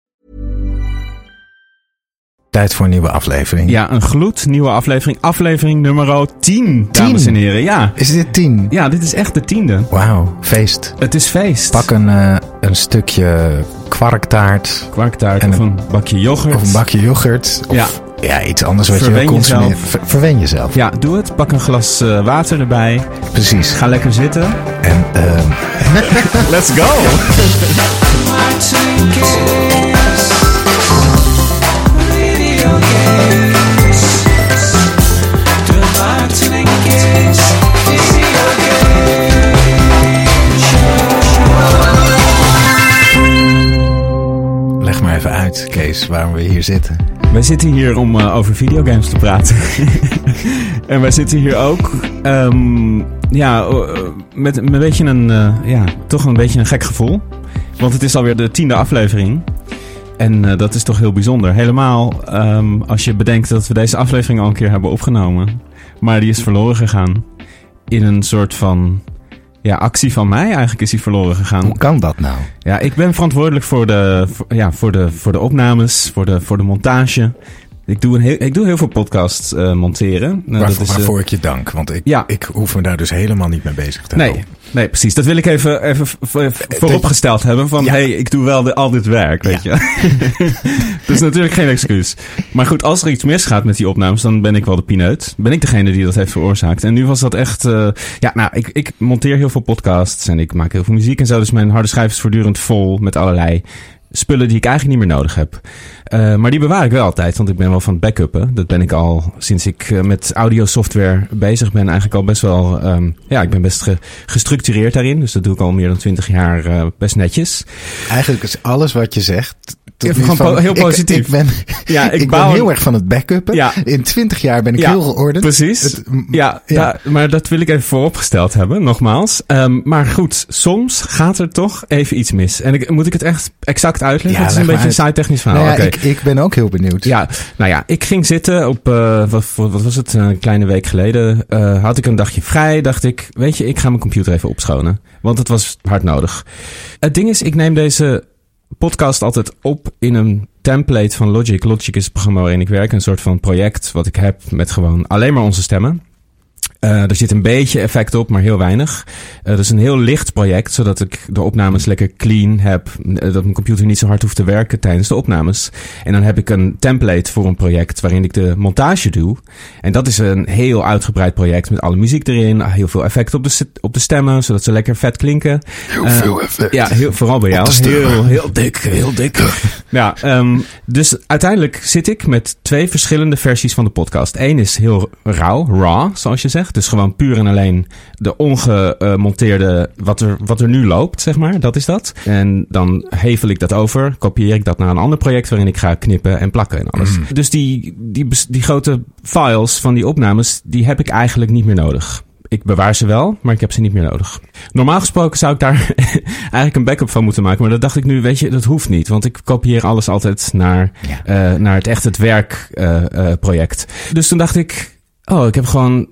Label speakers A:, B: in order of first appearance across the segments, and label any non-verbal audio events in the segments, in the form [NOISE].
A: Tijd voor een nieuwe aflevering.
B: Ja, een gloednieuwe aflevering. Aflevering nummer 10, dames en heren. Ja.
A: Is dit tien?
B: ja, dit is echt de tiende.
A: Wauw, feest.
B: Het is feest.
A: Pak een, eh, een stukje kwarktaart
B: kwarktaart
A: En
B: of
A: een-
B: een bakje yoghurt.
A: of een bakje yoghurt. Of
B: Ja.
A: ja. iets anders wat
B: Verwen
A: je wil consumeren.
B: jezelf.
A: Ver- verwen jezelf.
B: Ja, doe het. Pak een glas eh, water erbij.
A: Precies.
B: Ga lekker zitten.
A: En ehm,
B: Let's go!
A: leg maar even uit, Kees, waarom we hier zitten.
B: Wij zitten hier om eh, over videogames te praten. [LAUGHS] en wij zitten hier ook ehm, ja, eh, met een beetje een, eh, ja, toch een beetje een gek gevoel. Want het is alweer de tiende aflevering. En eh, dat is toch heel bijzonder. Helemaal ehm, als je bedenkt dat we deze aflevering al een keer hebben opgenomen. Maar die is verloren gegaan. In een soort van ja, actie van mij eigenlijk is die verloren gegaan.
A: Hoe kan dat nou?
B: Ja, ik ben verantwoordelijk voor de, voor- ja, voor de, voor de opnames, voor de, voor de montage. Ik doe, een heel, ik doe heel veel podcasts eh, monteren. Nou,
A: Waarvoor,
B: dat is, eh,
A: waarvoor ik je dank, want ik,
B: Ja.
A: ik hoef me daar dus helemaal niet mee bezig te
B: nee,
A: houden.
B: nee, precies. Dat wil ik even, even v- v- vooropgesteld hebben. Van,
A: Eh, Ja.
B: hey, ik doe wel de, al dit werk, weet je. [LAUGHS] dat is natuurlijk geen excuus. Maar goed, als er iets misgaat met die opnames, dan ben ik wel de pineut. Ben ik degene die dat heeft veroorzaakt. En nu was dat echt... eh, ja, nou, ik, ik monteer heel veel podcasts en ik maak heel veel muziek en zo. Dus mijn harde schijf is voortdurend vol met allerlei spullen die ik eigenlijk niet meer nodig heb. Eh, maar die bewaar ik wel altijd, want ik ben wel van het backuppen. Dat ben ik al sinds ik eh, met audiosoftware bezig ben eigenlijk al best wel... ehm, ja, ik ben best ge- gestructureerd daarin. Dus dat doe ik al meer dan twintig jaar eh, best netjes.
A: Eigenlijk is alles wat je zegt... tot
B: Ja,
A: nu
B: gewoon
A: van-
B: po- heel
A: ik-
B: positief.
A: Ik, ben,
B: Ja, ik
A: ik, ben
B: bouw-
A: heel erg van het backuppen.
B: Ja.
A: In twintig jaar ben ik heel geordend.
B: Precies.
A: Het-
B: ja,
A: ja.
B: da- maar dat wil ik even vooropgesteld hebben, nogmaals. Ehm, maar goed, soms gaat er toch even iets mis. En ik, moet ik het echt exact uitleggen?
A: Ja,
B: het is
A: leg
B: een
A: maar
B: beetje een
A: uit.
B: saai technisch verhaal.
A: Nou ja, ik,
B: Oké.
A: ik ben ook heel benieuwd.
B: Ja, nou ja, ik ging zitten op, eh, wat, wat wat was het, een kleine week geleden. eh, had ik een dagje vrij, dacht ik, weet je, ik ga mijn computer even opschonen. Want het was hard nodig. Het ding is, ik neem deze podcast altijd op in een template van Logic. Logic is het programma waarin ik werk. Een soort van project wat ik heb met gewoon alleen maar onze stemmen. Eh, er zit een beetje effect op, maar heel weinig. Eh, dat is een heel licht project, zodat ik de opnames lekker clean heb. eh, Dat mijn computer niet zo hard hoeft te werken tijdens de opnames. En dan heb ik een template voor een project waarin ik de montage doe. En dat is een heel uitgebreid project met alle muziek erin. Heel veel effect op de, s- op de stemmen, zodat ze lekker vet klinken.
A: heel
B: eh, veel
A: effect.
B: Ja, heel, vooral bij jou.
A: de stemmen.
B: Heel,
A: [LAUGHS]
B: heel dik, heel dik. Ja, ehm, dus uiteindelijk zit ik met twee verschillende versies van de podcast. Eén is heel rauw, raw, zoals je zegt. Dus gewoon puur en alleen de ongemonteerde, wat er, wat er nu loopt, zeg maar. Dat is dat. En dan hevel ik dat over, kopieer ik dat naar een ander project waarin ik ga knippen en plakken en alles.
A: Mm.
B: Dus die, die, bes- die grote files van die opnames, die heb ik eigenlijk niet meer nodig. Ik bewaar ze wel, maar ik heb ze niet meer nodig. Normaal gesproken zou ik daar [LAUGHS] eigenlijk een backup van moeten maken. Maar dat dacht ik nu, weet je, dat hoeft niet. Want ik kopieer alles altijd naar,
A: Ja.
B: eh, naar het echt het werk eh, eh, project. Dus toen dacht ik, oh, ik heb gewoon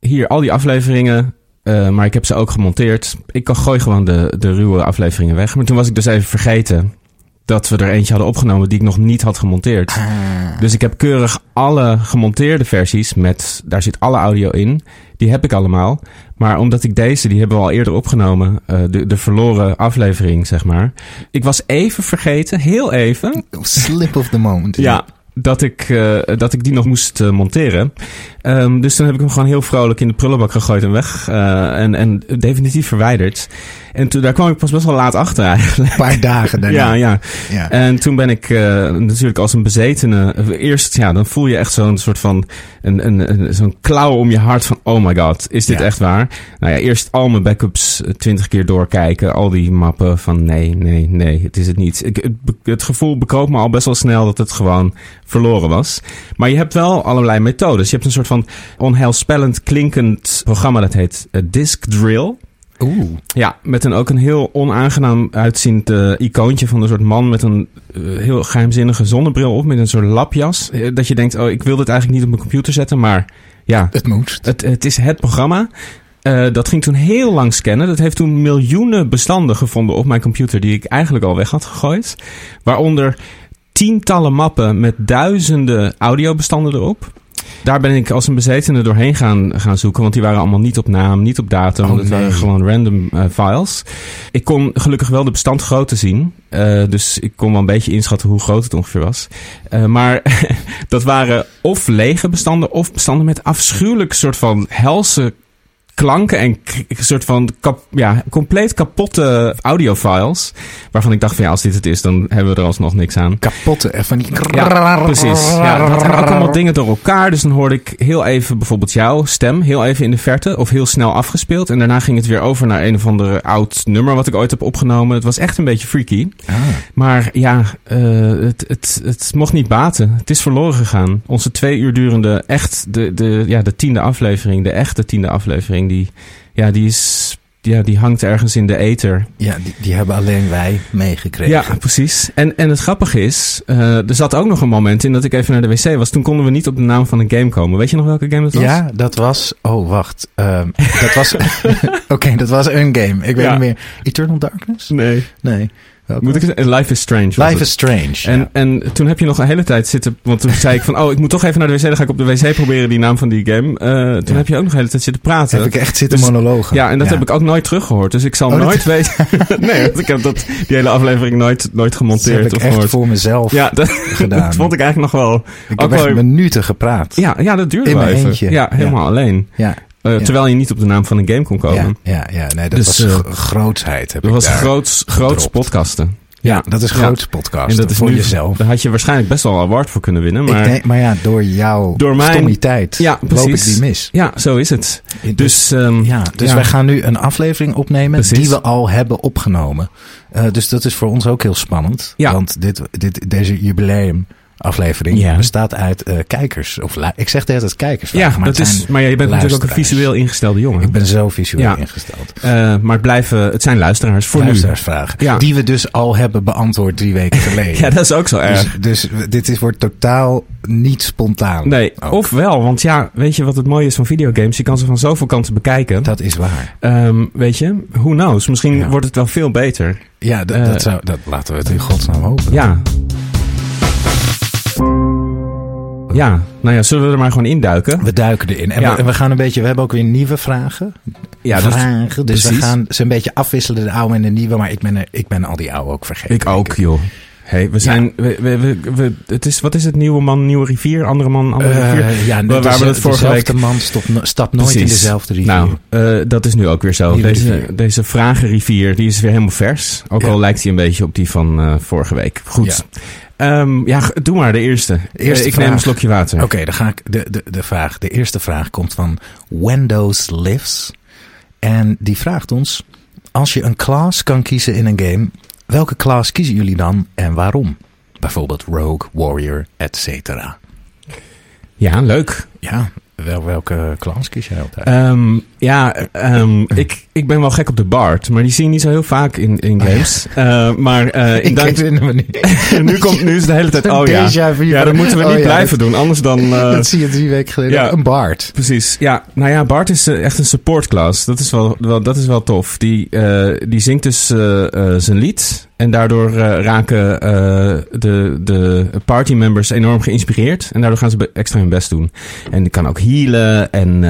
B: hier al die afleveringen. eh, maar ik heb ze ook gemonteerd. Ik kan gooi gewoon de, de ruwe afleveringen weg. Maar toen was ik dus even vergeten dat we er eentje hadden opgenomen die ik nog niet had gemonteerd. Dus ik heb keurig alle gemonteerde versies met, daar zit alle audio in. Die heb ik allemaal. Maar omdat ik deze, die hebben we al eerder opgenomen, eh, de, de verloren aflevering, zeg maar. Ik was even vergeten, heel even,
C: Slip of the moment.
B: ja, dat ik, eh, dat ik die nog moest eh, monteren. Ehm, dus toen heb ik hem gewoon heel vrolijk in de prullenbak gegooid en weg. eh, en, en definitief verwijderd. En toen, daar kwam ik pas best wel laat achter eigenlijk.
C: Een paar dagen
B: Ja,
C: daarna.
B: ja.
C: Ja.
B: En toen ben ik eh, natuurlijk als een bezetene. eh, Eerst, ja, dan voel je echt zo'n soort van. Een, een, een- zo'n klauw om je hart van: oh my god, is dit
C: Ja.
B: echt waar? Nou ja, eerst al mijn backups eh, twintig keer doorkijken. Al die mappen van: nee, nee, nee, het is het niet. Ik, het, be- het gevoel bekoopt me al best wel snel dat het gewoon verloren was. Maar je hebt wel allerlei methodes. Je hebt een soort van onheilspellend klinkend programma dat heet eh, Disk Drill.
C: Oeh.
B: Ja, met een, ook een heel onaangenaam uitziend eh, icoontje van een soort man met een eh, heel geheimzinnige zonnebril op, met een soort lapjas. Eh, dat je denkt, oh, ik wil dit eigenlijk niet op mijn computer zetten, maar ja,
C: Het moest.
B: het, het is het programma. Eh, dat ging toen heel lang scannen. Dat heeft toen miljoenen bestanden gevonden op mijn computer die ik eigenlijk al weg had gegooid. Waaronder tientallen mappen met duizenden audiobestanden erop. Daar ben ik als een bezetene doorheen gaan, gaan zoeken. Want die waren allemaal niet op naam, niet op datum.
C: Oh,
B: dat waren
C: nee.
B: gewoon random eh, files. Ik kon gelukkig wel de bestandgrootte zien. Eh, dus ik kon wel een beetje inschatten hoe groot het ongeveer was. Eh, maar dat waren of lege bestanden of bestanden met afschuwelijk soort van helse klanken en k- soort van kap- ja, compleet kapotte audiofiles. Waarvan ik dacht van ja, als dit het is, dan hebben we er alsnog niks aan.
C: Kapotte. En van die...
B: Ja, precies. Ja, dat waren ook allemaal dingen door elkaar. Dus dan hoorde ik heel even bijvoorbeeld jouw stem, heel even in de verte, of heel snel afgespeeld. En daarna ging het weer over naar een of ander oud nummer wat ik ooit heb opgenomen. Het was echt een beetje freaky.
C: Ah.
B: Maar ja, eh, het, het, het mocht niet baten. Het is verloren gegaan. Onze twee uur durende, echt de, de, ja, de tiende aflevering, de echte tiende aflevering, die, ja, die, is, ja, die hangt ergens in de ether.
C: Ja, die, die hebben alleen wij meegekregen.
B: Ja, precies. En, en het grappige is, eh, er zat ook nog een moment in dat ik even naar de wc was. Toen konden we niet op de naam van een game komen. Weet je nog welke game het was?
C: Ja, dat was. Oh, wacht. Ehm, dat was. Oké, dat was een game. Ik weet
B: Ja.
C: niet meer. Eternal Darkness?
B: Nee.
C: Nee. Welke
B: Moet ik
C: was
B: zeggen? Life is Strange. was
C: het?
B: het.
C: Life is Strange.
B: En,
C: ja.
B: en toen heb je nog een hele tijd zitten. Want toen zei ik van. Oh, ik moet toch even naar de wc. Dan ga ik op de wc proberen die naam van die game. Eh, toen
C: Ja.
B: heb je ook nog een hele tijd zitten praten.
C: heb ik echt zitten
B: dus-
C: monologen.
B: Ja, en dat heb ik ook nooit teruggehoord. Dus ik zal
C: Oh, dat-
B: nooit
C: [LAUGHS]
B: weten. nee, want ik heb dat, die hele aflevering nooit, nooit
C: Dat heb
B: gemonteerd
C: ik
B: of
C: echt
B: gehoord.
C: voor mezelf
B: Ja, dat,
C: gedaan.
B: [LAUGHS] dat vond ik eigenlijk nog wel.
C: ik
B: ook
C: heb echt
B: wel-
C: minuten gepraat.
B: Ja, ja dat duurde
C: In
B: wel
C: mijn
B: even.
C: eentje.
B: Ja, helemaal alleen.
C: ja.
B: Eh,
C: Ja.
B: Terwijl je niet op de naam van een game kon komen.
C: ja, ja, ja. Nee, dat
B: Dus,
C: was
B: eh,
C: gro- grootsheid. Heb
B: Dat
C: ik
B: was
C: daar.
B: groots, groots
C: gedropt.
B: podcasten.
C: Ja, dat is
B: Ja.
C: groots podcast.
B: en dat is
C: voor
B: nu,
C: jezelf.
B: Daar had je waarschijnlijk best wel een award voor kunnen winnen. Maar
C: ik denk, maar ja, door jouw
B: Door mijn-
C: stommiteit
B: Ja,
C: loop ik
B: precies.
C: die mis.
B: ja, zo is het. Dus, ehm,
C: Ja, dus
B: ja.
C: wij gaan nu een aflevering opnemen
B: Precies.
C: die we al hebben opgenomen. Eh, dus dat is voor ons ook heel spannend.
B: Ja.
C: Want dit, dit, deze jubileumaflevering
B: Ja.
C: bestaat uit eh, kijkers. Of lu- ik zeg de hele tijd kijkers.
B: Ja,
C: maar
B: dat
C: het
B: is,
C: zijn-
B: maar ja, je bent natuurlijk ook een
C: luisteraars.
B: visueel ingestelde jongen.
C: Ik ben zo visueel
B: Ja.
C: ingesteld.
B: Eh, maar het, blijven, het zijn luisteraars voor
C: Luisteraarsvragen.
B: Ja.
C: Die we dus al hebben beantwoord drie
B: [LAUGHS]
C: weken
B: nu.
C: geleden.
B: Ja, dat is ook zo erg.
C: dus, dus dit is, wordt totaal niet spontaan.
B: Nee,
C: Ook.
B: of wel, want ja, weet je wat het mooie is van videogames? Je kan ze van zoveel kanten bekijken.
C: Dat is waar.
B: Ehm, weet je, who knows? Misschien
C: Ja.
B: wordt het wel veel beter.
C: Ja, d-
B: Eh,
C: dat, zou, dat laten we het in godsnaam hopen.
B: Ja. Ja, nou ja, zullen we er maar gewoon induiken?
C: We duiken erin. En,
B: Ja.
C: we, en we gaan een beetje, we hebben ook weer nieuwe vragen.
B: Ja, dat-
C: vragen. Dus
B: precies.
C: we gaan ze een beetje afwisselen, de oude en de nieuwe. Maar ik ben, er- ik ben al die oude ook vergeten.
B: Ik ook, joh. hey, we zijn. We, we, we, we- het is, wat is het? Nieuwe man, nieuwe rivier, andere man, andere rivier.
C: Eh, ja,
B: Waar- waar we dat vorige week-
C: Dezelfde man stopt, no- stapt nooit in
B: Precies.
C: dezelfde rivier.
B: Nou, eh, dat is nu ook weer zo.
C: Nieuwe
B: Deze,
C: rivier.
B: deze vragenrivier, die is weer helemaal vers. Ook
C: Ja.
B: al lijkt hij een beetje op die van eh, vorige week. Goed. Ja. ja, g- doe maar de eerste.
C: Eerste
B: Eh, ik
C: vraag.
B: neem een slokje water.
C: Oké, dan ga ik de, de, de vraag. De eerste vraag komt van Windows Lives. En die vraagt ons: Als je een class kan kiezen in een game, welke class kiezen jullie dan en waarom? Bijvoorbeeld Rogue, Warrior, et cetera.
B: Ja, leuk.
C: Ja, wel, welke class kies jij altijd?
B: Ehm, ja, ehm, ik, ik ben wel gek op de Bart, maar die zie je niet zo heel vaak in, in
C: Oh, ja.
B: games. Eh, maar
C: [LAUGHS]
B: eh,
C: ik
B: dan-
C: herinner me niet.
B: [LAUGHS] nu, komt, nu is de hele tijd. Oh ja.
C: Déjà vu.
B: Ja, dat moeten we
C: Oh
B: niet
C: ja,
B: blijven doen, anders dan. eh,
C: [LAUGHS] Dat zie je drie weken geleden.
B: ja.
C: Een baard.
B: Precies. Ja, nou ja, Bart is eh, echt een support class. Dat is wel, wel, dat is wel tof. Die, eh, die zingt dus eh, eh, zijn lied. En daardoor eh, raken eh, de, de partymembers enorm geïnspireerd. En daardoor gaan ze be- extra hun best doen. En ik kan ook healen. En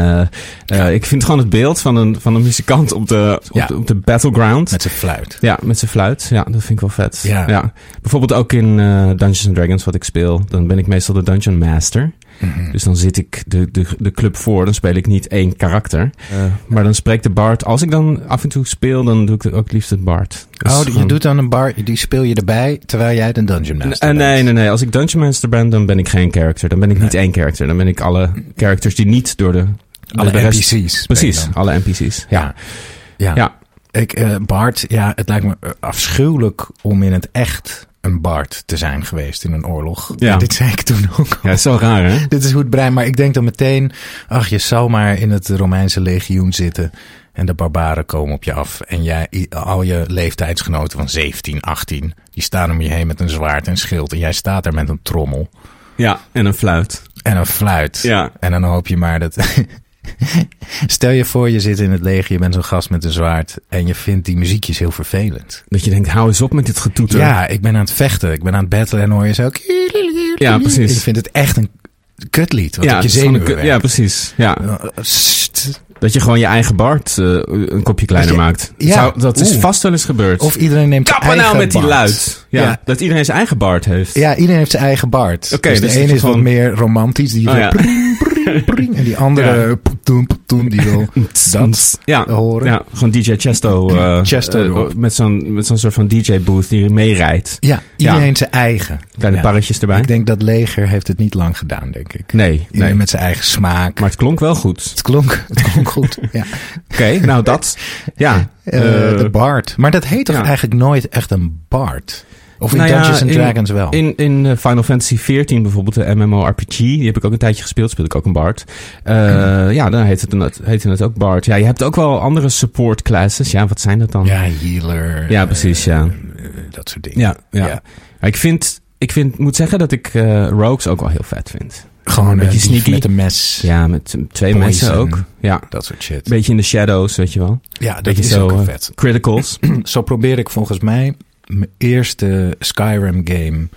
B: eh, eh, ik vind gewoon het beeld van een, van een muzikant op de, op,
C: Ja.
B: de, op de battleground.
C: Met zijn fluit.
B: Ja, met zijn fluit. Ja, dat vind ik wel vet.
C: Ja.
B: Bijvoorbeeld ook in eh, Dungeons and Dragons wat ik speel. Dan ben ik meestal de Dungeon Master. Dus dan zit ik de, de, de club voor. Dan speel ik niet één karakter. maar dan spreekt de Bard. Als ik dan af en toe speel, dan doe ik ook het liefst het Bard. Dus
C: Oh, je
B: gewoon-
C: doet dan een bar, die speel je erbij terwijl jij de dungeon master
B: Eh, nee,
C: bent.
B: nee, nee. Als ik Dungeon Master ben, dan ben ik geen character. Dan ben ik niet één character. Dan ben ik alle characters die niet door de...
C: Alle
B: door de rest-
C: NPC's. ben je
B: Precies,
C: dan.
B: alle NPC's. Ja.
C: Ja. ja.
B: Ja.
C: Ik, eh, Bart, ja, het lijkt me eh, afschuwelijk om in het echt een Bart te zijn geweest in een oorlog.
B: Ja.
C: Dit zei ik toen ook al.
B: Ja, is wel raar, hè?
C: Dit is hoe het brein, maar ik denk dan meteen, ach, je zou maar in het Romeinse legioen zitten en de barbaren komen op je af. En jij, i- al je leeftijdsgenoten van 17, 18, die staan om je heen met een zwaard en schild. En jij staat daar met een trommel
B: Ja, en een fluit.
C: en een fluit.
B: Ja.
C: En dan hoop je maar dat... [LAUGHS] Stel je voor, je zit in het leger, je bent zo'n gast met een zwaard en je vindt die muziekjes heel vervelend.
B: Dat je denkt, hou eens op met dit getoeter.
C: Ja, ik ben aan het vechten. Ik ben aan het battlen en hoor je zo... ook-
B: Ja, precies.
C: Ik vind het echt een kutlied. Wat op je
B: het is gewoon
C: zenuwen
B: een ku- Ja, precies. Ja.
C: werkt. Sst.
B: Dat je gewoon je eigen Bart eh, een kopje kleiner
C: Dat je-
B: maakt.
C: ja,
B: Zou- dat is
C: oeh.
B: vast wel eens gebeurd.
C: Of iedereen neemt zijn
B: Kappen nou
C: eigen
B: met die
C: Bart.
B: luid. Ja,
C: Ja.
B: Dat iedereen zijn eigen Bart heeft.
C: Ja, iedereen heeft zijn eigen Bart.
B: Oké,
C: dus de
B: dus
C: ene
B: het
C: is
B: is
C: wat
B: gewoon-
C: meer romantisch. Die
B: Oh,
C: wil [LAUGHS]
B: ja.
C: pring, pring, pring. En die andere... poetoem, poetoem, die
B: [LAUGHS]
C: wil dat
B: Ja,
C: horen.
B: ja, gewoon DJ
C: [CLEARS THROAT]
B: Chesto. eh,
C: Chesto
B: eh,
C: erop.
B: met zo'n met zo'n soort van DJ-booth die meerijdt.
C: Ja, iedereen zijn eigen.
B: Kleine
C: Ja.
B: parretjes erbij.
C: Ik denk dat leger heeft het niet lang gedaan, denk ik.
B: nee,
C: Iedereen
B: nee.
C: met zijn eigen smaak.
B: Maar het klonk wel goed.
C: het klonk, het klonk
B: [LAUGHS]
C: goed. Ja.
B: Oké, nou
C: [LAUGHS]
B: dat. Ja.
C: Eh,
B: eh,
C: de Bard. Maar dat heet toch
B: ja.
C: eigenlijk nooit echt een Bard? Of in
B: Nou ja,
C: Dungeons and
B: in-
C: Dragons wel?
B: In, in eh, Final Fantasy XIV bijvoorbeeld, de MMORPG, die heb ik ook een tijdje gespeeld, speelde ik ook een bard. Eh, Ja, dan heet het, net- heette het ook bard. Ja, je hebt ook wel andere support classes. Ja, wat zijn dat dan?
C: ja, healer.
B: Ja, precies,
C: eh,
B: ja.
C: eh, dat soort dingen.
B: ja, ja.
C: Ja.
B: Maar ik vind, ik vind, moet zeggen dat ik eh, rogues ook wel heel vet vind.
C: Gewoon een beetje sneaky. met een mes.
B: Ja, met twee
C: Poison.
B: mensen ook. Ja,
C: Dat soort shit.
B: beetje in de shadows, weet je wel.
C: ja, dat
B: beetje
C: is
B: zo,
C: ook
B: eh,
C: vet.
B: Criticals.
C: [CLEARS THROAT] Zo probeer ik volgens mij mijn eerste Skyrim game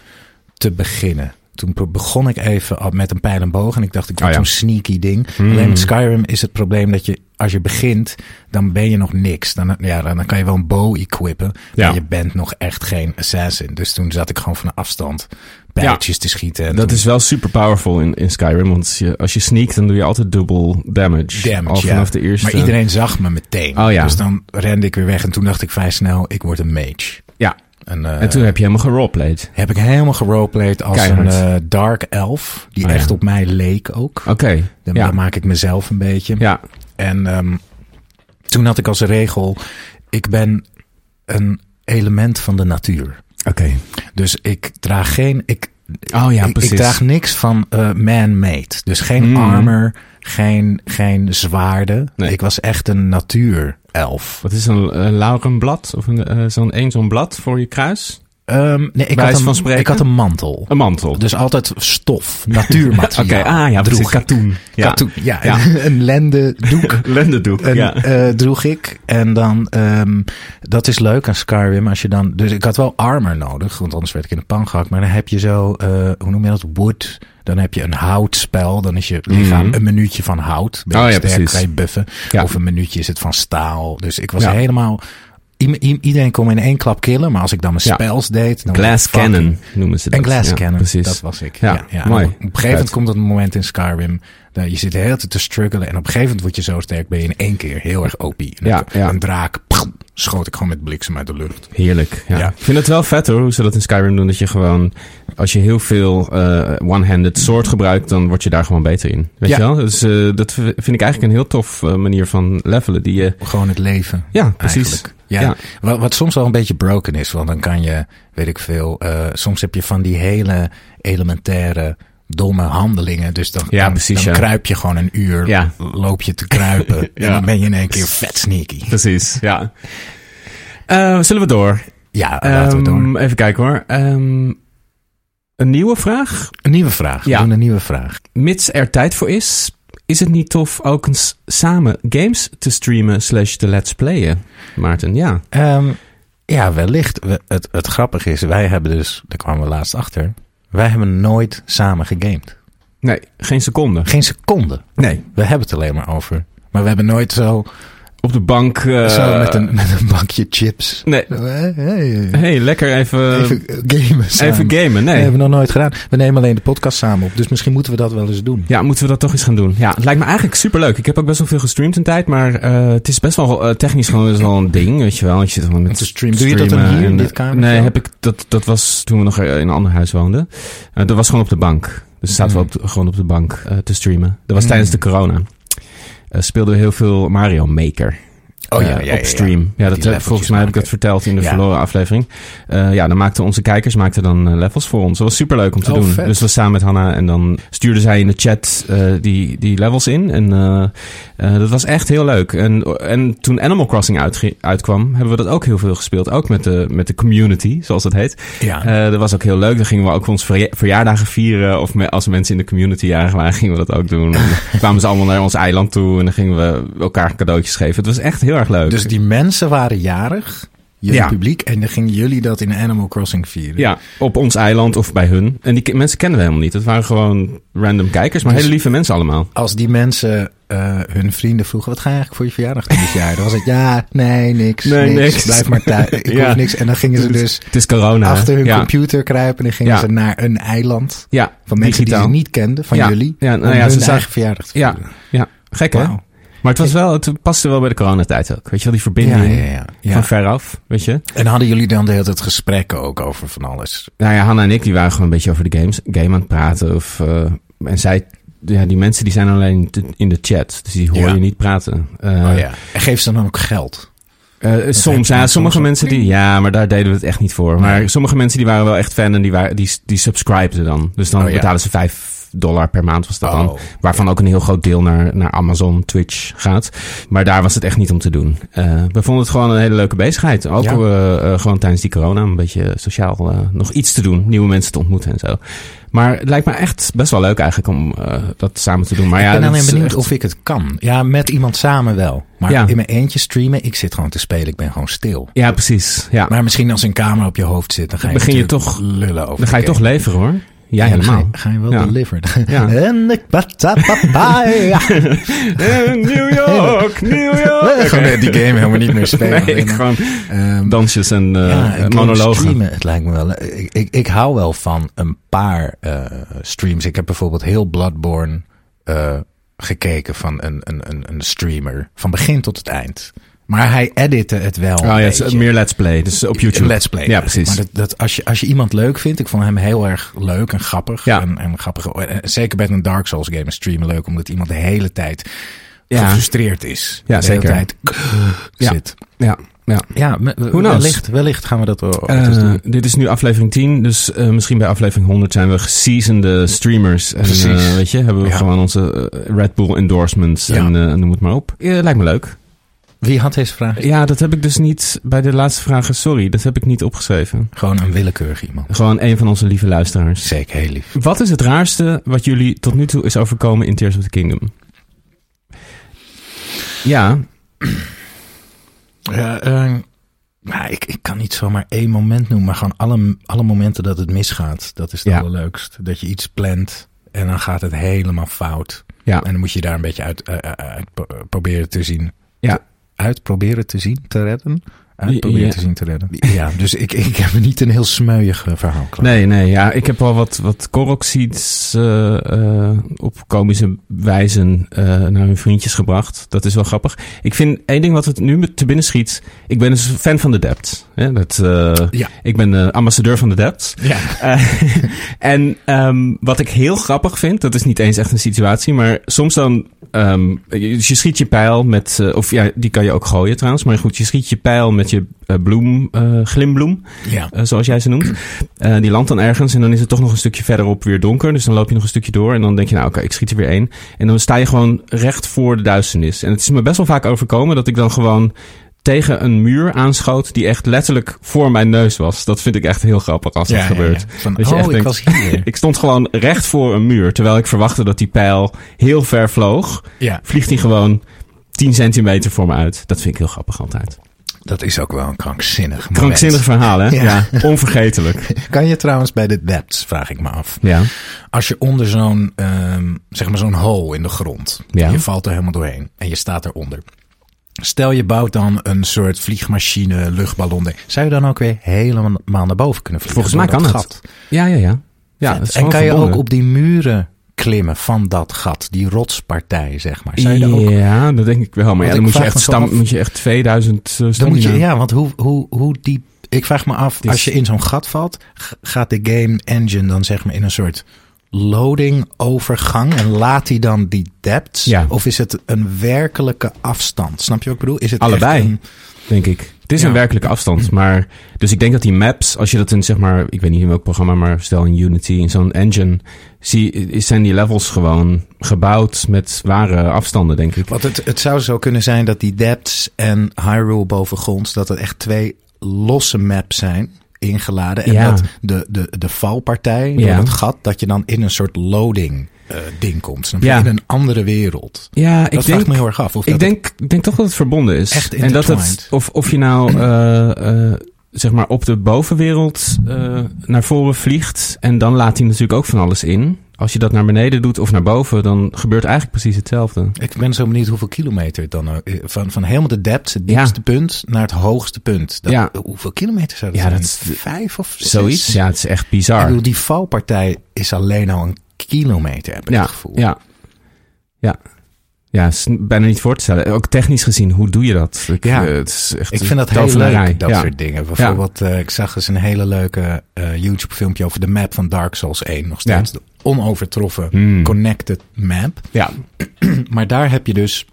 C: te beginnen. Toen pro- begon ik even al met een pijl en boog en ik dacht, ik doe
B: Oh ja.
C: zo'n sneaky ding.
B: Hmm.
C: Alleen met Skyrim is het probleem dat je, als je begint, dan ben je nog niks. Dan, ja, dan dan kan je wel een bow equippen,
B: Ja.
C: maar je bent nog echt geen assassin. Dus toen zat ik gewoon van een afstand pijltjes te schieten. En
B: Dat
C: toen-
B: is wel super powerful in, in Skyrim, want als je, als je sneakt, dan doe je altijd dubbel damage.
C: Damage,
B: Al
C: ja.
B: vanaf de eerste.
C: Maar iedereen zag me meteen.
B: Oh ja.
C: Dus dan rende ik weer weg en toen dacht ik vrij snel, ik word een mage.
B: Ja,
C: En, eh,
B: en toen heb je helemaal geroleplayed.
C: Heb ik helemaal geroleplayed als
B: Keihard.
C: een eh, dark elf. Die
B: Oh ja.
C: echt op mij leek ook.
B: Oké,
C: Dan,
B: ja.
C: dan maak ik mezelf een beetje.
B: Ja,
C: En ehm, toen had ik als regel... Ik ben een element van de natuur.
B: oké.
C: Dus ik draag geen... Ik,
B: Oh ja,
C: ik- ik,
B: precies.
C: draag niks van eh, man-made. Dus geen
B: Mm.
C: armor, geen, geen zwaarden.
B: Nee.
C: Ik was echt een natuurelf.
B: Wat is een eh, laurenblad? Of een, eh, zo'n één zo'n blad voor je kruis?
C: Ehm, nee, ik,
B: Bij
C: had
B: wijze
C: een,
B: van spreken?
C: ik had een mantel.
B: Een mantel.
C: Dus altijd stof, natuurmateriaal.
B: [LAUGHS] Oké, ah ja,
C: droeg
B: precies.
C: ik.
B: Katoen.
C: [LAUGHS]
B: Ja.
C: Katoen, ja.
B: Ja.
C: Een, een lende
B: [LAUGHS]
C: doek.
B: Lendendoek,
C: En,
B: ja.
C: eh, droeg ik. En dan, ehm, dat is leuk aan Skyrim. Als je dan, dus ik had wel armor nodig, want anders werd ik in de pan gehakt. Maar dan heb je zo, eh, hoe noem je dat? Wood. Dan heb je een houtspel. Dan is je lichaam
B: Mhm.
C: een minuutje van hout. Ben je
B: Oh ja,
C: sterk,
B: precies.
C: kan je buffen.
B: Ja.
C: Of een minuutje is het van staal. Dus ik was
B: Ja.
C: helemaal... i- i- Iedereen kon me in één klap killen, maar als ik dan mijn
B: Ja.
C: spels deed... Dan was
B: Glass
C: ik fucking-
B: Cannon noemen ze dat.
C: en Glass
B: Ja,
C: Cannon,
B: Precies.
C: dat was ik. Ja,
B: Ja,
C: ja,
B: mooi.
C: Op een gegeven moment
B: Vet.
C: komt dat moment in Skyrim. Dat je zit de hele tijd te struggelen. En op een gegeven moment word je zo sterk, ben je in één keer heel erg OP. En
B: Ja,
C: een-
B: ja.
C: Een draak, pff, schoot ik gewoon met bliksem uit de lucht.
B: Heerlijk. Ja.
C: Ja.
B: Ik vind het wel vet hoor, hoe ze dat in Skyrim doen. Dat je gewoon, als je heel veel eh, one-handed soort gebruikt, dan word je daar gewoon beter in. Weet
C: Ja.
B: je wel? Dus eh, dat v- vind ik eigenlijk een heel tof eh, manier van levelen. Die je,
C: Gewoon het leven.
B: ja, precies.
C: Eigenlijk. Ja,
B: Ja.
C: Wat, wat soms wel een beetje broken is. Want dan kan je, weet ik veel, eh, soms heb je van die hele elementaire domme handelingen. Dus dan,
B: Ja,
C: dan,
B: precies,
C: dan
B: ja.
C: kruip je gewoon een uur,
B: Ja.
C: loop je te kruipen.
B: [LAUGHS] Ja.
C: En dan ben je in één keer vet sneaky.
B: Precies, ja. Eh, zullen we door?
C: Ja, laten we door.
B: Ehm, Even kijken hoor. Ehm, een nieuwe vraag.
C: Een nieuwe vraag. We
B: Ja.
C: doen een nieuwe vraag.
B: Mits er tijd voor is, is het niet tof ook eens samen games te streamen slash te let's playen? Maarten, ja.
C: Ehm, Ja, wellicht. We- het, het grappige is, wij hebben dus, daar kwamen we laatst achter, wij hebben nooit samen gegamed.
B: Nee, geen seconde.
C: Geen seconde.
B: Nee,
C: We hebben het alleen maar over. Maar we hebben nooit zo,
B: op de bank. eh,
C: zo met, een, met een bankje chips. Eh,
B: Nee.
C: Hey, hey.
B: hey, lekker even, even,
C: even eh, gamen samen.
B: gamen.
C: Nee,
B: Nee.
C: hebben we nog nooit gedaan. We nemen alleen de podcast samen op. Dus misschien moeten we dat wel eens doen.
B: Ja, moeten we dat toch eens gaan doen. Ja, het lijkt me eigenlijk superleuk. Ik heb ook best wel veel gestreamd een tijd, maar eh, het is best wel eh, technisch gewoon best wel een ding, weet je wel. Want je zit gewoon met
C: Om te streamen. Doe je dat dan
B: streamen
C: hier in
B: en,
C: dit
B: eh,
C: kamertje
B: Nee,
C: ook?
B: heb ik, dat, dat was toen we nog eh, in een ander huis woonden. Eh, dat was gewoon op de bank. Dus zaten
C: Mm.
B: we op de- gewoon op de bank eh, te streamen. Dat was
C: Mm.
B: tijdens de corona. Eh, speelden we heel veel Mario Maker
C: Oh
B: eh, op stream. Ja, dat heb,
C: leveltjes
B: volgens mij heb ik
C: maken.
B: dat verteld in de
C: Ja.
B: verloren aflevering. Eh, ja, dan maakten onze kijkers maakten dan eh, levels voor ons. Dat was superleuk om te
C: Oh,
B: doen.
C: vet.
B: Dus we samen met Hanna en dan stuurde zij in de chat eh, die, die levels in. En eh, eh, dat was echt heel leuk. En, en toen Animal Crossing uitge- uitkwam, hebben we dat ook heel veel gespeeld. Ook met de, met de community, zoals dat heet.
C: Ja.
B: Eh, dat was ook heel leuk. Dan gingen we ook onze verja- verjaardagen vieren. Of me- als mensen in de community jarig waren, gingen we dat ook
C: [LAUGHS]
B: doen. En dan kwamen ze allemaal naar ons eiland toe. En dan gingen we elkaar cadeautjes geven. Het was echt heel erg leuk.
C: dus die mensen waren jarig, jullie
B: Ja.
C: publiek, en dan gingen jullie dat in Animal Crossing vieren.
B: Ja, op ons eiland of bij hun. En die ke- mensen kennen we helemaal niet. Het waren gewoon random kijkers, maar
C: Dus-
B: hele lieve mensen allemaal.
C: Als die mensen eh, hun vrienden vroegen, wat ga je eigenlijk voor je verjaardag doen dit jaar? Dan was het, ja, nee, niks,
B: Nee,
C: niks,
B: niks.
C: blijf maar
B: [LAUGHS]
C: thuis, ik
B: Ja.
C: hoef niks. En dan gingen ze dus
B: Het is corona. hè?
C: achter hun
B: ja.
C: computer kruipen en dan gingen
B: Ja.
C: ze naar een eiland
B: Ja,
C: van mensen
B: digitaal.
C: die ze niet kenden, van
B: Ja.
C: jullie,
B: Ja, nou
C: om
B: ja,
C: hun
B: ze zei-
C: eigen verjaardag te
B: Ja,
C: vieren.
B: ja. gek hè?
C: Wauw.
B: Maar het, was wel, het paste wel bij de coronatijd ook. Weet je wel, die verbinding
C: Ja, ja, ja, ja.
B: van veraf, weet je.
C: En hadden jullie dan de hele tijd gesprekken ook over van alles?
B: Nou ja, Hanna en ik die waren gewoon een beetje over de games, game aan het praten. Of, eh, en zij, ja, die mensen die zijn alleen te- in de chat, dus die hoor
C: Ja.
B: je niet praten. Eh,
C: oh ja. En geef ze dan ook geld?
B: Eh,
C: heeft
B: soms,
C: dan
B: ja,
C: soms
B: sommige
C: een
B: mensen die. Ja, maar daar deden we het echt niet voor. Maar sommige mensen die waren wel echt fan en die, waren, die, die subscribeden dan. Dus dan
C: Oh, ja.
B: betalen ze 5 dollar per maand, was dat dan.
C: Oh.
B: Waarvan ook een heel groot deel naar, naar Amazon, Twitch gaat. Maar daar was het echt niet om te doen. Eh, we vonden het gewoon een hele leuke bezigheid. Ook
C: Ja.
B: eh, eh, gewoon tijdens die corona een beetje sociaal eh, nog iets te doen. Nieuwe mensen te ontmoeten en zo. Maar het lijkt me echt best wel leuk eigenlijk om eh, dat samen te doen. Maar ja,
C: ik ben
B: dat
C: alleen
B: is
C: benieuwd
B: echt-
C: of ik het kan. Ja, met iemand samen wel. Maar
B: Ja.
C: in mijn eentje streamen, ik zit gewoon te spelen. Ik ben gewoon stil.
B: Ja, precies. Ja.
C: Maar misschien als een camera op je hoofd zit, dan ga je,
B: Begin je
C: natuurlijk
B: toch-
C: lullen over.
B: Dan ga je
C: de
B: toch
C: game.
B: leveren hoor. Ja,
C: Ja, dan
B: helemaal.
C: Ga je, ga je wel
B: Ja.
C: delivered.
B: Ja.
C: [LAUGHS] en ik
B: [LAUGHS]
C: batapapa. Ja.
B: New York, [LAUGHS] New York.
C: Gewoon eh, die game helemaal niet meer spelen.
B: Nee, ik
C: Alleen maar,
B: gewoon
C: ehm,
B: dansjes en eh,
C: ja, ik kan
B: monologen.
C: Streamen, het lijkt me wel. eh, Ik, ik, ik hou wel van een paar eh, streams. Ik heb bijvoorbeeld heel Bloodborne eh, gekeken van een, een, een, een streamer. Van begin tot het eind. Maar hij editte het wel.
B: Oh ja,
C: een
B: het is
C: beetje.
B: meer Let's Play, dus op YouTube.
C: Let's play.
B: Ja, precies.
C: Maar dat, dat, als, je, als je iemand leuk vindt, ik vond hem heel erg leuk en grappig.
B: Ja.
C: En, en grappig. en Zeker bij een Dark Souls game is streamen leuk, omdat iemand de hele tijd
B: Ja.
C: gefrustreerd is.
B: Ja,
C: de
B: zeker.
C: hele tijd
B: Ja.
C: zit.
B: Ja, ja.
C: Ja, me-
B: Who knows?
C: wellicht, wellicht gaan we dat wel ooit eens
B: Eh,
C: doen.
B: dit is nu aflevering 10, dus eh, misschien bij aflevering 100 zijn we geseasonde streamers. En,
C: Precies.
B: eh, weet je, hebben we
C: Ja.
B: gewoon onze eh, Red Bull endorsements
C: Ja.
B: en eh, noem het maar op. Eh, lijkt me leuk.
C: Wie had deze vraag?
B: Ja, dat heb ik dus niet bij de laatste vragen, sorry, dat heb ik niet opgeschreven.
C: Gewoon een willekeurig iemand.
B: Gewoon een van onze lieve luisteraars.
C: Zeker, heel lief.
B: Wat is het raarste wat jullie tot nu toe is overkomen in Tears of the Kingdom? Ja,
C: Ja, eh, maar ik, ik kan niet zomaar één moment noemen, maar gewoon alle, alle momenten dat het misgaat. Dat is het
B: Ja.
C: allerleukst. Dat je iets plant en dan gaat het helemaal fout.
B: ja.
C: En dan moet je daar een beetje uit, eh, eh, uit pro- eh, proberen te zien.
B: Ja.
C: Te- Uit proberen te zien, te redden. Uit proberen
B: Ja.
C: te zien, te redden. Ja, dus ik, ik heb niet een heel smeuïg eh, verhaal klaar.
B: Nee, nee, ja. Ik heb al wat, wat Korok-seeds eh, eh, op komische wijzen eh, naar hun vriendjes gebracht. Dat is wel grappig. Ik vind één ding wat het nu me te binnen schiet. Ik ben dus fan van de Dept. Hè? Dat, eh,
C: Ja.
B: Ik ben eh, ambassadeur van de Dept.
C: Ja.
B: Eh, [LAUGHS] en ehm, wat ik heel grappig vind, dat is niet eens echt een situatie, maar soms dan. ehm, je, dus je schiet je pijl met. eh, of ja, die kan je ook gooien trouwens. Maar goed, je schiet je pijl met je eh, bloem, eh, glimbloem.
C: [LAUGHS] Ja.
B: Eh, zoals jij ze noemt. Eh, die landt dan ergens en dan is het toch nog een stukje verderop weer donker. Dus dan loop je nog een stukje door en dan denk je, nou oké, ik schiet er weer één. En dan sta je gewoon recht voor de duisternis. En het is me best wel vaak overkomen dat ik dan gewoon tegen een muur aanschoot die echt letterlijk voor mijn neus was. Dat vind ik echt heel grappig als dat gebeurt.
C: Van,
B: Dat je
C: oh,
B: echt
C: ik
B: denkt,
C: was hier.
B: [LAUGHS] Ik stond gewoon recht voor een muur, terwijl ik verwachtte dat die pijl heel ver vloog.
C: ja.
B: Vliegt die gewoon 10 centimeter voor me uit. Dat vind ik heel grappig altijd.
C: Dat is ook wel een krankzinnig moment.
B: Krankzinnig verhaal, hè?
C: Ja.
B: Ja.
C: [LAUGHS]
B: Onvergetelijk.
C: Kan je trouwens bij de depths, vraag ik me af.
B: Ja.
C: Als je onder zo'n, ehm, zeg maar zo'n hole in de grond.
B: Ja.
C: Je valt er helemaal doorheen en je staat eronder. Stel je bouwt dan een soort vliegmachine, luchtballon. ding. Zou je dan ook weer helemaal naar boven kunnen vliegen?
B: Volgens mij
C: door
B: kan
C: dat
B: het. Ja, ja, ja. ja dat is
C: en
B: gewoon
C: kan je
B: verbonden.
C: ook op die muren klimmen van dat gat, die rotspartij, zeg maar. Zou je daar ook...
B: Ja, dat denk ik wel. Maar ja,
C: ik
B: dan moet je,
C: vraag
B: echt
C: me zo
B: stam,
C: af-
B: moet je echt 2000 eh,
C: Dan moet je,
B: stamina-
C: ja, want hoe, hoe, hoe diep... Ik vraag me af,
B: is-
C: als je in zo'n gat valt, g- gaat de game engine dan zeg maar in een soort loading overgang en laat hij dan die depths?
B: Ja.
C: Of is het een werkelijke afstand? Snap je wat ik bedoel? Is het echt
B: Allebei.
C: een-
B: denk ik. Het is
C: Ja. Mm.
B: een werkelijke afstand, maar... Dus ik denk dat die maps, als je dat in zeg maar... Ik weet niet in welk programma, maar stel in Unity, in zo'n engine... Zie, is- zijn die levels gewoon gebouwd met ware afstanden, denk ik.
C: Want het, het zou zo kunnen zijn dat die Depths en Hyrule bovengronds, dat het echt twee losse maps zijn ingeladen. En
B: Ja.
C: dat de, de, de valpartij door
B: Ja.
C: het gat, dat je dan in een soort loading eh, ding komt. Snap je?
B: Ja.
C: In een andere wereld.
B: Ja,
C: dat
B: ik denk...
C: vraagt me heel erg af. Of
B: ik
C: dat
B: denk, ik denk toch dat het verbonden is.
C: Echt
B: en dat het,
C: intertwined.
B: of, of je nou eh, eh, zeg maar op de bovenwereld eh, naar voren vliegt. En dan laat hij natuurlijk ook van alles in. Als je dat naar beneden doet of naar boven, dan gebeurt eigenlijk precies hetzelfde.
C: Ik ben zo benieuwd hoeveel kilometer het dan eh, van, van helemaal de depth, het diepste punt, naar het hoogste punt. Dat,
B: Ja.
C: Hoeveel kilometer zou dat
B: Ja,
C: zijn?
B: dat is-
C: Vijf of zes?
B: Zoiets? Ja, het is echt bizar.
C: Ik bedoel, die valpartij is alleen al een kilometer, heb ik
B: ja,
C: het gevoel.
B: ja, ja. Ja, is bijna niet voor te stellen. Ook technisch gezien, hoe doe je dat? Ik,
C: Ja.
B: eh, het is echt
C: Ik vind dat heel
B: tovenarij.
C: leuk, dat
B: ja.
C: soort dingen. Bijvoorbeeld, eh, ik zag eens een hele leuke eh, YouTube-filmpje over de map van Dark Souls 1. Nog steeds de onovertroffen
B: Hmm.
C: connected map.
B: Ja,
C: Maar daar heb je dus,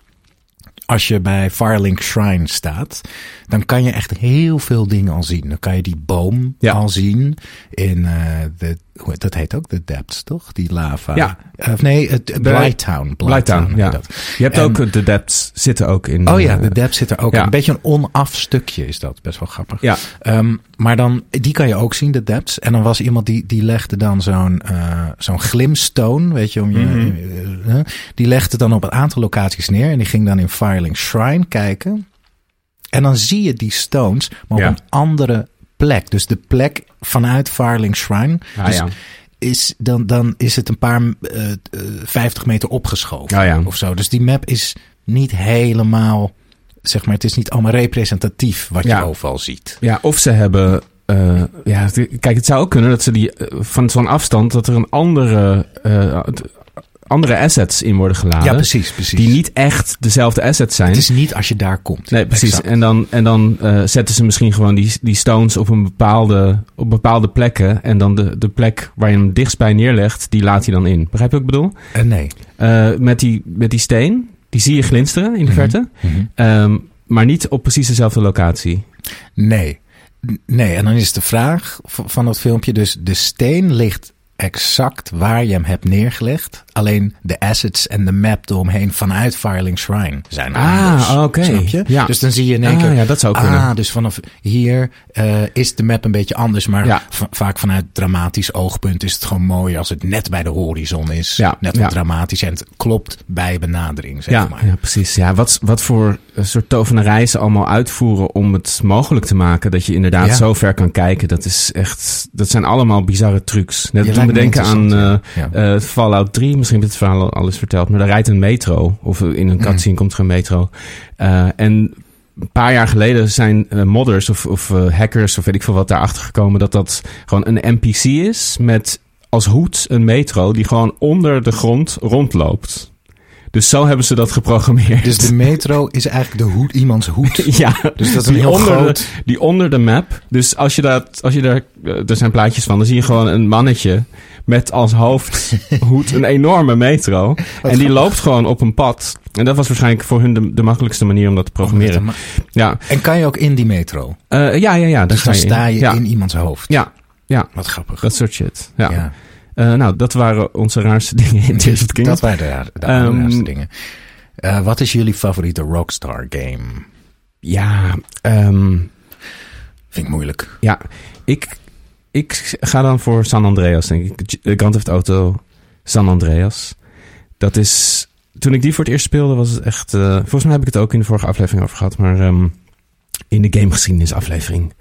C: als je bij Firelink Shrine staat, dan kan je echt heel veel dingen al zien. Dan kan je die boom
B: Ja.
C: al zien in eh, de, hoe- dat heet ook de depths, toch? Die lava.
B: Ja.
C: Eh, Of nee, het, Blighttown.
B: Blighttown, ja.
C: heet dat.
B: Je hebt
C: En-
B: ook eh, de depths zitten ook in.
C: Oh ja,
B: eh,
C: de depth zit er ook.
B: ja.
C: in. Een beetje een onaf stukje is dat. Best wel grappig.
B: Ja.
C: Ehm, maar dan, die kan je ook zien, de depths. En dan was iemand die, die legde dan zo'n eh zo'n glimstone, weet je, om je,
B: Mhm.
C: eh, eh, die legde het dan op een aantal locaties neer. En die ging dan in Firelink Shrine kijken. En dan zie je die stones, maar op
B: Ja.
C: een andere plek. Dus de plek vanuit Firelink Shrine.
B: Ah,
C: dus
B: ja.
C: is, dan, dan is het een paar eh, eh, 50 meter opgeschoven
B: Ah, ja.
C: of zo. Dus die map is niet helemaal, zeg maar, het is niet allemaal representatief wat
B: Ja.
C: je overal ziet.
B: Ja, of ze hebben. eh, ja, het- kijk, het zou ook kunnen dat ze die eh, van zo'n afstand dat er een andere, eh, d- andere assets in worden geladen.
C: Ja, precies, precies.
B: Die niet echt dezelfde assets zijn.
C: het is niet als je daar komt.
B: Nee, precies.
C: Exact.
B: En dan, en dan eh, zetten ze misschien gewoon die, die stones op, een bepaalde, op bepaalde plekken. En dan de, de plek waar je hem dichtstbij neerlegt, die laat hij dan in. Begrijp je wat ik bedoel?
C: Eh, nee.
B: Eh, met, die, met die steen, die zie je glinsteren in de
C: Mhm.
B: verte. Ehm, maar niet op precies dezelfde locatie.
C: Nee. N- Nee, en dan is de vraag v- van dat filmpje dus... de steen ligt exact waar je hem hebt neergelegd. Alleen de assets en de map eromheen vanuit Firelink Shrine zijn
B: Ah,
C: anders.
B: oké.
C: Snap je?
B: Ja.
C: Dus dan zie je in één
B: Ah,
C: keer...
B: ja, dat zou kunnen.
C: Ah, dus vanaf hier eh, is de map een beetje anders. Maar
B: Ja.
C: va- vaak vanuit dramatisch oogpunt is het gewoon mooi... als het net bij de horizon is.
B: Ja,
C: Net wat
B: ja.
C: dramatisch en het klopt bij benadering, zeg
B: ja,
C: maar.
B: ja, precies. Ja, wat, wat voor eh, soort tovenarij ze allemaal uitvoeren om het mogelijk te maken dat je inderdaad
C: Ja.
B: zo ver kan kijken. Dat is echt, dat zijn allemaal bizarre trucs. Net
C: Ja,
B: toen
C: lijkt
B: we
C: me
B: denken aan
C: interessant,
B: eh,
C: ja.
B: eh, Fallout 3, misschien heb ik het verhaal al al eens verteld, maar daar rijdt een metro. Of eh, in een
C: Mhm.
B: cutscene komt er een metro. Eh, en een paar jaar geleden zijn eh, modders of, of eh, hackers of weet ik veel wat daarachter gekomen dat dat gewoon een NPC is met als hoed een metro die gewoon onder de grond rondloopt. Dus zo hebben ze dat geprogrammeerd.
C: Dus de metro is eigenlijk de hoed, iemands hoed.
B: [LAUGHS] ja,
C: Dus dat is een
B: die
C: heel
B: onder de-
C: groot...
B: die onder de map. Dus als je, dat, als je daar, eh, er zijn plaatjes van, dan zie je gewoon een mannetje met als
C: [LAUGHS]
B: hoofdhoed een enorme metro. En die loopt gewoon op een pad. En dat was waarschijnlijk voor hun de, de makkelijkste manier om dat te programmeren. Ja,
C: En kan je ook in die metro?
B: Eh, ja, ja, ja. Daar
C: dus dan
B: ga je
C: sta je
B: ja.
C: in iemands hoofd.
B: Ja, ja.
C: Wat grappig.
B: Dat soort shit. Ja.
C: ja.
B: [LAUGHS] Eh, nou, dat waren onze raarste [LAUGHS] dingen in Tears of the Kingdom.
C: Dat waren de, raar- de
B: Ehm,
C: raarste dingen. Eh, wat is jullie favoriete Rockstar game?
B: Ja, ehm,
C: Vind ik moeilijk.
B: ja. Ik, ik ga dan voor San Andreas, denk ik. G- eh, Grand Theft Auto San Andreas. Dat is... Toen ik die voor het eerst speelde, was het echt... eh, volgens mij heb ik het ook in de vorige aflevering over gehad, maar... ehm, in de gamegeschiedenisaflevering.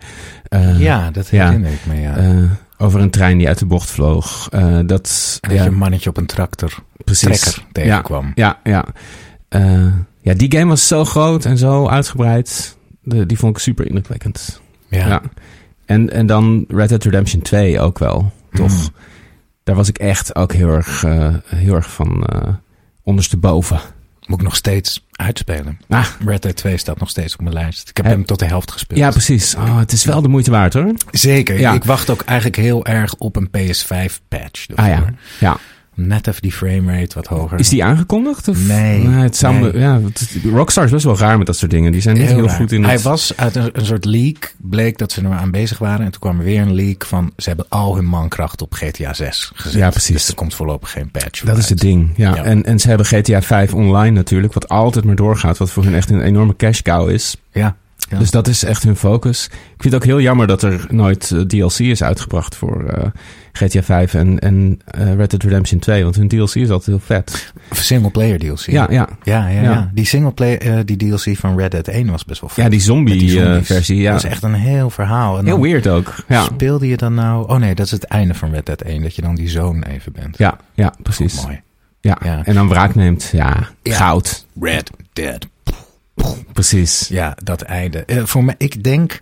B: Eh,
C: ja, dat
B: ja.
C: herinner ik me, ja.
B: eh, over een trein die uit de bocht vloog. Eh, dat,
C: En dat
B: ja,
C: je een mannetje op een tractor,
B: precies.
C: trekker tegenkwam.
B: Ja, ja. Eh, ja, die game was zo groot en zo uitgebreid. De, die vond ik super indrukwekkend. Ja.
C: Ja.
B: En, en dan Red Dead Redemption 2 ook wel, toch?
C: Mhm.
B: Daar was ik echt ook heel erg, eh, heel erg van eh, ondersteboven.
C: Moet ik nog steeds uitspelen.
B: Ah.
C: Red Dead 2 staat nog steeds op mijn lijst. Ik heb
B: Heb-
C: hem tot de helft gespeeld.
B: Ja, precies. Oh, het is wel de moeite waard, hoor.
C: Zeker.
B: Ja.
C: Ik wacht ook eigenlijk heel erg op een PS5-patch.
B: Ah ja, ja.
C: Net even die framerate wat hoger.
B: Is die aangekondigd? Of?
C: Nee,
B: het zou me-
C: nee.
B: ja, het- Rockstar is best wel raar met dat soort dingen. Die zijn niet heel,
C: raar.
B: goed in
C: Hij
B: het...
C: was uit een, een soort leak. Bleek dat ze er maar aan bezig waren. En toen kwam er weer een leak van... ze hebben al hun mankracht op GTA 6 gezet.
B: Ja, precies.
C: Dus er komt voorlopig geen patch
B: Dat is
C: uit.
B: het ding, ja.
C: Ja.
B: En, en ze hebben GTA 5 online natuurlijk, wat altijd maar doorgaat. Wat voor hun echt een enorme cash cow is.
C: Ja. Ja.
B: Dus dat is echt hun focus. Ik vind het ook heel jammer dat er nooit eh, DLC is uitgebracht voor eh, GTA 5 en, en eh, Red Dead Redemption 2. Want hun DLC is altijd heel vet.
C: Single player DLC.
B: Ja, ja.
C: Ja, ja,
B: Ja.
C: ja. Die single player, eh, die DLC van Red Dead 1 was best wel vet.
B: ja die
C: Met die zombies.
B: zombie-versie. ja.
C: Dat is echt een heel verhaal. En
B: heel
C: dan
B: weird ook. Ja,
C: Speelde je dan nou... Oh nee, dat is het einde van Red Dead 1. Dat je dan die zoon even bent.
B: ja, ja
C: Goed,
B: precies.
C: Mooi.
B: Ja.
C: Ja.
B: En dan wraak neemt. Ja,
C: Ja.
B: goud.
C: Red Dead.
B: Precies.
C: Ja, dat einde. Eh, voor mij, ik denk...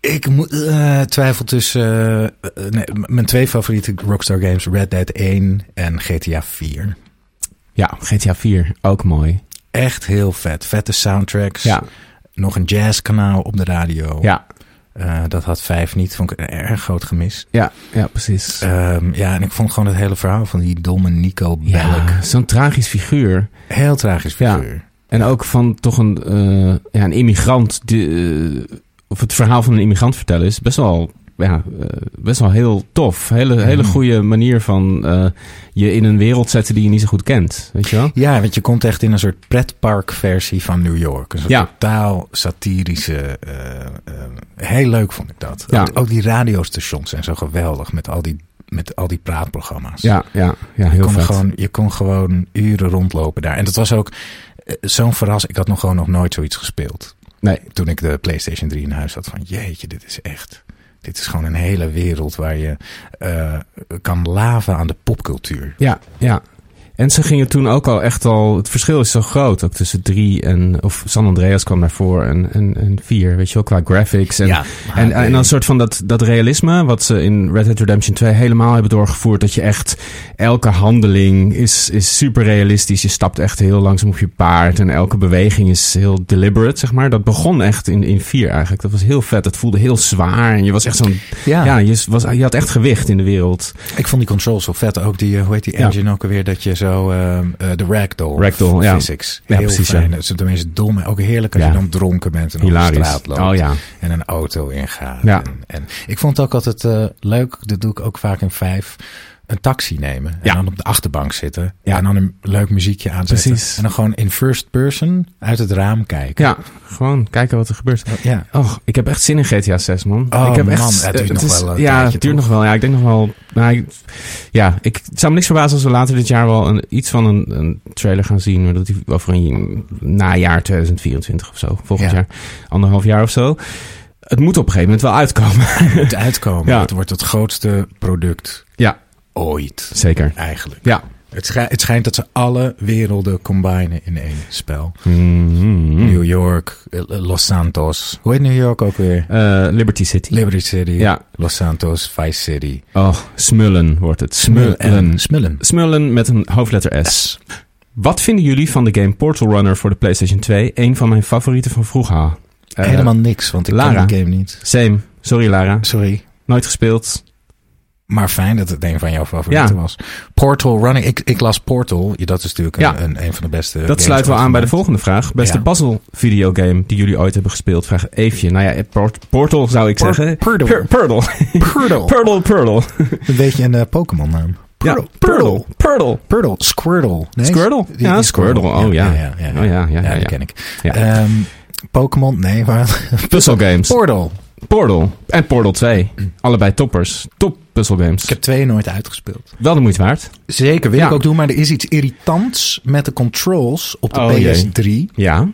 C: Ik moet, eh, twijfel tussen... eh, eh, nee, m- mijn twee favoriete Rockstar games... Red Dead 1 en GTA 4.
B: Ja, GTA 4, ook mooi.
C: Echt heel vet. Vette soundtracks.
B: Ja,
C: Nog een jazzkanaal op de radio.
B: ja,
C: Eh, dat had vijf niet. Vond ik een erg groot gemis.
B: ja, ja precies.
C: Ehm, ja, en ik vond gewoon het hele verhaal van die domme Nico Belk.
B: ja, zo'n tragisch figuur.
C: Heel tragisch
B: Ja.
C: figuur.
B: En ook van toch een, eh, ja, een immigrant, die, eh, of het verhaal van een immigrant vertellen is best wel, ja, eh, best wel heel tof. Hele, hele
C: Mm.
B: goede manier van eh, je in een wereld zetten die je niet zo goed kent, weet je wel?
C: Ja. want je komt echt in een soort pretparkversie van New York. Een soort
B: Ja.
C: totaal satirische... eh, eh, heel leuk vond ik dat.
B: Ja.
C: Ook- Ook die radiostations zijn zo geweldig met al die, met al die praatprogramma's.
B: Ja, ja, ja,
C: Je
B: heel
C: kon,
B: vet.
C: gewoon, je kon gewoon uren rondlopen daar. En dat was ook eh, zo'n verrassing. Ik had nog gewoon nog nooit zoiets gespeeld.
B: Nee.
C: Toen ik de PlayStation 3 in huis had van jeetje, dit is echt... Dit is gewoon een hele wereld waar je eh, kan laven aan de popcultuur.
B: Ja, ja. En ze gingen toen ook al echt al... Het verschil is zo groot, ook tussen drie en... Of San Andreas kwam daarvoor en, en, en vier, weet je wel, qua graphics. En,
C: ja,
B: en,
C: HD.
B: en dan een soort van dat, dat realisme, wat ze in Red Dead Redemption 2 helemaal hebben doorgevoerd. Dat je echt, elke handeling is, is super realistisch. Je stapt echt heel langzaam op je paard en elke beweging is heel deliberate, zeg maar. Dat begon echt in, in 4 eigenlijk. Dat was heel vet, dat voelde heel zwaar en je was echt zo'n...
C: ja.
B: Ja, je, was, je had echt gewicht in de wereld.
C: ik vond die controls zo vet. Ook die, eh, hoe heet die
B: Ja.
C: engine ook alweer? Dat je zo ehm, eh, de ragdoll,
B: Ragdoll, ja.
C: physics.
B: Ja,
C: heel
B: precies,
C: fijn.
B: ja.
C: Dat is de meest domme. Ook heerlijk als
B: Ja.
C: je dan dronken bent en op de
B: Hilarisch.
C: straat loopt.
B: Oh ja.
C: en een auto ingaat.
B: Ja.
C: En, en ik vond het ook altijd eh, leuk, dat doe ik ook vaak in vijf, een taxi nemen. En
B: Ja.
C: dan op de achterbank zitten.
B: Ja.
C: En dan een leuk muziekje aanzetten.
B: Precies.
C: En dan gewoon in first person uit het raam kijken.
B: Ja, gewoon kijken wat er gebeurt.
C: Ja.
B: Och, ik heb echt zin in GTA 6, man.
C: Oh,
B: ik heb
C: man, het duurt
B: eh,
C: nog wel een
B: Ja,
C: tijdje,
B: het duurt
C: toch?
B: nog wel. Ja, ik denk nog wel... nou, ik- ja, ik het zou me niks verbazen als we later dit jaar wel een, iets van een, een trailer gaan zien. maar Dat die over een najaar 2024 of zo. Volgend
C: Ja.
B: jaar. Anderhalf jaar of zo. Het moet op een gegeven moment wel uitkomen. [LAUGHS]
C: Het uitkomen.
B: Ja.
C: Het wordt het grootste product
B: Ja,
C: ooit.
B: zeker.
C: Eigenlijk.
B: Ja.
C: Het, schij- het schijnt dat ze alle werelden combinen in één spel.
B: Mhm.
C: New York, eh, Los Santos. Hoe heet New York ook weer?
B: Eh, Liberty City.
C: Liberty City,
B: Ja.
C: Los Santos, Vice City.
B: oh, smullen wordt het. Smullen.
C: Smullen.
B: Smullen met een hoofdletter S. Wat vinden jullie van de game Portal Runner voor de PlayStation 2? Een van mijn favorieten van vroeger. Eh,
C: Helemaal niks, want ik
B: Lara.
C: ken die game niet.
B: Same. Sorry Lara.
C: Sorry.
B: Nooit gespeeld.
C: Maar fijn dat het een van jouw favorieten
B: Ja.
C: was. Portal Running. Ik, ik las Portal. Ja, dat is natuurlijk
B: Ja.
C: een, een, een van de beste.
B: Dat
C: games
B: sluit wel
C: ooit
B: aan bij de
C: gemaakt.
B: volgende vraag. Beste
C: Ja.
B: puzzle videogame die jullie ooit hebben gespeeld? Vraag Eefje. Nou ja, eh, Port- Portal zou ik
C: Por-
B: zeggen.
C: Purtle.
B: Pur- [LAUGHS] Purtle.
C: Purtle.
B: Purtle, Purtle.
C: Een beetje een eh, Pokémon naam.
B: Ja, Purtle. Purtle.
C: Purtle. Squirtle. Nee,
B: Squirtle?
C: die-
B: Ja,
C: die
B: Squirtle. Oh ja.
C: ja, ja,
B: Oh ja, ja, ja,
C: die
B: ja.
C: ken ik.
B: Ja.
C: Ehm, Pokémon, nee, maar
B: Puzzle games.
C: Portal.
B: Portal. En Portal
C: [CLEARS THROAT]
B: 2. Allebei toppers. Top puzzle games.
C: Ik heb twee nooit uitgespeeld.
B: Wel de moeite waard.
C: Zeker, wil
B: Ja.
C: ik ook doen. Maar er is iets irritants met de controls op de
B: Oh, jee.
C: PS3.
B: Ja.
C: Eh,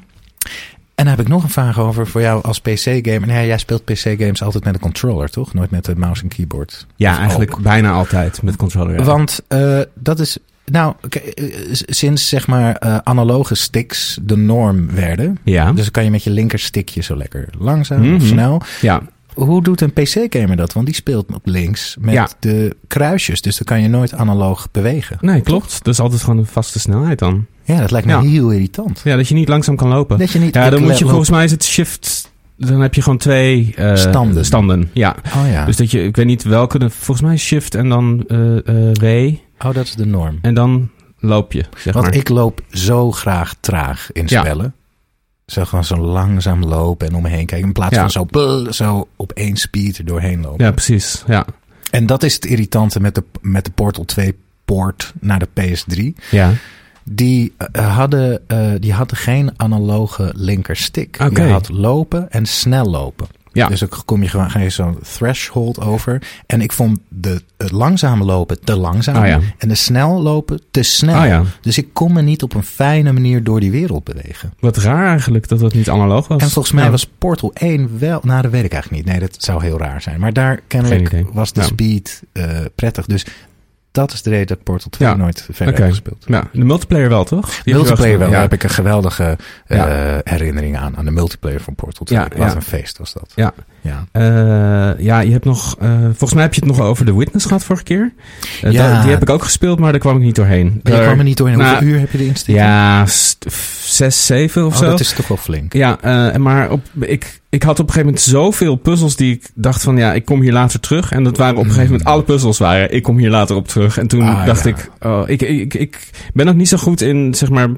C: En daar heb ik nog een vraag over voor jou als PC-gamer. Nee, jij speelt PC-games altijd met een controller, toch? Nooit met de mouse en keyboard.
B: Ja,
C: Of
B: eigenlijk bijna altijd met controller. ja.
C: Want eh, dat is. Nou, k- eh, s- sinds zeg maar eh, analoge sticks de norm werden.
B: Ja.
C: Dus dan kan je met je linkerstickje zo lekker langzaam
B: Mhm.
C: of snel.
B: ja.
C: Hoe doet een PC-gamer dat? Want die speelt op links met
B: Ja.
C: de kruisjes. Dus dan kan je nooit analoog bewegen.
B: Nee, klopt. Dat is altijd gewoon een vaste snelheid dan.
C: Ja, dat lijkt me
B: Ja.
C: heel irritant.
B: Ja, dat je niet langzaam kan lopen.
C: Dat je niet.
B: Ja, dan moet je
C: loopt-
B: volgens mij is het shift. Dan heb je gewoon twee eh,
C: Standen.
B: standen. Ja.
C: Oh ja.
B: Dus dat je, ik weet niet welke, de- volgens mij shift en dan eh, eh, W.
C: oh, dat is de norm.
B: En dan loop je. Zeg
C: Want
B: maar.
C: ik loop zo graag traag in
B: Ja.
C: spellen. Zo gewoon zo langzaam lopen en omheen kijken. In plaats
B: Ja.
C: van zo, bl- zo op één speed er doorheen lopen.
B: Ja, precies. Ja.
C: En dat is het irritante met de, met de Portal 2 poort naar de PS3.
B: ja.
C: Die, eh, hadden, eh, die hadden geen analoge linkerstick.
B: Oké.
C: Je had lopen en snel lopen.
B: Ja.
C: Dus dan kom je, gewoon- ga je zo'n threshold over. En ik vond de, het langzaam lopen te langzaam.
B: Ah, ja.
C: En de snel lopen te snel.
B: Ah, ja.
C: Dus ik kon me niet op een fijne manier door die wereld bewegen.
B: Wat raar eigenlijk dat dat niet analoog was.
C: En volgens mij
B: Ja.
C: was Portal 1 wel... Nou, dat weet ik eigenlijk niet. Nee, dat zou heel raar zijn. Maar daar
B: Geen
C: kennelijk
B: idee.
C: was de
B: Ja.
C: speed eh, prettig. Dus dat is de reden dat Portal 2
B: Ja.
C: nooit verder
B: Oké.
C: heb gespeeld.
B: Ja, de multiplayer wel, toch? Die heb je
C: multiplayer wel.
B: gespeeld.
C: Daar
B: Ja.
C: heb ik een geweldige eh,
B: Ja.
C: herinnering aan. Aan de multiplayer van Portal 2.
B: Ja,
C: Wat
B: ja.
C: een feest was dat.
B: Ja.
C: Ja.
B: Eh, ja, je hebt nog. eh, volgens mij heb je het nog over The Witness gehad vorige keer. Eh,
C: Ja.
B: da- die heb ik ook gespeeld, maar daar kwam ik niet doorheen.
C: Je
B: Daar-
C: kwam er niet doorheen.
B: Nou,
C: Hoeveel uur heb je erin steken?
B: Ja, st- f- zes, zeven of
C: Oh,
B: zo.
C: dat is toch wel flink.
B: Ja, eh, maar op, ik, ik had op een gegeven moment zoveel puzzels die ik dacht van ja, ik kom hier later terug. En dat waren op een gegeven moment alle puzzels waren. Ik kom hier later op terug. En toen
C: Ah,
B: dacht
C: ja.
B: ik, oh, ik, ik, ik ben ook niet zo goed in zeg maar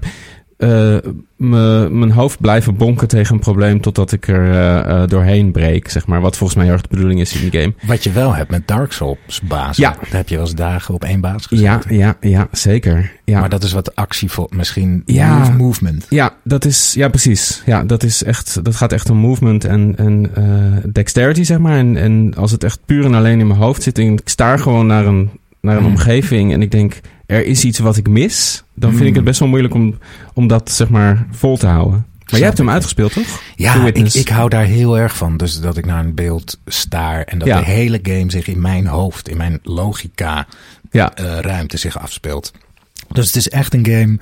B: eh, me- mijn hoofd blijven bonken tegen een probleem totdat ik er eh, eh, doorheen breek. Zeg maar, wat volgens mij heel erg de bedoeling is in die game.
C: Wat je wel hebt met Dark Souls bazen.
B: Ja.
C: Daar heb je wel eens dagen op één baas gezeten.
B: Ja, ja, ja, zeker. Ja.
C: Maar dat is wat actie voor misschien
B: Ja.
C: move- movement.
B: Ja, dat is, ja, precies. Ja, dat is echt, dat gaat echt om movement en, en eh, dexterity, zeg maar. En, en als het echt puur en alleen in mijn hoofd zit en ik staar gewoon naar een, naar een
C: Mm.
B: omgeving en ik denk, er is iets wat ik mis, dan vind ik
C: Mm.
B: het best wel moeilijk om, om dat, zeg maar, vol te houden. Maar jij hebt hem uitgespeeld, toch? The
C: Ja, ik,
B: Witness.
C: ik hou daar heel erg van. Dus dat ik naar een beeld staar en dat
B: Ja.
C: de hele game zich in mijn hoofd, in mijn logica
B: Ja.
C: eh, ruimte zich afspeelt. Dus het is echt een game.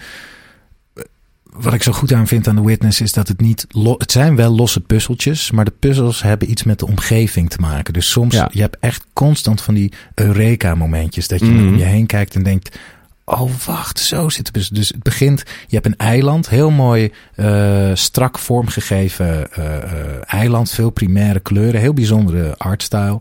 C: eh, Wat ik zo goed aan vind aan The Witness is dat het niet. lo- het zijn wel losse puzzeltjes, maar de puzzels hebben iets met de omgeving te maken. Dus soms
B: Ja.
C: je hebt echt constant van die Eureka-momentjes. Dat je
B: Mhm.
C: om je heen kijkt en denkt. Oh, wacht, zo zit het. Dus- Dus het begint, je hebt een eiland, heel mooi eh, strak vormgegeven eh, eh, eiland, veel primaire kleuren, heel bijzondere artstyle.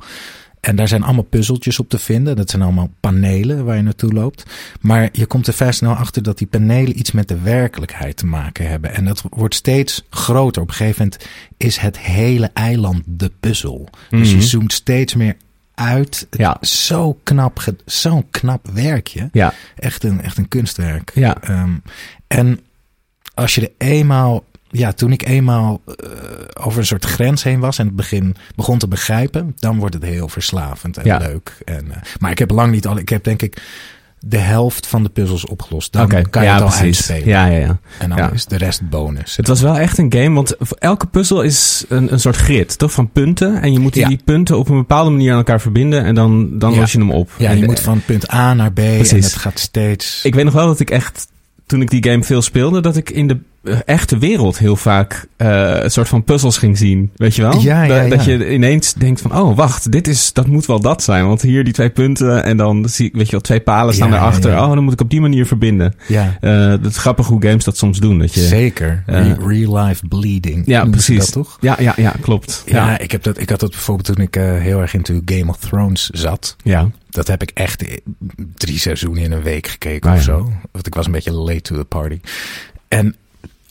C: En daar zijn allemaal puzzeltjes op te vinden. Dat zijn allemaal panelen waar je naartoe loopt. Maar je komt er vrij snel achter dat die panelen iets met de werkelijkheid te maken hebben. En dat wordt steeds groter. Op een gegeven moment is het hele eiland de puzzel. Dus je
B: Mhm.
C: zoomt steeds meer uit. Het
B: Ja.
C: is Zo knap, ge- zo'n knap werkje.
B: Ja,
C: Echt een, echt een kunstwerk.
B: ja,
C: Ehm, en als je er eenmaal, ja, toen ik eenmaal eh, over een soort grens heen was en het begin begon te begrijpen, dan wordt het heel verslavend en
B: Ja.
C: leuk. En, eh, maar ik heb lang niet al, ik heb denk ik de helft van de puzzels opgelost. Dan
B: Oké.
C: kan je
B: ja,
C: het al
B: precies.
C: uitspelen.
B: Ja, ja, ja.
C: En dan
B: Ja.
C: is de rest bonus.
B: Het was wel echt een game, want voor elke puzzel is een, een soort grid, toch? Van punten. En je moet
C: Ja.
B: die punten op een bepaalde manier aan elkaar verbinden en dan, dan
C: Ja.
B: los je hem op.
C: ja,
B: en
C: je moet van punt A naar B en
B: Precies.
C: het gaat steeds.
B: Ik weet nog wel dat ik echt, toen ik die game veel speelde, dat ik in de eh, echte wereld heel vaak eh, een soort van puzzels ging zien. Weet je wel?
C: Ja, ja,
B: Da- dat
C: ja.
B: je ineens denkt van, oh wacht, dit is, dat moet wel dat zijn. Want hier die twee punten en dan zie ik, weet je wel, twee palen staan
C: Ja,
B: daarachter.
C: ja.
B: Oh, dan moet ik op die manier verbinden.
C: ja.
B: Eh dat is grappig hoe games dat soms doen. Dat je,
C: Zeker.
B: Ja.
C: Re- Real life bleeding.
B: Ja,
C: noemen ze
B: precies.
C: Dat toch?
B: Ja, ja, ja, klopt.
C: Ja,
B: ja.
C: Ik, heb dat, ik had dat bijvoorbeeld toen ik eh, heel erg into Game of Thrones zat.
B: ja.
C: Dat heb ik echt eh, drie seizoenen in een week gekeken
B: Ah,
C: of
B: ja.
C: zo. Want ik was een beetje late to the party. En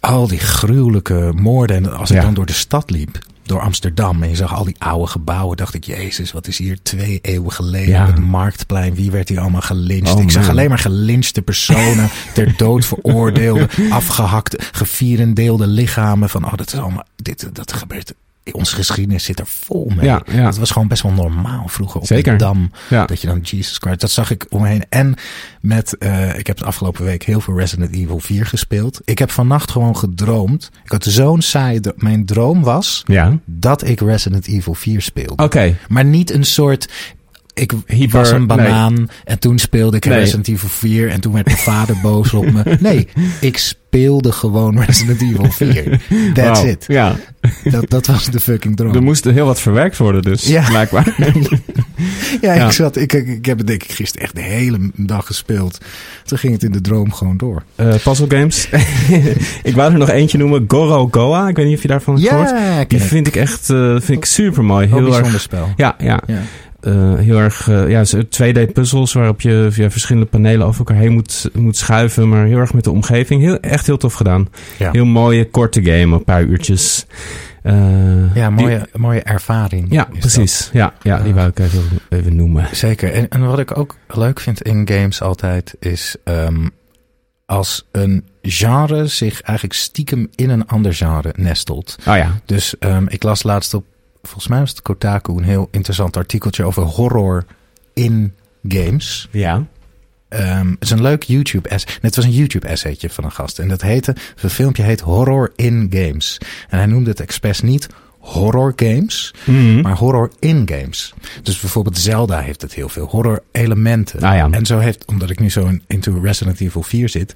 C: al die gruwelijke moorden. En als ik
B: Ja.
C: dan door de stad liep, door Amsterdam... en je zag al die oude gebouwen, dacht ik... Jezus, wat is hier twee eeuwen geleden
B: Ja.
C: op het Marktplein? Wie werd hier allemaal gelincht?
B: Oh,
C: ik zag
B: man.
C: alleen maar gelinchte
B: [LAUGHS]
C: personen... ter dood veroordeelde, afgehakte, gevierendeelde lichamen. Van, oh, dat is allemaal... Dit, dat gebeurt onze geschiedenis zit er vol mee.
B: Ja, ja.
C: Dat was gewoon best wel normaal vroeger op
B: Zeker.
C: de Dam.
B: Ja.
C: Dat je dan Jesus Christ, dat zag ik omheen. En met, eh, ik heb de afgelopen week heel veel Resident Evil 4 gespeeld. Ik heb vannacht gewoon gedroomd. Ik had zo'n saai, dro- mijn droom was
B: Ja.
C: dat ik Resident Evil 4 speelde.
B: Oké.
C: Maar niet een soort. Ik
B: Oh. Hyper-
C: was een
B: nee.
C: banaan en toen speelde ik
B: Nee.
C: Resident Evil 4 en toen werd mijn
B: [LAUGHS]
C: vader boos op me. Nee, ik speelde gewoon Resident Evil
B: [LAUGHS]
C: 4. That's
B: Wauw.
C: it. Oh.
B: Ja.
C: Dat, dat was de fucking droom.
B: Er moest heel wat verwerkt worden dus,
C: Ja.
B: blijkbaar.
C: ja,
B: ja.
C: Ik, zat, ik, ik, ik heb het denk ik gisteren echt de hele dag gespeeld. Toen ging het in de droom gewoon door.
B: Eh, puzzle games. [LAUGHS] ik wou er nog eentje noemen. Goro Goa. Ik weet niet of je daarvan hebt gehoord.
C: Ja,
B: Die
C: ken ik.
B: vind ik echt eh, vind ik super mooi.
C: Heel
B: Heel
C: Oh, bijzonder
B: erg.
C: spel.
B: Ja, ja.
C: Ja.
B: Eh, heel erg eh, ja, 2D-puzzels waarop je via verschillende panelen over elkaar heen moet, moet schuiven. Maar heel erg met de omgeving. Heel, echt heel tof gedaan.
C: Ja.
B: Heel mooie, korte game. Een paar uurtjes. Eh,
C: Ja,
B: die-
C: mooie, mooie ervaring.
B: ja,
C: is dat.
B: precies. Ja, ja, die
C: Eh.
B: wou ik even, even noemen.
C: Zeker. En, en wat ik ook leuk vind in games altijd is ehm, als een genre zich eigenlijk stiekem in een ander genre nestelt.
B: Oh ja.
C: Dus ehm, ik las laatst op, volgens mij was het Kotaku, een heel interessant artikeltje over horror in games.
B: Ja.
C: Ehm, het is een leuk YouTube essay. Het was een YouTube essaytje van een gast. En dat heette, zijn filmpje heet Horror in Games. En hij noemde het expres niet horror games,
B: Mhm.
C: maar horror in games. Dus bijvoorbeeld Zelda heeft het heel veel horror elementen.
B: Ah ja.
C: En zo heeft, omdat ik nu zo in, into Resident Evil 4 zit,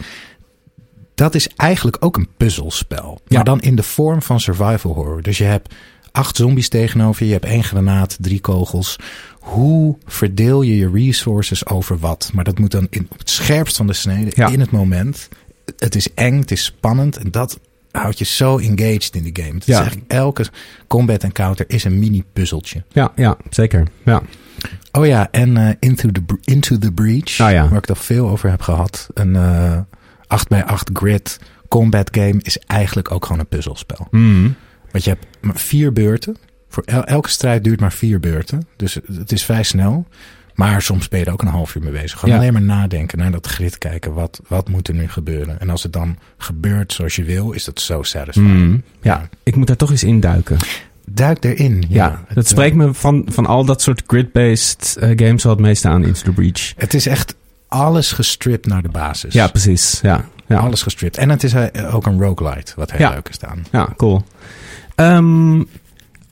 C: dat is eigenlijk ook een puzzelspel.
B: Ja.
C: Maar dan in de vorm van survival horror. Dus je hebt acht zombies tegenover je, je hebt één granaat, drie kogels. Hoe verdeel je je resources over wat? Maar dat moet dan in, op het scherpst van de snede,
B: Ja.
C: in het moment. Het is eng, het is spannend en dat houdt je zo engaged in de game. Het is
B: Ja.
C: eigenlijk elke combat encounter is een mini-puzzeltje.
B: Ja, ja, zeker. Ja.
C: Oh ja, en eh, Into, the, Bre- Into the Breach,
B: Ah ja.
C: waar ik al veel over heb gehad. Een eh 8x8 grid combat game is eigenlijk ook gewoon een puzzelspel. Want je hebt maar vier beurten. Voor el- elke strijd duurt maar vier beurten. Dus het is vrij snel. Maar soms ben je er ook een half uur mee bezig. Gewoon
B: Ja.
C: alleen maar nadenken, naar dat grid kijken. Wat, wat moet er nu gebeuren? En als het dan gebeurt zoals je wil, is dat zo satisfying.
B: Ja, ik moet daar toch eens induiken.
C: Duik erin.
B: Hmm. Ja,
C: Ja,
B: dat
C: Het, eh,
B: spreekt me van, van al dat soort grid-based eh, games wel het meeste aan Into the Breach.
C: Het is echt alles gestript naar de basis.
B: Ja, precies. Ja, ja.
C: Alles gestript. En het is eh, ook een roguelite, wat heel
B: Ja.
C: leuk is aan.
B: ja cool. Ehm,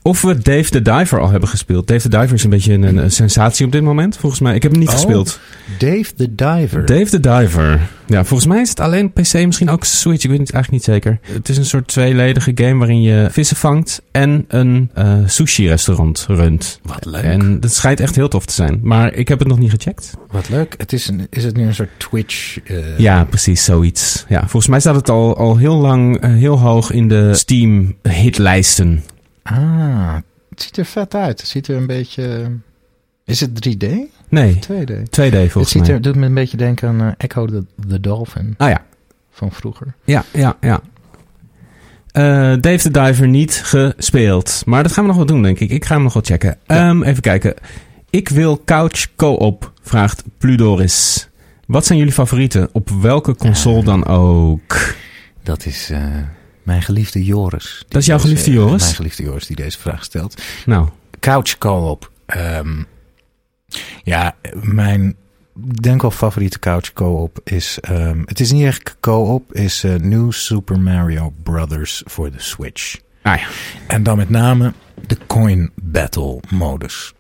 B: of we Dave the Diver al hebben gespeeld. Dave the Diver is een beetje een, een sensatie op dit moment, volgens mij. Ik heb hem niet
C: Oh.
B: gespeeld.
C: Dave the Diver.
B: Dave the Diver. Ja, volgens mij is het alleen PC, misschien ook Switch. Ik weet het eigenlijk niet zeker. Het is een soort tweeledige game waarin je vissen vangt en een eh, sushi-restaurant runt.
C: wat leuk.
B: En dat schijnt echt heel tof te zijn. Maar ik heb het nog niet gecheckt.
C: wat leuk. Het is, een, is het nu een soort Twitch? eh,
B: Ja, precies, zoiets. Ja, volgens mij staat het al, al heel lang eh, heel hoog in de Steam-hitlijsten.
C: Ah, het ziet er vet uit. Het ziet er een beetje... Is het 3D?
B: Nee,
C: 2D?
B: 2D
C: Het
B: volgens
C: ziet
B: mij.
C: er, doet me een beetje denken aan eh, Echo the, the Dolphin
B: Ah ja,
C: van vroeger.
B: ja, ja, ja. Eh, Dave the Diver niet gespeeld. Maar dat gaan we nog wel doen, denk ik. Ik ga hem nog wel checken. Ehm, even kijken. Ik wil couch co-op, vraagt Pludoris. Wat zijn jullie favorieten? Op welke console dan ook?
C: Dat is eh, mijn geliefde Joris. Die
B: Dat is jouw
C: deze- eh,
B: geliefde Joris?
C: Mijn geliefde Joris die deze vraag stelt.
B: Nou,
C: couch co-op. Ehm, ja, mijn ik denk wel favoriete couch co-op is... ehm, het is niet echt co-op, is eh, New Super Mario Brothers voor de Switch.
B: ah ja.
C: En dan met name de coin battle modus.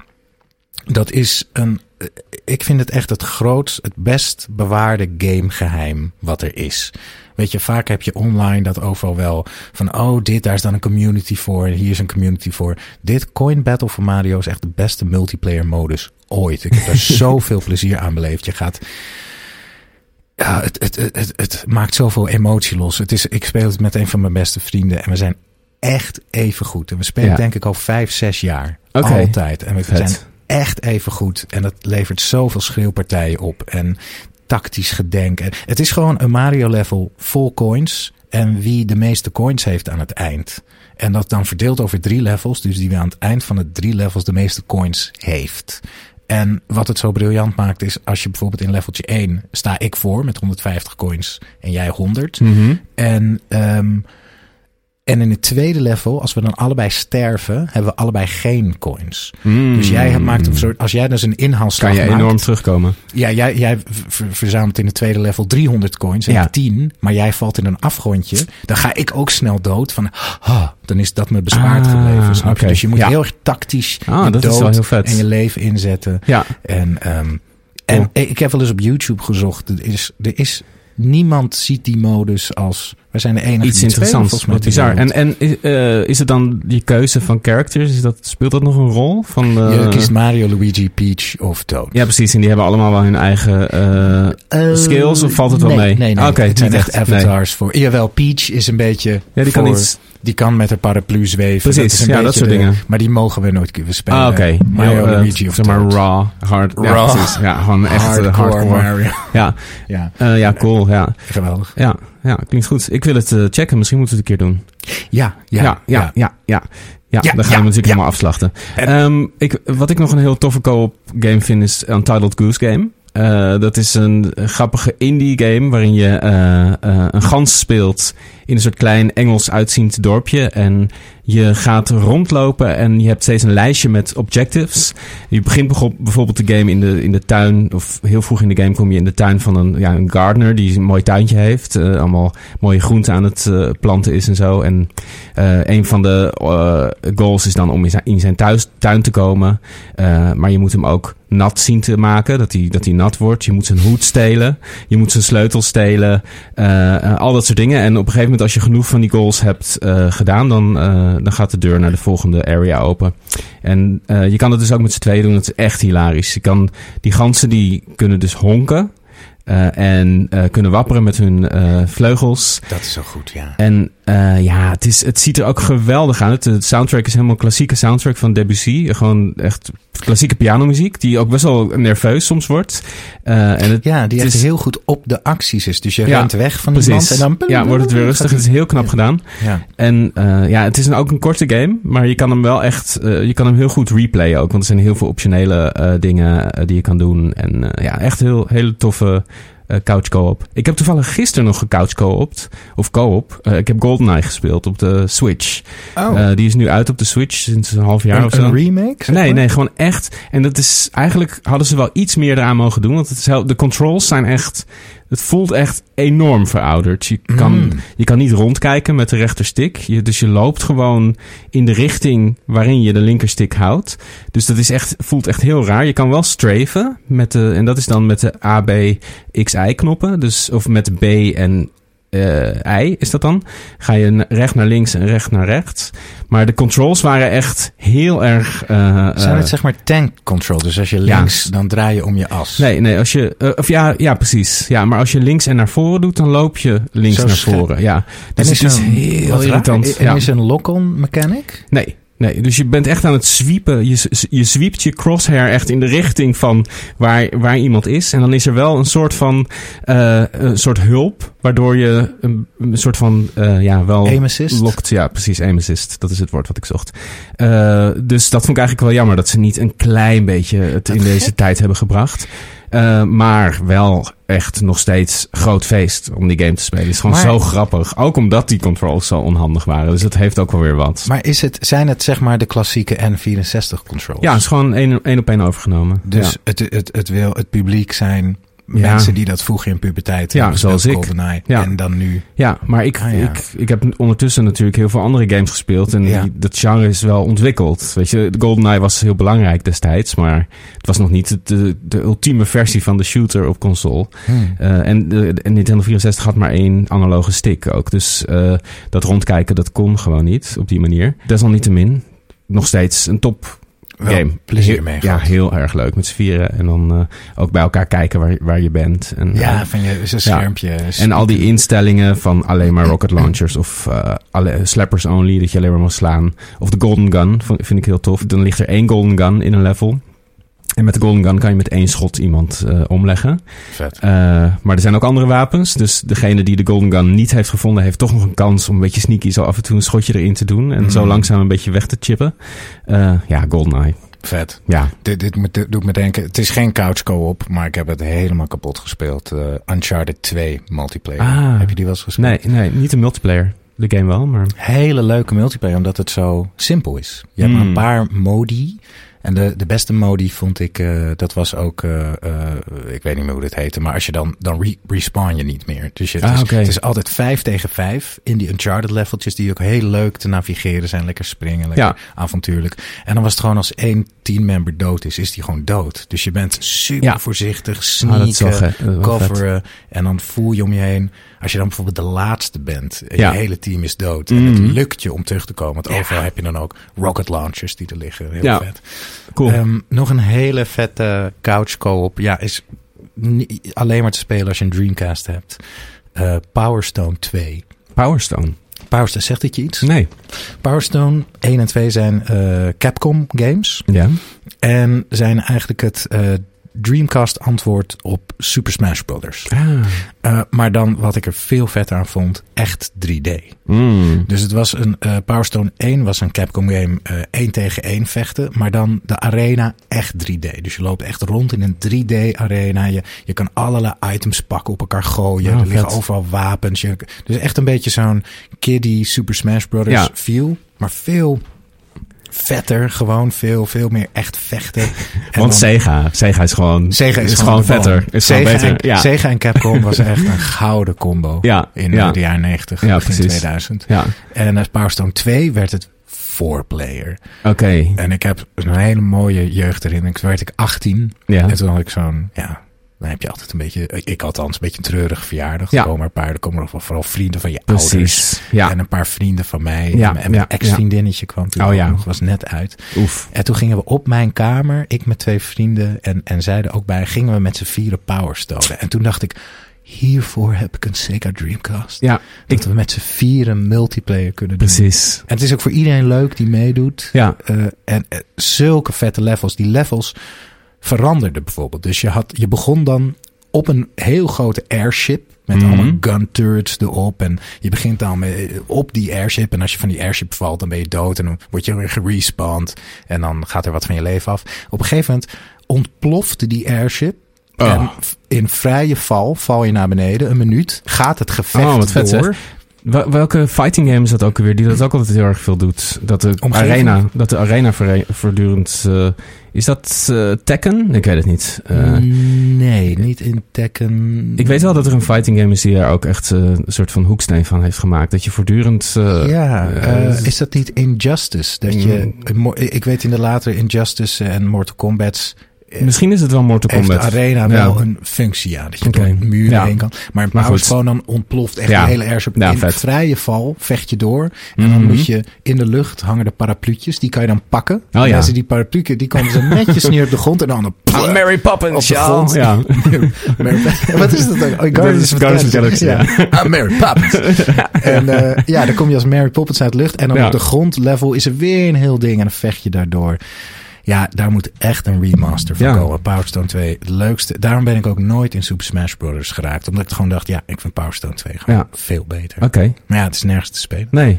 C: Dat is een... eh, Ik vind het echt het grootst, het best bewaarde gamegeheim wat er is. Weet je, vaak heb je online dat overal wel van... oh, dit, daar is dan een community voor en hier is een community voor. Dit coin battle voor Mario is echt de beste multiplayer modus ooit. Ik heb
B: [LAUGHS]
C: er zoveel plezier aan beleefd. Je gaat ja, het, het, het, het, het maakt zoveel emotie los. Het is, ik speel het met een van mijn beste vrienden en we zijn echt even goed. En we spelen
B: Ja.
C: denk ik al vijf, zes jaar.
B: Oké.
C: Altijd. En we
B: Vet.
C: zijn echt even goed. En dat levert zoveel schreeuwpartijen op. En tactisch gedenk. En Het is gewoon een Mario level vol coins. En wie de meeste coins heeft aan het eind. En dat dan verdeeld over drie levels. Dus die aan het eind van de drie levels de meeste coins heeft. En wat het zo briljant maakt is, als je bijvoorbeeld in leveltje 1 sta
B: Hm. Mhm.
C: ik voor met 150 coins en jij 100. En ehm, En in het tweede level, als we dan allebei sterven, hebben we allebei geen coins. Dus jij maakt een soort, als jij dus een inhaalslag
B: Hmm. Mm. Kan je
C: maakt,
B: enorm terugkomen.
C: ja, jij, jij ver- ver- verzamelt in het tweede level 300 coins en
B: Ja.
C: 10, maar jij valt in een afgrondje. Dan ga ik ook snel dood van, ah, dan is dat me bespaard
B: Ah,
C: gebleven. Snap je?
B: oké.
C: Dus je moet
B: Ja.
C: heel erg tactisch
B: Ah,
C: je
B: dat is
C: dood
B: wel heel vet.
C: en je leven inzetten.
B: Ja.
C: En, ehm, en ik heb wel eens op YouTube gezocht. Er is, er is niemand ziet die modus als. Wij zijn de enige
B: Iets
C: die het spelen,
B: interessants.
C: volgens mij,
B: Wat bizar.
C: ter
B: En,
C: wereld.
B: en eh, is het dan die keuze van characters? Is dat, speelt dat nog een rol? Van, eh,
C: je kiest Mario, Luigi, Peach of Toad.
B: Ja, precies. En die hebben allemaal wel hun eigen eh,
C: Eh,
B: skills. Of valt het wel
C: nee,
B: mee?
C: Nee, nee.
B: Ah, Oké,
C: het zijn
B: niet
C: echt
B: nee.
C: avatars voor. Jawel, Peach is een beetje.
B: Ja, die kan
C: voor-
B: iets.
C: Die kan met haar paraplu zweven.
B: Precies,
C: is een
B: ja, dat
C: beetje
B: soort
C: de-
B: dingen.
C: Maar die mogen we nooit kunnen spelen.
B: Ah, oké.
C: Mario,
B: Heel, eh,
C: Luigi of
B: zeg maar
C: Toad.
B: raw, hard. Ja,
C: Raw.
B: precies. Ja, gewoon echt eh,
C: hardcore,
B: hardcore.
C: Mario. [LAUGHS]
B: Ja,
C: Ja,
B: eh, ja, cool. Ja.
C: geweldig.
B: Ja, ja, klinkt goed. Ik wil het eh, checken. Misschien moeten we het een keer doen.
C: Ja, ja,
B: ja, ja. ja, ja. Ja,
C: Ja,
B: dan gaan
C: ja,
B: we natuurlijk
C: ja.
B: helemaal afslachten. Ehm, ik, wat ik nog een heel toffe co-op game vind is Untitled Goose Game. Eh, dat is een grappige indie game waarin je eh, eh, een gans speelt in een soort klein Engels uitziend dorpje. En je gaat rondlopen en je hebt steeds een lijstje met objectives. Je begint begon- bijvoorbeeld de game in de, in de tuin, of heel vroeg in de game kom je in de tuin van een, ja, een gardener die een mooi tuintje heeft. eh, allemaal mooie groenten aan het eh, planten is en zo. En eh, een van de eh, goals is dan om in zijn, in zijn thuis, tuin te komen. Eh, maar je moet hem ook nat zien te maken, dat hij, dat hij nat wordt. Je moet zijn hoed stelen, je moet zijn sleutel stelen, eh, eh, al dat soort dingen. En op een gegeven moment als je genoeg van die goals hebt eh, gedaan, dan, eh, dan gaat de deur naar de volgende area open. En eh, je kan het dus ook met z'n tweeën doen, dat is echt hilarisch. Je kan, die ganzen die kunnen dus honken. eh, en eh, kunnen wapperen met hun eh, vleugels.
C: Dat is zo goed, ja.
B: En eh, ja, het, is, het ziet er ook geweldig aan. Het, het soundtrack is helemaal klassieke soundtrack van Debussy. Gewoon echt klassieke pianomuziek, die ook best wel nerveus soms wordt. Eh, en het,
C: Ja, die
B: het
C: echt
B: is-
C: heel goed op de acties is. Dus je
B: Ja,
C: rent weg van iemand
B: Precies.
C: en dan...
B: Ja, wordt het weer rustig. Het is heel knap gedaan.
C: Ja.
B: En eh, ja, het is een- ook een korte game, maar je kan hem wel echt, eh, je kan hem heel goed replayen ook. Want er zijn heel veel optionele eh, dingen eh, die je kan doen. En eh, ja, echt heel, hele toffe eh, couch co-op. Ik heb toevallig gisteren nog gecouch co-opt, of co-op. Eh, ik heb GoldenEye gespeeld op de Switch.
C: Oh,
B: Eh, die is nu uit op de Switch sinds een half jaar
C: een,
B: of zo.
C: een remake? zeg
B: Nee,
C: maar?
B: nee, gewoon echt. En dat is eigenlijk hadden ze wel iets meer eraan mogen doen. Want het is heel, de controls zijn echt. Het voelt echt enorm verouderd. Je kan,
C: Mm.
B: je kan niet rondkijken met de rechterstick. Je, dus je loopt gewoon in de richting waarin je de linkerstick houdt. Dus dat is echt, voelt echt heel raar. Je kan wel straven. Met de, en dat is dan met de A, B, X, Y knoppen. Dus, of met B en eh, I is dat dan. Ga je na- recht naar links en recht naar rechts. Maar de controls waren echt heel erg... eh,
C: Zijn
B: eh,
C: het zeg maar tank control? Dus als je
B: Ja.
C: links, dan draai je om je as.
B: Nee, nee, als je. eh, of ja, ja, precies. Ja, maar als je links en naar voren doet, dan loop je links
C: Zo
B: naar
C: scherp.
B: voren. Ja. Dus
C: en
B: het is
C: een-
B: heel
C: wat raar.
B: irritant.
C: En
B: Ja.
C: is een lock-on mechanic?
B: Nee, nee. Dus je bent echt aan het zwiepen. Je, s- je zwiept je crosshair echt in de richting van waar, waar iemand is. En dan is er wel een soort van. eh, een soort hulp. Waardoor je een, een soort van. eh, ja, wel.
C: Aim assist?
B: Lokt, ja, precies. Aim assist. Dat is het woord wat ik zocht. Eh, dus dat vond ik eigenlijk wel jammer dat ze niet een klein beetje het in deze tijd hebben gebracht. Eh, maar wel echt nog steeds groot feest om die game te spelen. Het is gewoon
C: Maar-
B: zo grappig. Ook omdat die controls zo onhandig waren. Dus dat heeft ook wel weer wat.
C: Maar is het, zijn het zeg maar de klassieke N64 controls?
B: Ja, het is gewoon één één op één overgenomen.
C: Dus
B: Ja.
C: het, het, het wil het publiek zijn
B: Ja.
C: mensen die dat vroeger in puberteit
B: Ja,
C: hebben
B: zoals
C: gespeeld,
B: ik.
C: GoldenEye,
B: Ja.
C: En dan nu.
B: Ja, maar ik,
C: Ah, ja.
B: Ik, ik heb ondertussen natuurlijk heel veel andere games gespeeld. En
C: Ja.
B: die- dat genre is wel ontwikkeld. Weet je, GoldenEye was heel belangrijk destijds. Maar het was nog niet de, de, de ultieme versie van de shooter op console. Eh, en de, de Nintendo 64 had maar één analoge stick ook. Dus eh, dat rondkijken, dat kon gewoon niet op die manier. Desalniettemin, nog steeds een top
C: Wel
B: game.
C: plezier mee
B: Ja,
C: gehad.
B: heel erg leuk met z'n vieren. En dan eh, ook bij elkaar kijken waar, waar je bent. En, eh,
C: Ja, van je zo'n schermpje.
B: en al die instellingen van alleen maar rocket launchers of eh, alle, slappers only, dat je alleen maar mag slaan. Of de golden gun v- vind ik heel tof. Dan ligt er één golden gun in een level. En met de golden gun kan je met één schot iemand eh, omleggen.
C: Vet.
B: Eh, maar er zijn ook andere wapens. Dus degene die de golden gun niet heeft gevonden, heeft toch nog een kans om een beetje sneaky zo af en toe een schotje erin te doen. En zo
C: Mm.
B: langzaam een beetje weg te chippen. Eh, ja, goldeneye.
C: Vet.
B: Ja,
C: Dit, dit, moet- dit doet me denken, het is geen couch co-op, maar ik heb het helemaal kapot gespeeld. Eh, Uncharted 2 multiplayer.
B: Ah.
C: Heb je die wel eens gespeeld?
B: nee, nee, niet een multiplayer. de game wel, maar...
C: Hele leuke multiplayer, omdat het zo simpel is. Je hebt
B: Mm.
C: maar een paar modi. En de, de beste modi vond ik, eh, dat was ook, eh, eh, ik weet niet meer hoe dit heette, maar als je dan, dan re- respawn je niet meer. Dus je, het,
B: Ah,
C: is,
B: oké.
C: het is altijd vijf tegen vijf in die Uncharted leveltjes die ook heel leuk te navigeren zijn. Lekker springen, lekker
B: Ja.
C: avontuurlijk. En dan was het gewoon als één teammember dood is, is die gewoon dood. Dus je bent super
B: Ja.
C: voorzichtig,
B: Ah, dat
C: sneaken,
B: is wel ge- wel vet.
C: coveren. En dan voel je om je heen. Als je dan bijvoorbeeld de laatste bent. En
B: Ja. Mhm.
C: je hele team is dood. En het lukt je om terug te komen. Want overal heb je dan ook rocket launchers die er liggen. Heel
B: Ja.
C: vet.
B: Cool.
C: Ehm, nog een hele vette couch co-op. Ja, is ni- alleen maar te spelen als je een Dreamcast hebt. Eh, Power Stone 2.
B: Powerstone.
C: Power Stone, zegt dit je iets?
B: Nee.
C: Power Stone 1 en 2 zijn eh, Capcom games.
B: Ja.
C: En zijn eigenlijk het eh, Dreamcast antwoord op Super Smash Brothers. Eh, maar dan wat ik er veel vetter aan vond, echt 3D.
B: Mm.
C: Dus het was een eh, Power Stone 1 was een Capcom game eh 1 tegen 1 vechten, maar dan de arena echt 3D. Dus je loopt echt rond in een 3D arena. Je, je kan allerlei items pakken, op elkaar gooien.
B: Ah,
C: er liggen
B: vet.
C: overal wapens. Je- dus echt een beetje zo'n kiddie Super Smash Brothers
B: Ja.
C: feel, maar veel vetter, gewoon veel veel meer echt
B: [LAUGHS]
C: vechten. En
B: Want
C: dan-
B: Sega. Sega is gewoon...
C: Sega is,
B: gewoon
C: de man.
B: vetter. Is
C: Sega,
B: gewoon beter.
C: En,
B: Ja.
C: Sega en Capcom was
B: [LAUGHS]
C: echt een gouden combo
B: Ja,
C: in
B: ja.
C: eh, de jaren 90,
B: Ja,
C: begin
B: precies.
C: 2000.
B: Ja.
C: En na Power Stone 2 werd het 4-player.
B: Oké.
C: En ik heb een hele mooie jeugdherinnering. Toen werd ik 18
B: Ja.
C: en toen had ik zo'n... Ja, dan heb je altijd een beetje... Ik althans, een beetje een treurige verjaardag.
B: Ja.
C: Er komen een paar, er komen nog wel vooral vrienden van je ouders.
B: Precies. Ja.
C: En een paar vrienden van mij.
B: Ja,
C: En mijn- en mijn
B: ja, ja.
C: ex-vriendinnetje kwam toen
B: Oh,
C: ook
B: ja.
C: nog, was net uit.
B: Oef.
C: En toen gingen we op mijn kamer, ik met twee vrienden en, en zij er ook bij, gingen we met z'n vieren powerstonen. En toen dacht ik, hiervoor heb ik een Sega Dreamcast.
B: Ja.
C: dat
B: Ik,
C: we met z'n vieren multiplayer kunnen doen.
B: precies.
C: En het is ook voor iedereen leuk die meedoet.
B: Ja.
C: Eh, en eh, zulke vette levels. Die levels veranderden bijvoorbeeld. Dus je, had, je begon dan op een heel grote airship. Met
B: Mhm.
C: allemaal gun turrets erop. En je begint dan met, eh, op die airship. En als je van die airship valt, dan ben je dood. En dan word je weer gerespawnd. En dan gaat er wat van je leven af. Op een gegeven moment ontplofte die airship.
B: Oh.
C: En v- in vrije val val je naar beneden. Een minuut gaat het gevecht
B: Oh, wat vet,
C: door.
B: zeg. Wel- Welke fighting game is dat ook weer die dat ook altijd heel erg veel doet? Dat de
C: Omgeving?
B: arena, dat de arena verre- voortdurend. eh, is dat eh, Tekken? Ik weet het niet. Eh,
C: Mm. nee, niet in Tekken.
B: Ik weet wel dat er een fighting game is die daar ook echt eh, een soort van hoeksteen van heeft gemaakt. Dat je voortdurend. eh,
C: ja,
B: eh,
C: eh, is Mm. dat niet Injustice? Dat je, mo- ik weet in de latere Injustice en Mortal Kombat's eh,
B: misschien is het wel Mortal
C: heeft
B: Kombat.
C: de arena
B: Ja.
C: wel een functie aan. Dat je
B: Oké.
C: door een muur
B: Ja.
C: heen kan. Maar een
B: Maar
C: Power
B: goed.
C: Stone dan ontploft echt
B: Ja.
C: de hele airship.
B: Ja,
C: in
B: vet.
C: vrije val vecht je door. En dan
B: Mhm.
C: moet je in de lucht hangen de parapluutjes. Die kan je dan pakken. En
B: Oh, ja.
C: Mensen die parapluutjes, die komen ze
B: [LAUGHS]
C: netjes neer op de grond. En dan een
B: I'm Mary Poppins,
C: op de
B: y'all.
C: grond. [LAUGHS]
B: Ja.
C: Maar- Wat is dat dan? Oh,
B: is Guardians of the Galaxy,
C: Ah, Mary Poppins. [LAUGHS] en eh, ja, dan kom je als Mary Poppins uit de lucht. En dan
B: Ja.
C: op de grondlevel is er weer een heel ding. En dan vecht je daardoor. Ja, daar moet echt een remaster van
B: Ja.
C: komen. Power Stone 2, het leukste. Daarom ben ik ook nooit in Super Smash Bros. geraakt. Omdat ik gewoon dacht, ja, ik vind Power Stone 2 gewoon
B: Ja.
C: veel beter.
B: Oké,
C: Maar ja, het is nergens te spelen.
B: nee.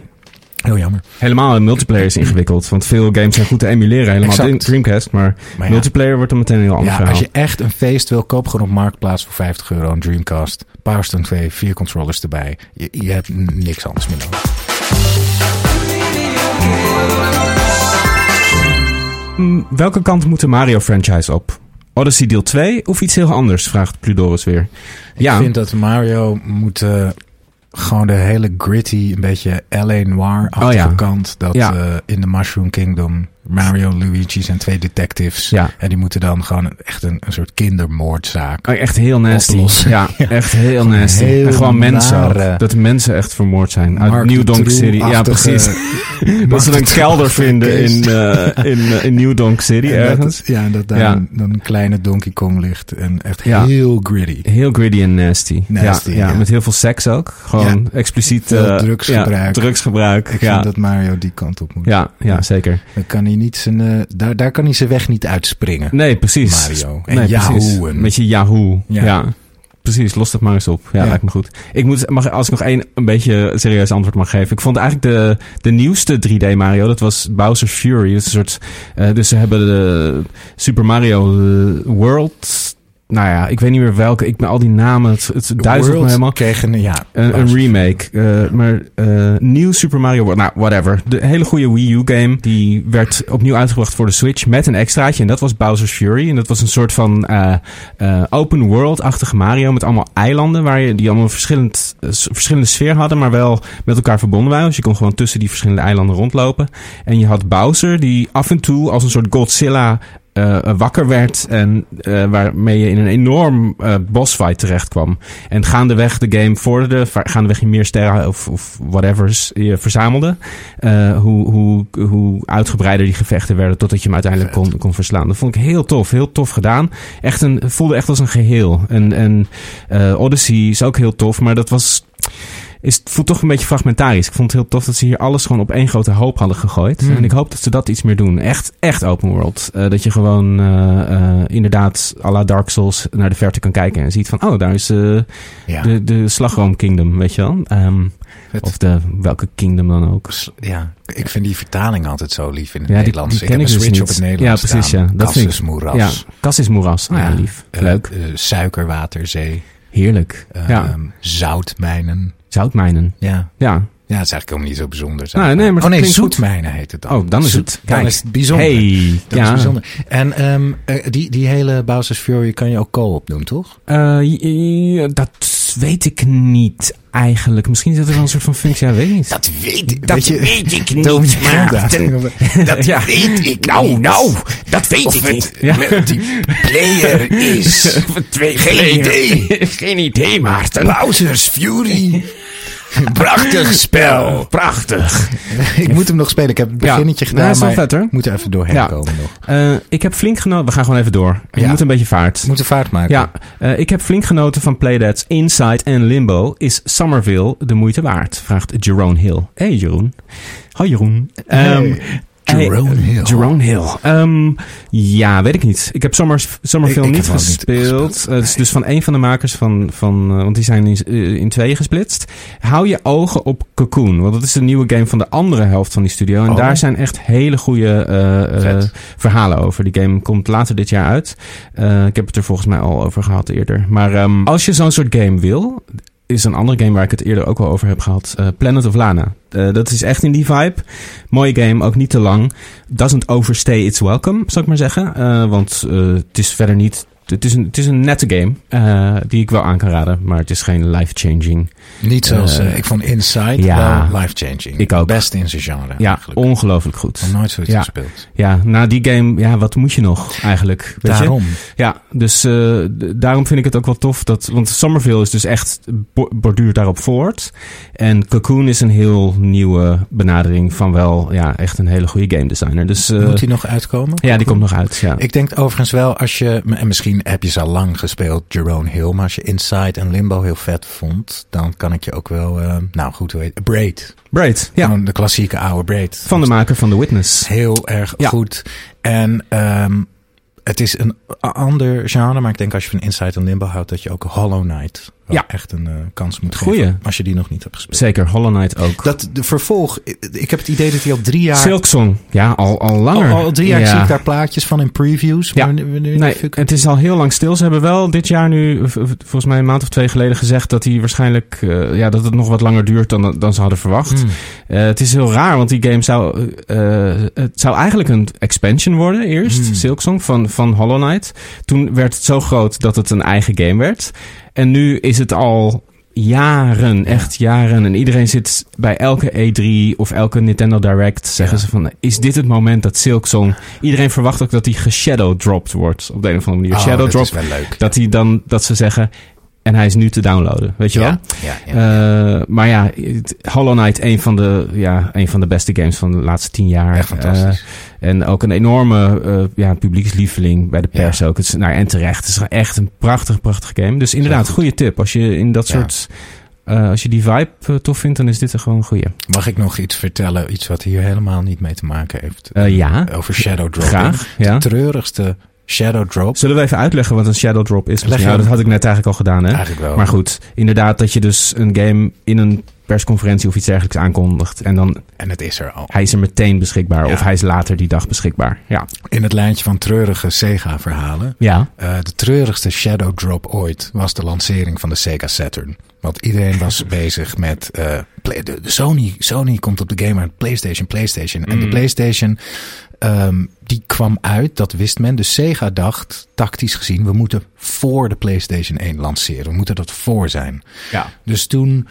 C: Heel jammer.
B: Helemaal een multiplayer is ingewikkeld. Want veel games zijn goed te emuleren. Helemaal
C: Mm-hmm. Exact.
B: in Dreamcast. Maar,
C: Maar ja.
B: multiplayer wordt dan meteen een heel ander
C: Ja,
B: verhaal.
C: als je echt een feest wil, koop gewoon op Marktplaats voor 50 euro een Dreamcast. Power Stone 2, vier controllers erbij. Je, je hebt n- niks anders meer nodig.
B: Mm, Welke kant moet de Mario franchise op? Odyssey deel 2 of iets heel anders? Vraagt Pludoris weer. Ja,
C: Ik vind dat Mario moet eh, gewoon de hele gritty, een beetje L.A. Noir-achtige
B: Oh ja.
C: kant. Dat
B: Ja.
C: eh, in de Mushroom Kingdom Mario, Luigi zijn twee detectives.
B: Ja.
C: En die moeten dan gewoon een- echt een, een soort kindermoordzaak.
B: Oh, echt heel nasty.
C: Oplossen. [LAUGHS]
B: Ja, echt heel nasty.
C: heel
B: en gewoon mensen.
C: nare-
B: ook. Dat de mensen echt vermoord zijn. Uit
C: Mark
B: New
C: de
B: Donk City. Ja,
C: Troe-achtige- [LAUGHS]
B: precies. [LAUGHS] Dat ze
C: de
B: een kelder
C: Troe-achtige
B: vinden in,
C: geest.
B: eh, in, eh, in New Donk City
C: [LAUGHS] En
B: ergens.
C: dat, ja, en dat daar
B: Ja.
C: Een, dan een kleine Donkey Kong ligt. En echt
B: Ja.
C: heel gritty.
B: Heel gritty en nasty.
C: Nasty,
B: ja, ja,
C: ja.
B: met heel veel seks ook. Gewoon expliciet.
C: Veel
B: eh, Ja,
C: drugsgebruik.
B: drugsgebruik.
C: Ik
B: ja.
C: vind dat Mario die kant op moet.
B: Ja, ja, zeker.
C: Dan kan hij niet zijn, eh, daar, daar kan hij zijn weg niet uitspringen.
B: Nee, precies.
C: Mario. En
B: nee,
C: Yahoo'en.
B: Met je Yahoo. Ja.
C: Ja.
B: Precies, los dat maar eens op. Ja,
C: Ja.
B: lijkt me goed. Ik moet, mag, als ik nog één een beetje serieus antwoord mag geven. Ik vond eigenlijk de, de nieuwste 3D Mario, dat was Bowser's Fury. Dat is een soort, eh, dus ze hebben de Super Mario World nou ja, ik weet niet meer welke. Ik ben al die namen, het, het duizelt me
C: World
B: helemaal.
C: kreeg een, ja,
B: Een, een
C: was-
B: remake. eh, maar eh, nieuw Super Mario World. Nou, whatever. De hele goede Wii U game. Die werd opnieuw uitgebracht voor de Switch. Met een extraatje. En dat was Bowser's Fury. En dat was een soort van eh, eh, open world-achtige Mario. Met allemaal eilanden. Waar je, die allemaal een verschillend, eh, s- verschillende sfeer hadden. Maar wel met elkaar verbonden waren. Dus je kon gewoon tussen die verschillende eilanden rondlopen. En je had Bowser. Die af en toe als een soort Godzilla... eh, wakker werd en eh, waarmee je in een enorm eh, bossfight terecht kwam. En gaandeweg de game vorderde, va- gaandeweg je meer sterren of, of whatever's je verzamelde, eh, hoe, hoe, hoe uitgebreider die gevechten werden totdat je hem uiteindelijk kon, kon verslaan. Dat vond ik heel tof, heel tof gedaan. Echt een, het voelde echt als een geheel. En, en eh, Odyssey is ook heel tof, maar dat was... Is, het voelt toch een beetje fragmentarisch. Ik vond het heel tof dat ze hier alles gewoon op één grote hoop hadden gegooid.
C: Hmm.
B: En ik hoop dat ze dat iets meer doen. Echt, echt open world. Eh, dat je gewoon eh, eh, inderdaad à la Dark Souls naar de verte kan kijken. En ziet van, oh, daar is eh,
C: Ja,
B: de, de Slagroom Kingdom, weet je wel? Ehm,
C: het-
B: of de, welke kingdom dan ook.
C: ja, ik vind die vertaling altijd zo lief in het
B: Ja, die-
C: Nederlands.
B: die ken
C: ik
B: ik
C: heb
B: dus
C: een switch op
B: niet.
C: het Nederlands
B: Ja, precies,
C: staan.
B: ja. Dat
C: Kas
B: vind ik-
C: is moeras.
B: Ja, kas is moeras. Ah, ja,
C: Ja.
B: lief.
C: Eh,
B: Leuk.
C: eh, suiker, water, zee.
B: Heerlijk.
C: eh,
B: ja.
C: Zoutmijnen.
B: Zoutmijnen.
C: Ja.
B: ja.
C: ja, het is eigenlijk helemaal niet zo bijzonder.
B: Nou, nee, maar
C: oh
B: het
C: nee,
B: klinkt goed.
C: zoetmijnen heet het dan.
B: Oh, dan is
C: Zoet-
B: het.
C: Dan
B: Kijk.
C: is het bijzonder.
B: Hey.
C: Dat
B: ja.
C: is bijzonder. En ehm, eh, die, die hele Bowser's Fury kan je ook co-op doen, toch?
B: Eh, j- j- dat weet ik niet eigenlijk. Misschien zit er wel een soort van functie, ja, weet ik niet.
C: Dat weet ik.
B: Dat weet
C: [LAUGHS]
B: ik niet, maar
C: dat
B: Ja.
C: weet ik Nou, nou, dat weet ik niet. Die player is... [LAUGHS] Geen idee.
B: [LAUGHS] Geen idee, Maarten.
C: Bowser's Fury. Prachtig spel.
B: Prachtig.
C: [LAUGHS] Ik moet hem nog spelen. Ik heb het
B: Ja.
C: beginnetje
B: Ja,
C: gedaan,
B: is wel
C: maar
B: vet, hoor.
C: ik moet er even doorheen
B: Ja.
C: komen nog.
B: Eh, ik heb flink genoten. We gaan gewoon even door. Je
C: Ja.
B: moet een beetje vaart.
C: We moeten vaart maken.
B: Ja, eh, ik heb flink genoten van Playdead's Inside en Limbo. Is Somerville de moeite waard? Vraagt Jerome Hill. Hey Jeroen. Hoi Jeroen. Ehm, hey,
C: Jerome Hill.
B: Jerome Hill. Ehm, ja, weet ik niet. Ik heb Somers, Somerville
C: Ik- ik
B: niet
C: heb hem ook niet
B: gespeeld.
C: gespeeld.
B: Eh, het is dus van een van de makers van... van eh, want die zijn in, eh, in tweeën gesplitst. Hou je ogen op Cocoon. Want dat is de nieuwe game van de andere helft van die studio. En
C: Oh.
B: daar zijn echt hele goede eh, eh,
C: Vet.
B: verhalen over. Die game komt later dit jaar uit. Eh, ik heb het er volgens mij al over gehad eerder. Maar ehm, als je zo'n soort game wil... Is een andere game waar ik het eerder ook al over heb gehad. eh, Planet of Lana. Eh, dat is echt in die vibe. Mooie game, ook niet te lang. Doesn't overstay its welcome, zou ik maar zeggen. Eh, want eh, het is verder niet... Het is een, het is een nette game eh, die ik wel aan kan raden. Maar het is geen life-changing.
C: Niet zoals...
B: Eh,
C: eh, ik vond Inside
B: ja.
C: wel life-changing.
B: Ik ook.
C: Best in zijn genre
B: Ja,
C: eigenlijk.
B: ongelooflijk
C: Nog
B: goed.
C: nooit zoiets
B: Ja.
C: gespeeld.
B: Ja, na die game, ja, wat moet je nog eigenlijk? Weet je?
C: Daarom.
B: Ja, dus eh, d- daarom vind ik het ook wel tof. Dat, want Somerville is dus echt bo- borduurt daarop voort. En Cocoon is een heel nieuwe benadering van wel ja, echt een hele goede game designer. Dus eh,
C: Moet hij nog uitkomen?
B: ja, die komt nog uit. Ja.
C: Ik denk overigens wel als je, en misschien heb je ze al lang gespeeld, Jerome Hill, maar als je Inside en Limbo heel vet vond, dan kan ik je ook wel, eh, nou goed, hoe heet Braid.
B: Braid, ja.
C: Gewoon de klassieke oude Braid.
B: Van de maker van The
C: Is
B: Witness.
C: Heel erg
B: Ja.
C: goed. En ehm, het is een a- ander genre, maar ik denk als je van Inside en Limbo houdt, dat je ook Hollow Knight wel
B: Ja.
C: echt een eh, kans moet
B: Goeie.
C: geven. Als je die nog niet hebt gespeeld.
B: Zeker, Hollow Knight ook.
C: Dat de vervolg, ik- ik heb het idee dat hij al drie jaar...
B: Silksong, ja, al, al
C: al,
B: langer.
C: al drie jaar
B: Ja.
C: zie ik daar plaatjes van in previews.
B: Ja.
C: Wanneer- wanneer-
B: Nee, het is al heel lang stil. Ze hebben wel dit jaar nu, v- v- volgens mij een maand of twee geleden, gezegd dat hij waarschijnlijk eh, ja, dat het nog wat langer duurt dan, dan ze hadden verwacht.
C: Hmm.
B: Eh, het is heel raar, want die game zou, eh, eh, het zou eigenlijk een expansion worden eerst,
C: Hmm.
B: Silksong, van, van Hollow Knight. Toen werd het zo groot dat het een eigen game werd. En nu is het al jaren, echt jaren. En iedereen zit bij elke E3 of elke Nintendo Direct, zeggen
C: Ja.
B: ze van, is dit het moment dat Silksong... Iedereen verwacht ook dat die geshadow-dropped wordt, op de een of andere manier.
C: Oh,
B: shadow
C: dat is
B: drop,
C: wel leuk.
B: dat, hij dan, dat ze zeggen, en hij is nu te downloaden, weet je wel?
C: Ja, ja.
B: Eh, maar ja, het- Hollow Knight, een van, de, ja, een van de beste games van de laatste tien jaar.
C: Echt fantastisch.
B: Eh, en ook een enorme eh, ja, publiekslieveling bij de pers ook. Het is, nou, en terecht. Het is echt een prachtig, prachtig game. Dus inderdaad,
C: goed.
B: goede tip. Als je in dat
C: Ja.
B: soort... eh, als je die vibe eh, tof vindt, dan is dit er gewoon een goede.
C: Mag ik nog iets vertellen? Iets wat hier helemaal niet mee te maken heeft.
B: Eh, ja,
C: Over Shadow Drop.
B: graag. Ja.
C: De treurigste Shadow Drop.
B: Zullen we even uitleggen wat een shadow drop is?
C: Leg
B: Ja,
C: hem.
B: dat had ik net eigenlijk al gedaan, hè?
C: Eigenlijk wel.
B: Maar goed, inderdaad dat je dus een game in een persconferentie of iets dergelijks aankondigt. En dan
C: En het is er al.
B: hij is er meteen beschikbaar.
C: Ja.
B: Of hij is later die dag beschikbaar. Ja.
C: In het lijntje van treurige Sega-verhalen.
B: Ja.
C: eh, de treurigste Shadow Drop ooit was de lancering van de Sega Saturn. Want iedereen was bezig met. eh, play- de, de Sony, Sony komt op de game uit. PlayStation, PlayStation. En de PlayStation. ehm, die kwam uit, dat wist men. Dus Sega dacht, tactisch gezien, we moeten voor de PlayStation 1 lanceren. We moeten dat voor zijn.
B: Ja.
C: Dus toen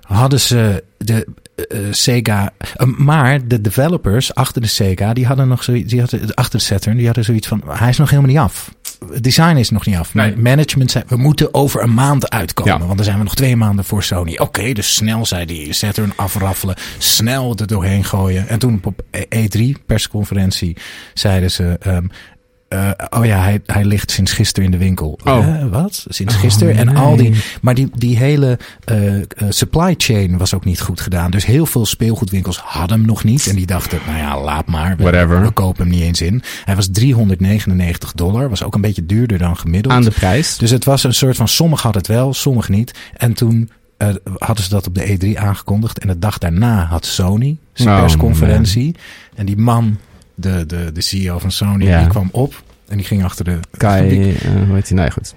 C: hadden ze de eh, Sega. eh, maar de developers achter de Sega, die hadden nog zoiets. Die hadden, achter de Saturn, die hadden zoiets van. Hij is nog helemaal niet af. Het design is nog niet af.
B: Nee.
C: Maar management zei. We moeten over een maand uitkomen.
B: Ja.
C: Want dan zijn we nog twee maanden voor Sony. Oké, dus snel zei die Saturn afraffelen. Snel er doorheen gooien. En toen op E- E3 persconferentie zeiden ze. ehm, eh, oh ja, hij, hij ligt sinds gisteren in de winkel.
B: Oh.
C: Eh, wat? Sinds gisteren?
B: Oh,
C: En al die.
B: nee.
C: Maar die, die hele eh, eh, supply chain was ook niet goed gedaan. Dus heel veel speelgoedwinkels hadden hem nog niet. En die dachten, nou ja, laat maar. We,
B: Whatever.
C: we kopen hem niet eens in. Hij was 399 dollar. Was ook een beetje duurder dan gemiddeld.
B: Aan de prijs.
C: Dus het was een soort van, sommigen hadden het wel, sommigen niet. En toen eh, hadden ze dat op de E3 aangekondigd. En de dag daarna had Sony zijn
B: Oh,
C: persconferentie. En die man, de, de, de CEO van Sony,
B: Ja.
C: die kwam op. En die ging achter de...
B: Kai,
C: die-
B: eh, hoe heet hij? Nee, goed.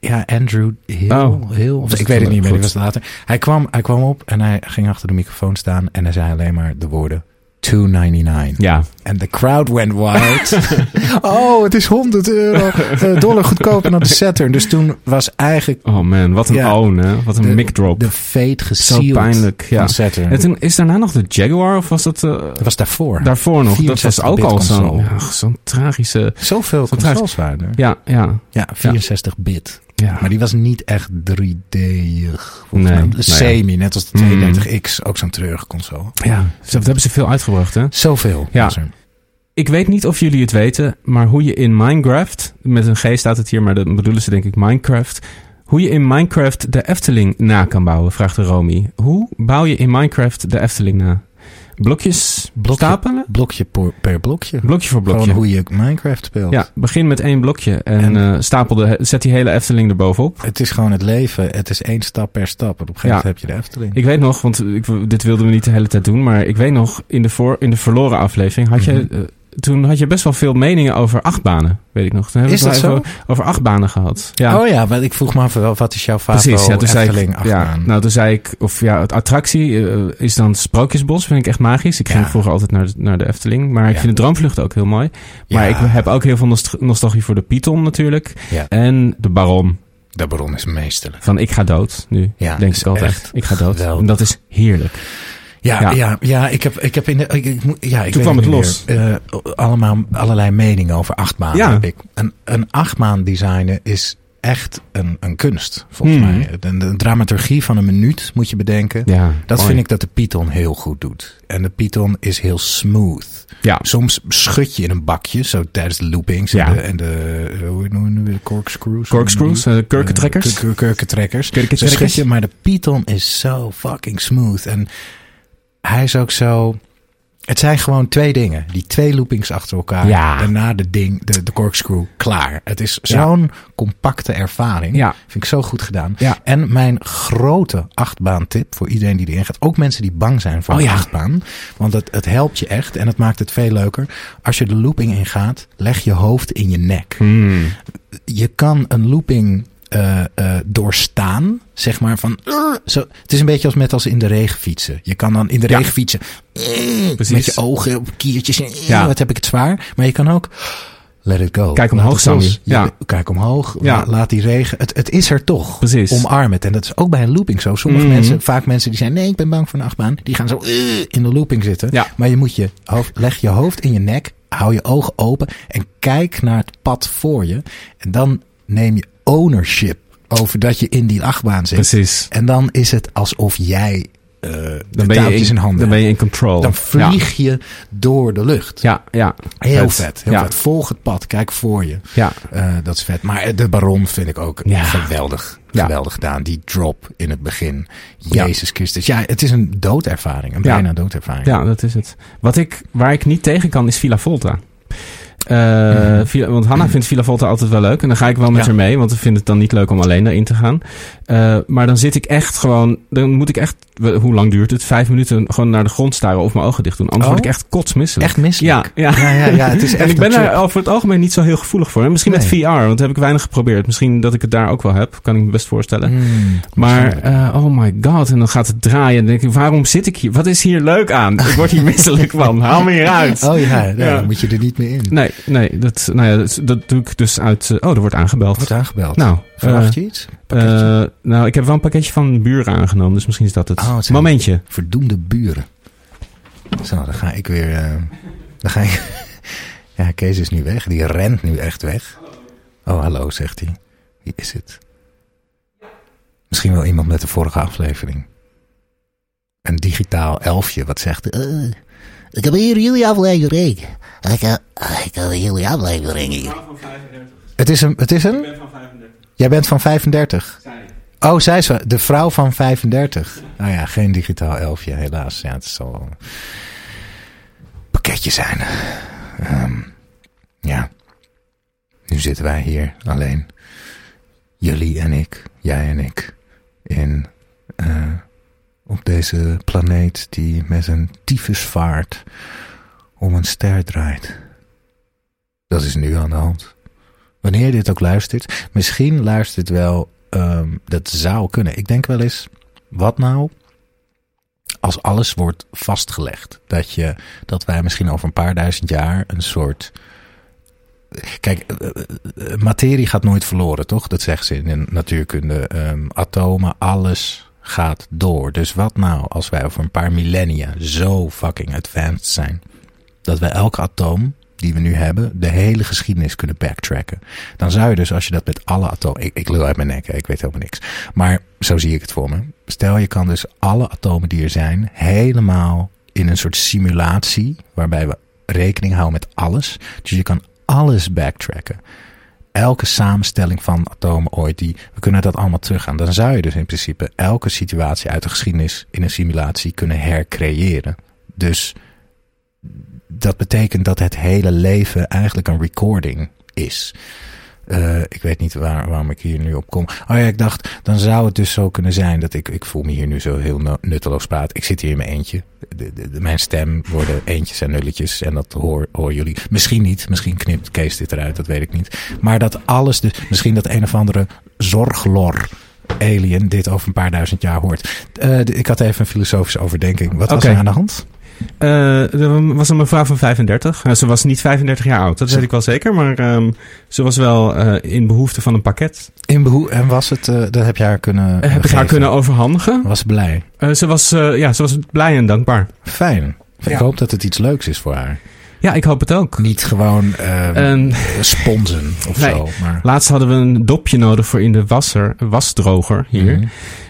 C: ja, Andrew Hill.
B: Oh.
C: Hill
B: Of
C: of
B: is
C: ik
B: het
C: weet het niet meer,
B: goed?
C: die was later. Hij kwam, hij kwam op en hij ging achter de microfoon staan en hij zei alleen maar de woorden 299.
B: Ja.
C: En de crowd went
B: [LAUGHS]
C: wild. oh, het is 100 euro eh, dollar goedkoper dan de Saturn. Dus toen was eigenlijk
B: Oh man, wat een
C: Ja.
B: own, hè? Wat een
C: de,
B: mic drop.
C: de fate
B: Zo
C: gesealed
B: pijnlijk. Ja.
C: van Saturn.
B: En toen is daarna nog de Jaguar, of was dat... eh,
C: dat was daarvoor.
B: daarvoor nog? Dat was
C: 64
B: ook
C: bit
B: al zo'n
C: console.
B: ja, zo'n tragische...
C: Zoveel
B: Zo'n
C: consoles waren er.
B: Ja, ja.
C: Ja, 64-bit.
B: ja.
C: Maar die was niet echt 3D-ig.
B: Nee,
C: Nee,
B: nou ja.
C: Semi, net als de
B: Mm.
C: 32X, ook zo'n treurige console.
B: ja. Zo, Dat hebben ze veel uitgebracht, hè?
C: Zoveel.
B: Ja.
C: was er.
B: Ik weet niet of jullie het weten, maar hoe je in Minecraft... Met een G staat het hier, maar dan bedoelen ze denk ik Minecraft... Hoe je in Minecraft de Efteling na kan bouwen, vraagt de Romy. Hoe bouw je in Minecraft de Efteling na? Blokjes
C: Blokje.
B: stapelen?
C: Blokje per, per blokje.
B: Blokje voor blokje.
C: Gewoon hoe je Minecraft speelt.
B: Ja, begin met één blokje en,
C: En-
B: eh, stapel de, zet die hele Efteling erbovenop.
C: Het is gewoon het leven. Het is één stap per stap. En op een gegeven
B: Ja.
C: moment heb je de Efteling.
B: Ik weet nog, want ik, dit wilden we niet de hele tijd doen, maar ik weet nog, in de, voor, in de verloren aflevering had je,
C: Mhm.
B: eh, toen had je best wel veel meningen over achtbanen, weet ik nog. Toen hebben we
C: Is
B: het
C: dat
B: wel even over achtbanen gehad. Ja,
C: Oh ja, want ik vroeg me af, wel, wat is jouw favoriete
B: precies. Ja, toen zei
C: Efteling
B: ik, ja,
C: achteraan?
B: nou, toen zei ik, of ja, het attractie eh, is dan Sprookjesbos, vind ik echt magisch. Ik ging
C: Ja.
B: vroeger altijd naar, de- naar de Efteling, maar ik
C: Ja.
B: vind de Droomvlucht ook heel mooi. Maar
C: Ja,
B: ik heb ook heel veel nost- nostalgie voor de Python natuurlijk
C: Ja.
B: en de Baron.
C: De baron is meesterlijk.
B: Van ik ga dood nu.
C: Ja,
B: denk
C: is
B: ik altijd.
C: echt
B: ik ga dood.
C: geweldig.
B: En dat is heerlijk.
C: Ja,
B: Ja.
C: ja. ja, ik heb, ik heb in de, ik, ik moet- ja, ik
B: Toen
C: weet
B: kwam het
C: niet
B: los.
C: meer. Eh, allemaal, allerlei meningen over achtbaan
B: Ja.
C: heb ik. Een, een achtbaan designen is echt een, een kunst, volgens
B: Hmm.
C: mij. De, de dramaturgie van een minuut moet je bedenken.
B: Ja,
C: Dat vind ik dat de Python heel goed doet. En de Python is heel smooth.
B: Ja.
C: Soms schud je in een bakje, zo tijdens de loopings
B: Ja.
C: en de, en de eh, hoe noemen we het nu weer? corkscrews.
B: Corkscrews, eh, kurkentrekkers.
C: Eh, kur- kur- kurkentrekkers. Zo
B: Kurkentrekkers.
C: schud je, maar de Python is zo fucking smooth. En hij is ook zo... Het zijn gewoon twee dingen. Die twee loopings achter elkaar.
B: Ja.
C: Daarna de ding, de, de corkscrew, klaar. Het is zo'n compacte ervaring.
B: Ja.
C: Vind ik zo goed gedaan.
B: Ja.
C: En mijn grote achtbaantip voor iedereen die erin gaat. Ook mensen die bang zijn voor
B: Oh
C: de
B: ja.
C: achtbaan. Want het, het helpt je echt en het maakt het veel leuker. Als je de looping ingaat, leg je hoofd in je nek. Je kan een looping eh, eh, doorstaan. Zeg maar van... "Urgh", zo, het is een beetje als met als in de regen fietsen. Je kan dan in de
B: Ja.
C: regen fietsen. "Urgh",
B: Precies.
C: Met je ogen op kiertjes. "Urgh,
B: Ja.
C: Wat heb ik het zwaar. Maar je kan ook... Let it go.
B: Kijk
C: Laat
B: omhoog,
C: het los.
B: Sammy.
C: Je-
B: Ja.
C: Kijk omhoog.
B: Ja.
C: la- Laat die regen. Het, het is er toch.
B: Precies.
C: Omarm het. En dat is ook bij een looping zo. Sommige
B: Mhm.
C: mensen, vaak mensen die zijn, nee, ik ben bang voor een achtbaan. Die gaan zo "Eh," in de looping zitten.
B: Ja.
C: Maar je moet je hoofd, leg je hoofd in je nek. Hou je ogen open. En kijk naar het pad voor je. En dan neem je ownership over dat je in die achtbaan zit.
B: Precies.
C: En dan is het alsof jij eh de
B: Dan ben, je
C: touwtjes
B: in,
C: in handen
B: dan ben
C: hebt.
B: je in control.
C: Dan vlieg je door de lucht.
B: Ja, ja. ja.
C: Heel vet. Heel
B: ja.
C: vet. Volg het pad. Kijk voor je.
B: Ja.
C: Eh, dat is vet. Maar eh, de Baron vind ik ook
B: Ja.
C: geweldig.
B: Ja.
C: Geweldig gedaan. Die drop in het begin.
B: Ja.
C: Jezus Christus. Ja, het is een doodervaring. Een
B: Ja.
C: bijna doodervaring.
B: Ja, dat is het. Wat ik, waar ik niet tegen kan is Villa Volta. Eh, Villa- want Hanna vindt Villa Volta altijd wel leuk. En dan ga ik wel met
C: Mhm. Ja.
B: haar mee. Want ze vindt het dan niet leuk om alleen daarin te gaan. Eh, maar dan zit ik echt gewoon, dan moet ik echt, we- hoe lang duurt het? Vijf minuten gewoon naar de grond staren of mijn ogen dicht doen. Anders
C: Oh?
B: word ik echt kotsmisselijk.
C: Echt misselijk.
B: Ja, ja.
C: Ja, ja, ja, het is
B: [LAUGHS] En
C: echt
B: ik ben
C: een
B: daar
C: trip.
B: over het algemeen niet zo heel gevoelig voor. En Misschien met
C: Nee.
B: VR, want dat heb ik weinig geprobeerd. Misschien dat ik het daar ook wel heb, kan ik me best voorstellen.
C: Hmm,
B: Maar eh, oh my god, en dan gaat het draaien. En dan denk ik, waarom zit ik hier? Wat is hier leuk aan? Ik
C: [LAUGHS]
B: word hier misselijk van. Haal me hier uit.
C: Oh ja, nee,
B: Ja.
C: dan moet je er niet meer in.
B: Nee, nee, dat, nou ja, dat, dat doe ik dus uit. eh, oh, er wordt aangebeld.
C: Wordt aangebeld.
B: Nou,
C: Verwacht je iets?
B: eh,
C: Pakketje?
B: eh, nou, ik heb wel een pakketje van buren aangenomen, dus misschien is dat het.
C: Oh, het zijn-
B: Momentje.
C: Verdoemde buren. Zo, dan ga ik weer... eh, dan ga ik... [LAUGHS] ja, Kees is nu weg. Die rent nu echt weg. Oh, hallo, zegt hij. Wie is het? Misschien wel iemand met de vorige aflevering. Een digitaal elfje, wat zegt... eh,
D: Ik heb hier jullie aflevering. Ik heb, ik heb jullie aflevering hier.
C: het is een... Het is een? Jij bent van 35? Oh, zij is wel- de vrouw van 35. Nou ja, geen digitaal elfje, helaas. Ja, het zal wel een pakketje zijn. Ehm, ja. Nu zitten wij hier alleen. Jullie en ik, jij en ik. In, eh, op deze planeet die met een tyfus vaart om een ster draait. Dat is nu aan de hand. Wanneer je dit ook luistert, misschien luistert wel, ehm, dat zou kunnen. Ik denk wel eens, wat nou als alles wordt vastgelegd? Dat, je, dat wij misschien over een paar duizend jaar een soort... Kijk, eh, eh, eh, materie gaat nooit verloren, toch? Dat zeggen ze in de natuurkunde. Ehm, atomen, alles gaat door. Dus wat nou als wij over een paar millennia zo fucking advanced zijn... dat wij elk atoom die we nu hebben, de hele geschiedenis kunnen backtracken. Dan zou je dus, als je dat met alle atomen... Ik, ik lul uit mijn nek, hè, ik weet helemaal niks. Maar zo zie ik het voor me. Stel, je kan dus alle atomen die er zijn... helemaal in een soort simulatie... waarbij we rekening houden met alles. Dus je kan alles backtracken. Elke samenstelling van atomen ooit, die, we kunnen dat allemaal teruggaan. Dan zou je dus in principe elke situatie uit de geschiedenis... in een simulatie kunnen hercreëren. Dus dat betekent dat het hele leven eigenlijk een recording is. Eh, ik weet niet waar, waarom ik hier nu op kom. Oh ja, ik dacht, dan zou het dus zo kunnen zijn dat ik... Ik voel me hier nu zo heel nu- nutteloos praat. Ik zit hier in mijn eentje. De, de- de- mijn stem worden eentjes en nulletjes. En dat hoor, hoor jullie. Misschien niet. Misschien knipt Kees dit eruit. Dat weet ik niet. Maar dat alles dus... Misschien dat een of andere zorglor alien dit over een paar duizend jaar hoort. Eh, de- ik had even een filosofische overdenking. Wat was
B: Oké.
C: er aan de hand?
B: Eh, er was een mevrouw van 35. Nou, ze was niet 35 jaar oud, dat weet ik wel zeker. Maar ehm, ze was wel eh, in behoefte van een pakket.
C: In behoe en was het... eh, dat heb je haar kunnen
B: heb ik haar
C: geven?
B: kunnen overhandigen.
C: Was ze blij.
B: Eh, ze, was, eh, ja, ze was blij en dankbaar.
C: Fijn. Ik
B: Ja.
C: hoop dat het iets leuks is voor haar.
B: Ja, ik hoop het ook.
C: Niet gewoon eh
B: En
C: sponsen of
B: Ehm, Nee.
C: zo. Maar,
B: laatst hadden we een dopje nodig voor in de wasser, wasdroger hier.
C: Mhm.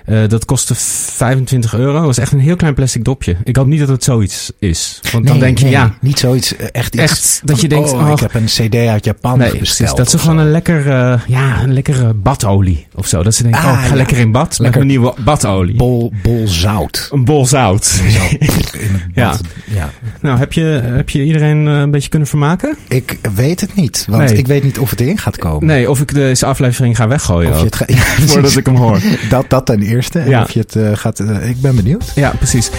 B: Eh, dat kostte 25 euro. Dat was echt een heel klein plastic dopje. Ik hoop niet dat het zoiets is. Want dan
C: Nee,
B: denk je,
C: nee,
B: ja,
C: Niet zoiets, eh, echt iets.
B: Echt, dat je
C: van,
B: denkt,
C: oh,
B: oh.
C: ik heb een cd uit Japan
B: Nee,
C: besteld.
B: precies. Dat ze
C: of
B: gewoon
C: zo.
B: een, lekker, eh, ja, een lekkere badolie of zo. Dat ze denken,
C: Ah,
B: oh, ik ga
C: ja.
B: lekker in bad
C: Lekker
B: met mijn nieuwe badolie.
C: bol, bol zout.
B: een bol zout.
C: Zo, in het
B: [LAUGHS] Ja.
C: bad. ja.
B: nou, heb je, heb je iedereen eh, een beetje kunnen vermaken?
C: Ik weet het niet, want
B: Nee.
C: ik weet niet of het in gaat komen.
B: Nee, of ik deze aflevering ga weggooien
C: Of je
B: ook,
C: het
B: [LAUGHS]
C: ga- [LAUGHS] ja, precies.
B: voordat ik hem hoor.
C: dat, dat ten eerste. En
B: Ja.
C: of je het eh, gaat... eh, ik ben benieuwd.
B: Ja, precies.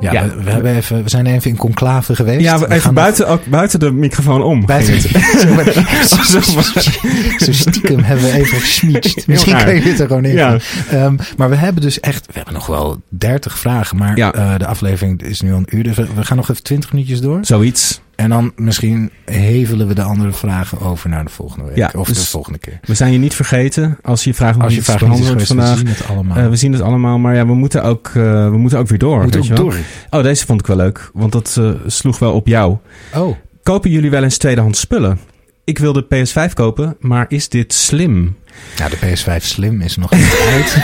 C: Ja,
B: Ja.
C: We, we hebben even, we zijn even in conclave geweest.
B: Ja,
C: We
B: we- even
C: gaan nog-
B: buiten, ook buiten de microfoon om.
C: Buiten
B: [LAUGHS]
C: het. Zo met-
B: Zo,
C: Zo stiekem hebben we even gesmietst.
B: [LAUGHS] Heel
C: Misschien
B: raar.
C: kun je dit er gewoon in.
B: Ja.
C: Ehm, maar we hebben dus echt, we hebben nog wel 30 vragen. Maar
B: Ja.
C: eh, de aflevering is nu al een uur. Dus we, we gaan nog even 20 minuutjes door.
B: Zoiets.
C: En dan misschien hevelen we de andere vragen over naar de volgende week.
B: Ja,
C: of de
B: dus-
C: volgende keer.
B: We zijn je niet vergeten. Als je vraagt nog
C: Als je
B: niet is
C: vragen niet is
B: behandeld
C: geweest,
B: vandaag.
C: we zien het allemaal.
B: eh, we zien het allemaal, maar ja, we moeten ook, eh, we moeten ook weer door.
C: We moeten
B: weet
C: ook
B: je wel.
C: door.
B: Oh, deze vond ik wel leuk, want dat eh, sloeg wel op jou.
C: Oh,
B: Kopen jullie wel eens tweedehands spullen? Ik wil de PS5 kopen, maar is dit slim?
C: Nou, de PS5 Slim is nog niet uit.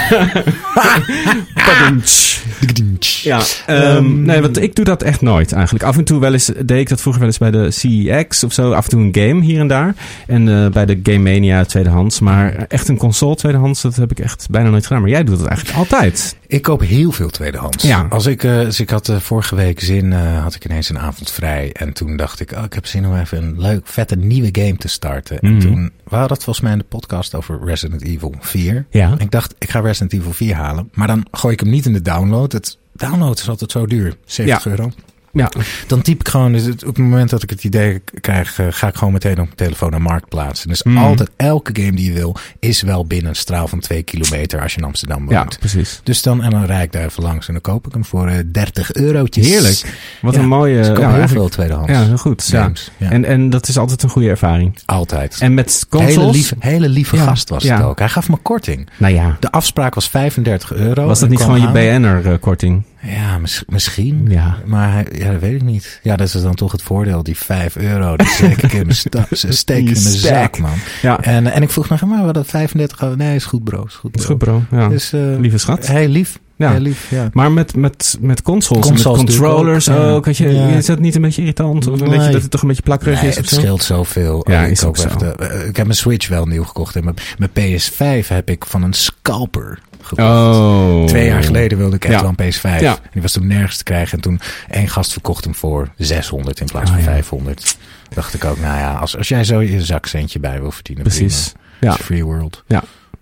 B: Ja, Ah. ehm, nee, want ik doe dat echt nooit eigenlijk. Af en toe wel eens, deed ik dat vroeger wel eens bij de CEX of zo. Af en toe een game hier en daar. En eh, bij de Game Mania tweedehands. Maar echt een console tweedehands, dat heb ik echt bijna nooit gedaan. Maar jij doet dat eigenlijk altijd.
C: Ik koop heel veel tweedehands.
B: Ja.
C: Als ik, eh, als ik had eh, vorige week zin, eh, had ik ineens een avond vrij. En toen dacht ik, oh, ik heb zin om even een leuk, vette nieuwe game te starten. En
B: Mhm.
C: toen, we hadden het volgens mij in de podcast over Resident Evil 4.
B: Ja.
C: Ik dacht, ik ga Resident Evil 4 halen. Maar dan gooi ik hem niet in de download. Het download is altijd zo duur. 70
B: Ja.
C: euro.
B: Ja.
C: Dan typ ik gewoon, dus het- op het moment dat ik het idee k- krijg, eh, ga ik gewoon meteen op mijn telefoon naar Marktplaats. En dus
B: Mhm.
C: altijd, elke game die je wil, is wel binnen een straal van twee kilometer als je in Amsterdam
B: Ja,
C: woont.
B: precies.
C: Dus dan, en dan rijd ik daar even langs en dan koop ik hem voor eh, 30 eurotjes.
B: Heerlijk. Wat
C: Ja,
B: een mooie...
C: Dus ik koop
B: ja,
C: heel
B: eigenlijk-
C: veel tweedehands.
B: ja, heel goed. Ja.
C: games. Ja.
B: En, en dat is altijd een goede ervaring.
C: Altijd.
B: En met consoles...
C: hele lieve, hele lieve
B: Ja,
C: gast was
B: ja.
C: het ook. Hij gaf me korting.
B: Nou ja,
C: De afspraak was 35 euro.
B: was dat
C: En
B: niet
C: ik
B: gewoon je
C: Oh,
B: eh,
C: kwam aan.
B: BNR-korting?
C: Ja, mis- misschien.
B: Ja.
C: Maar hij- ja, dat weet ik niet. Ja, dat is dan toch het voordeel. Die 5 euro, die steek ik in mijn,
B: [LAUGHS]
C: sta, steek ik in mijn zak,
B: Stack.
C: man.
B: Ja,
C: En, eh, en ik vroeg nog, maar wat dat 35 euro? Nee, is goed bro. Is goed
B: dat
C: bro.
B: is goed bro. Ja.
C: Dus, eh,
B: Lieve schat.
C: Heel lief.
B: Ja.
C: Heel lief, ja.
B: Maar met, met, met consoles, en
C: Consoles
B: met controllers
C: natuurlijk ook,
B: ook.
C: ja.
B: had je,
C: Ja.
B: Is dat niet een beetje irritant? Of een
C: Nee.
B: beetje, dat het toch een beetje plakkerig
C: Nee,
B: is? of
C: het
B: zo?
C: scheelt zoveel.
B: Ja,
C: ik,
B: is
C: koop
B: ook zo.
C: echt, eh, ik heb mijn Switch wel nieuw gekocht. En mijn, mijn PS5 heb ik van een scalper gekocht.
B: Oh.
C: Twee jaar geleden wilde ik echt
B: Ja.
C: wel een PS5.
B: Ja.
C: En die was toen nergens te krijgen. En toen één gast verkocht hem voor 600 in plaats
B: Ah,
C: van
B: ja.
C: 500. Dacht ik ook, nou ja, als, als jij zo je zakcentje bij wil verdienen.
B: Precies.
C: prima.
B: Ja,
C: It's free world.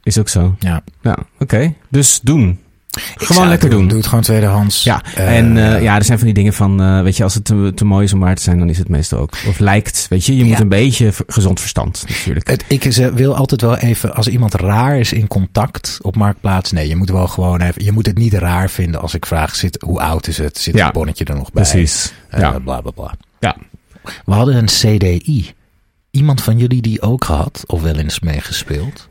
B: is ook zo.
C: Ja.
B: Ja, oké. Dus doen.
C: Ik zou
B: Gewoon
C: het
B: lekker doen.
C: Doe het gewoon tweedehands.
B: Ja,
C: Eh,
B: en eh, ja, er zijn van die dingen van, eh, weet je, als het te, te mooi is om waar te zijn, dan is het meestal ook. Of lijkt, weet je, je moet
C: Ja.
B: een beetje v- gezond verstand natuurlijk.
C: Het, ik is, eh, wil altijd wel even, als iemand raar is in contact op Marktplaats. Nee, je moet wel gewoon even, je moet het niet raar vinden als ik vraag, zit, hoe oud is het? Zit
B: Ja.
C: het bonnetje er nog bij?
B: Precies.
C: Eh,
B: ja.
C: Bla, bla, bla.
B: Ja.
C: We hadden een CDI. Iemand van jullie die ook had, of wel eens meegespeeld?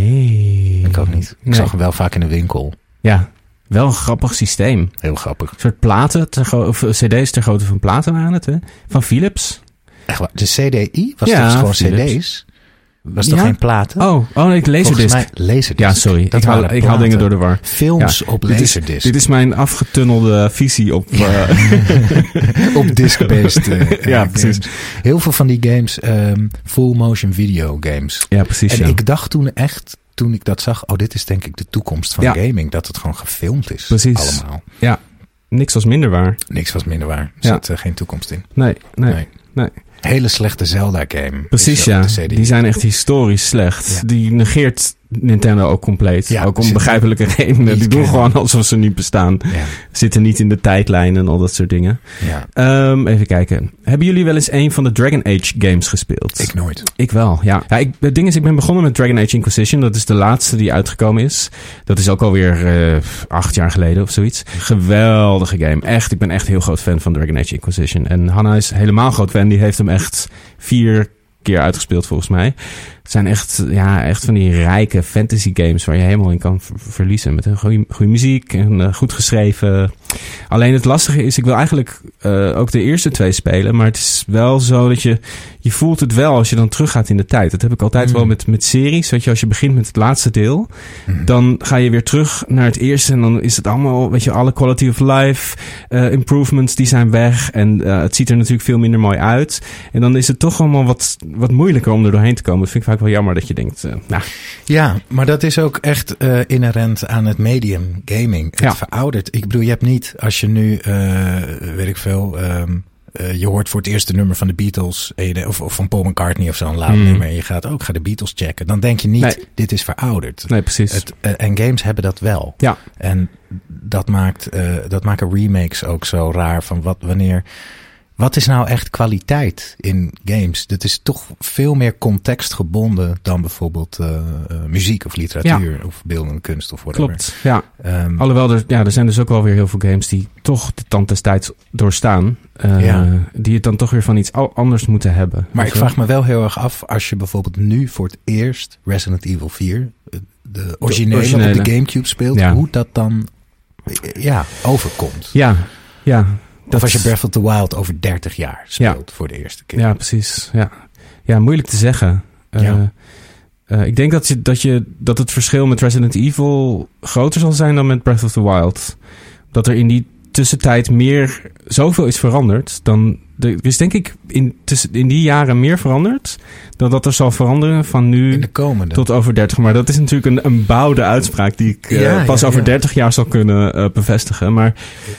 B: Nee.
C: Ik ook niet. Ik
B: Nee.
C: zag hem wel vaak in de winkel.
B: Ja, wel een grappig systeem. Een
C: Heel grappig.
B: soort platen, ter gro- of eh, cd's ter grootte van platen waren het, hè? Van Philips.
C: Echt waar. De CDI? Was
B: Ja,
C: toch gewoon
B: Philips.
C: cd's? Was toch
B: Ja.
C: geen platen?
B: Oh, oh nee,
C: Volgens
B: Laserdisc.
C: mij laserdisc.
B: Ja, sorry.
C: Dat
B: ik, haal,
C: waren
B: ik haal dingen door
C: platen.
B: de war.
C: Films op
B: dit is-
C: laserdisc.
B: Dit is mijn afgetunnelde visie
C: [LAUGHS]
B: op... eh,
C: op disc-based. eh,
B: [LAUGHS] Ja,
C: eh,
B: precies.
C: games. Heel veel van die games, ehm, full motion video games.
B: ja, precies.
C: En
B: ja.
C: ik dacht toen echt, toen ik dat zag, oh, dit is denk ik de toekomst van
B: Ja.
C: gaming. Dat het gewoon gefilmd is.
B: Precies.
C: Allemaal.
B: Niks was minder waar.
C: Niks was minder waar. Er
B: Ja.
C: zat eh, geen toekomst in.
B: Nee, nee.
C: Nee.
B: nee.
C: Hele slechte Zelda game.
B: Precies,
C: is er
B: ja.
C: op de CD.
B: Die zijn echt historisch slecht.
C: Ja.
B: Die negeert Nintendo ook compleet.
C: Ja,
B: ook om
C: zit-
B: begrijpelijke redenen. Die
C: niet
B: doen
C: kennen.
B: gewoon alsof ze niet bestaan.
C: Ja.
B: Zitten niet in de tijdlijn en al dat soort dingen. [LAUGHS]
C: ja.
B: Ehm, even kijken. Hebben jullie wel eens een van de Dragon Age games gespeeld?
C: Ik nooit.
B: Ik wel, ja. ja ik, het ding is, ik ben begonnen met Dragon Age Inquisition. Dat is de laatste die uitgekomen is. Dat is ook alweer eh acht jaar geleden of zoiets. Geweldige game. Echt, ik ben echt heel groot fan van Dragon Age Inquisition. En Hanna is helemaal groot fan. Die heeft hem echt vier keer uitgespeeld volgens mij. Het zijn echt, ja, echt van die rijke fantasy games waar je helemaal in kan ver- verliezen. Met een goede, goede muziek en eh, goed geschreven. Alleen het lastige is, ik wil eigenlijk eh, ook de eerste twee spelen. Maar het is wel zo dat je, je voelt het wel als je dan teruggaat in de tijd. Dat heb ik altijd
C: Mm.
B: wel met, met series. Weet je, als je begint met het laatste deel,
C: Mhm.
B: dan ga je weer terug naar het eerste. En dan is het allemaal, weet je, alle quality of life eh, improvements, die zijn weg. En eh, het ziet er natuurlijk veel minder mooi uit. En dan is het toch allemaal wat, wat moeilijker om er doorheen te komen. Dat vind ik vaak wel jammer dat je denkt, eh, nou,
C: Ja, maar dat is ook echt eh, inherent aan het medium gaming. Het
B: Ja.
C: veroudert. Ik bedoel, je hebt niet, als je nu, eh, weet ik veel, ehm, eh, je hoort voor het eerste nummer van de Beatles en je- of, of van Paul McCartney of zo'n laat
B: Mm.
C: nummer en je gaat ook, ga de Beatles checken. Dan denk je niet,
B: Nee.
C: dit is verouderd.
B: nee, precies.
C: Het, eh, en games hebben dat wel.
B: Ja.
C: En dat, maakt, eh, dat maken remakes ook zo raar van wat, wanneer. Wat is nou echt kwaliteit in games? Dat is toch veel meer contextgebonden dan bijvoorbeeld eh, eh, muziek of literatuur of beeldende kunst of whatever.
B: Klopt, ja.
C: Ehm,
B: Alhoewel, er, ja, er zijn dus ook wel weer heel veel games die toch de tand des tijds doorstaan. eh,
C: Ja.
B: Die het dan toch weer van iets al- anders moeten hebben.
C: maar
B: Weet
C: ik
B: je wel?
C: vraag me wel heel erg af als je bijvoorbeeld nu voor het eerst Resident Evil 4, eh, de originele, op de
B: originele.
C: Gamecube speelt,
B: Ja.
C: hoe dat dan eh, ja, overkomt.
B: Ja, ja.
C: Of als je Breath of the Wild over 30 jaar speelt voor de eerste keer.
B: Ja, precies. Ja, ja moeilijk te zeggen. Eh,
C: Ja.
B: Eh, ik denk dat, je, dat, je, dat het verschil met Resident Evil groter zal zijn dan met Breath of the Wild. Dat er in die tussentijd meer zoveel is veranderd. Dan, er is denk ik in, tussen, in die jaren meer veranderd dan dat er zal veranderen van
C: In
B: nu
C: de komende.
B: tot over 30. Maar dat is natuurlijk een, een bouwde uitspraak die ik eh,
C: Ja,
B: pas
C: ja,
B: over
C: ja.
B: 30 jaar zal kunnen eh, bevestigen. Maar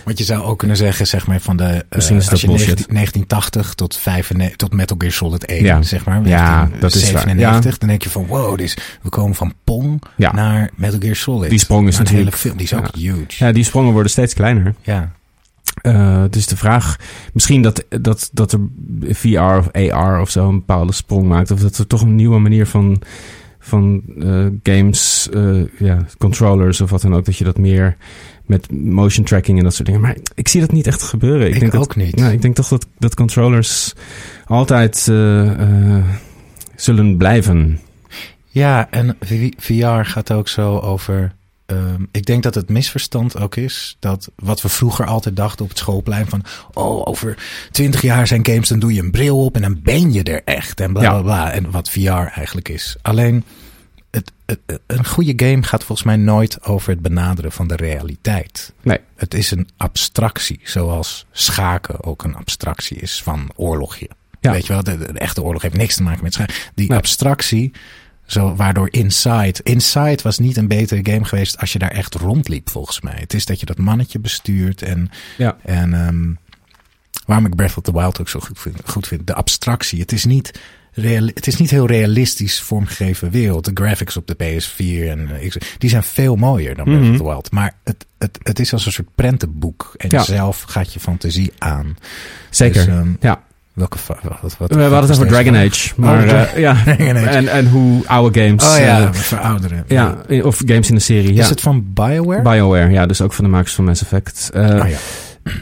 C: Want je zou ook kunnen zeggen, zeg maar, van de. eh,
B: Misschien is
C: als
B: dat
C: je 19-
B: bullshit.
C: 1980 tot, 95, tot Metal Gear Solid 1,
B: Ja.
C: zeg maar.
B: Ja, dat is waar.
C: 97, dan denk je van, wow, dus we komen van Pong
B: Ja.
C: naar Metal Gear Solid.
B: Die sprong is
C: Naar een
B: natuurlijk-
C: hele film, die is ook huge. Ja.
B: ja, die sprongen worden steeds kleiner. Eh, dus de vraag, misschien dat, dat, dat er VR of AR of zo een bepaalde sprong maakt. Of dat er toch een nieuwe manier van, van eh, games, eh, ja, controllers of wat dan ook. Dat je dat meer met motion tracking en dat soort dingen. Maar ik zie dat niet echt gebeuren.
C: Ik,
B: denk dat,
C: ook niet.
B: Ja, ik denk toch dat, dat controllers altijd eh, eh, zullen blijven.
C: Ja, en V- VR gaat ook zo over. ehm, ik denk dat het misverstand ook is dat wat we vroeger altijd dachten op het schoolplein van, oh, over twintig jaar zijn games, dan doe je een bril op en dan ben je er echt en bla
B: Ja.
C: bla bla. En wat VR eigenlijk is. Alleen het, het- het- een goede game gaat volgens mij nooit over het benaderen van de realiteit.
B: Nee.
C: Het is een abstractie, zoals schaken ook een abstractie is van oorlogje.
B: Ja.
C: Weet je wel, de, de- de echte oorlog heeft niks te maken met schaken. Die
B: Nee.
C: abstractie, zo, waardoor Inside... Inside was niet een betere game geweest als je daar echt rondliep, volgens mij. Het is dat je dat mannetje bestuurt en...
B: Ja.
C: en ehm, waarom ik Breath of the Wild ook zo goed vind, goed vind de abstractie. Het is niet... reali- het is niet heel realistisch vormgegeven wereld. De graphics op de PS4 en eh, X- die zijn veel mooier dan Breath
B: Mhm.
C: of the Wild. Maar het, het, het is als een soort prentenboek. En
B: Ja.
C: zelf gaat je fantasie aan.
B: Zeker.
C: Dus, ehm,
B: ja.
C: Welke fa- wat, wat, wat
B: We hadden het over Dragon Age. Maar,
C: Dragon-
B: eh, ja.
C: Oh, [LAUGHS] Dragon Age.
B: En, en hoe oude games.
C: Oh ja,
B: eh,
C: verouderen.
B: ja, of games in de serie.
C: Is
B: ja.
C: het van Bioware?
B: BioWare, ja, dus ook van de makers van Mass Effect. Eh,
C: oh ja.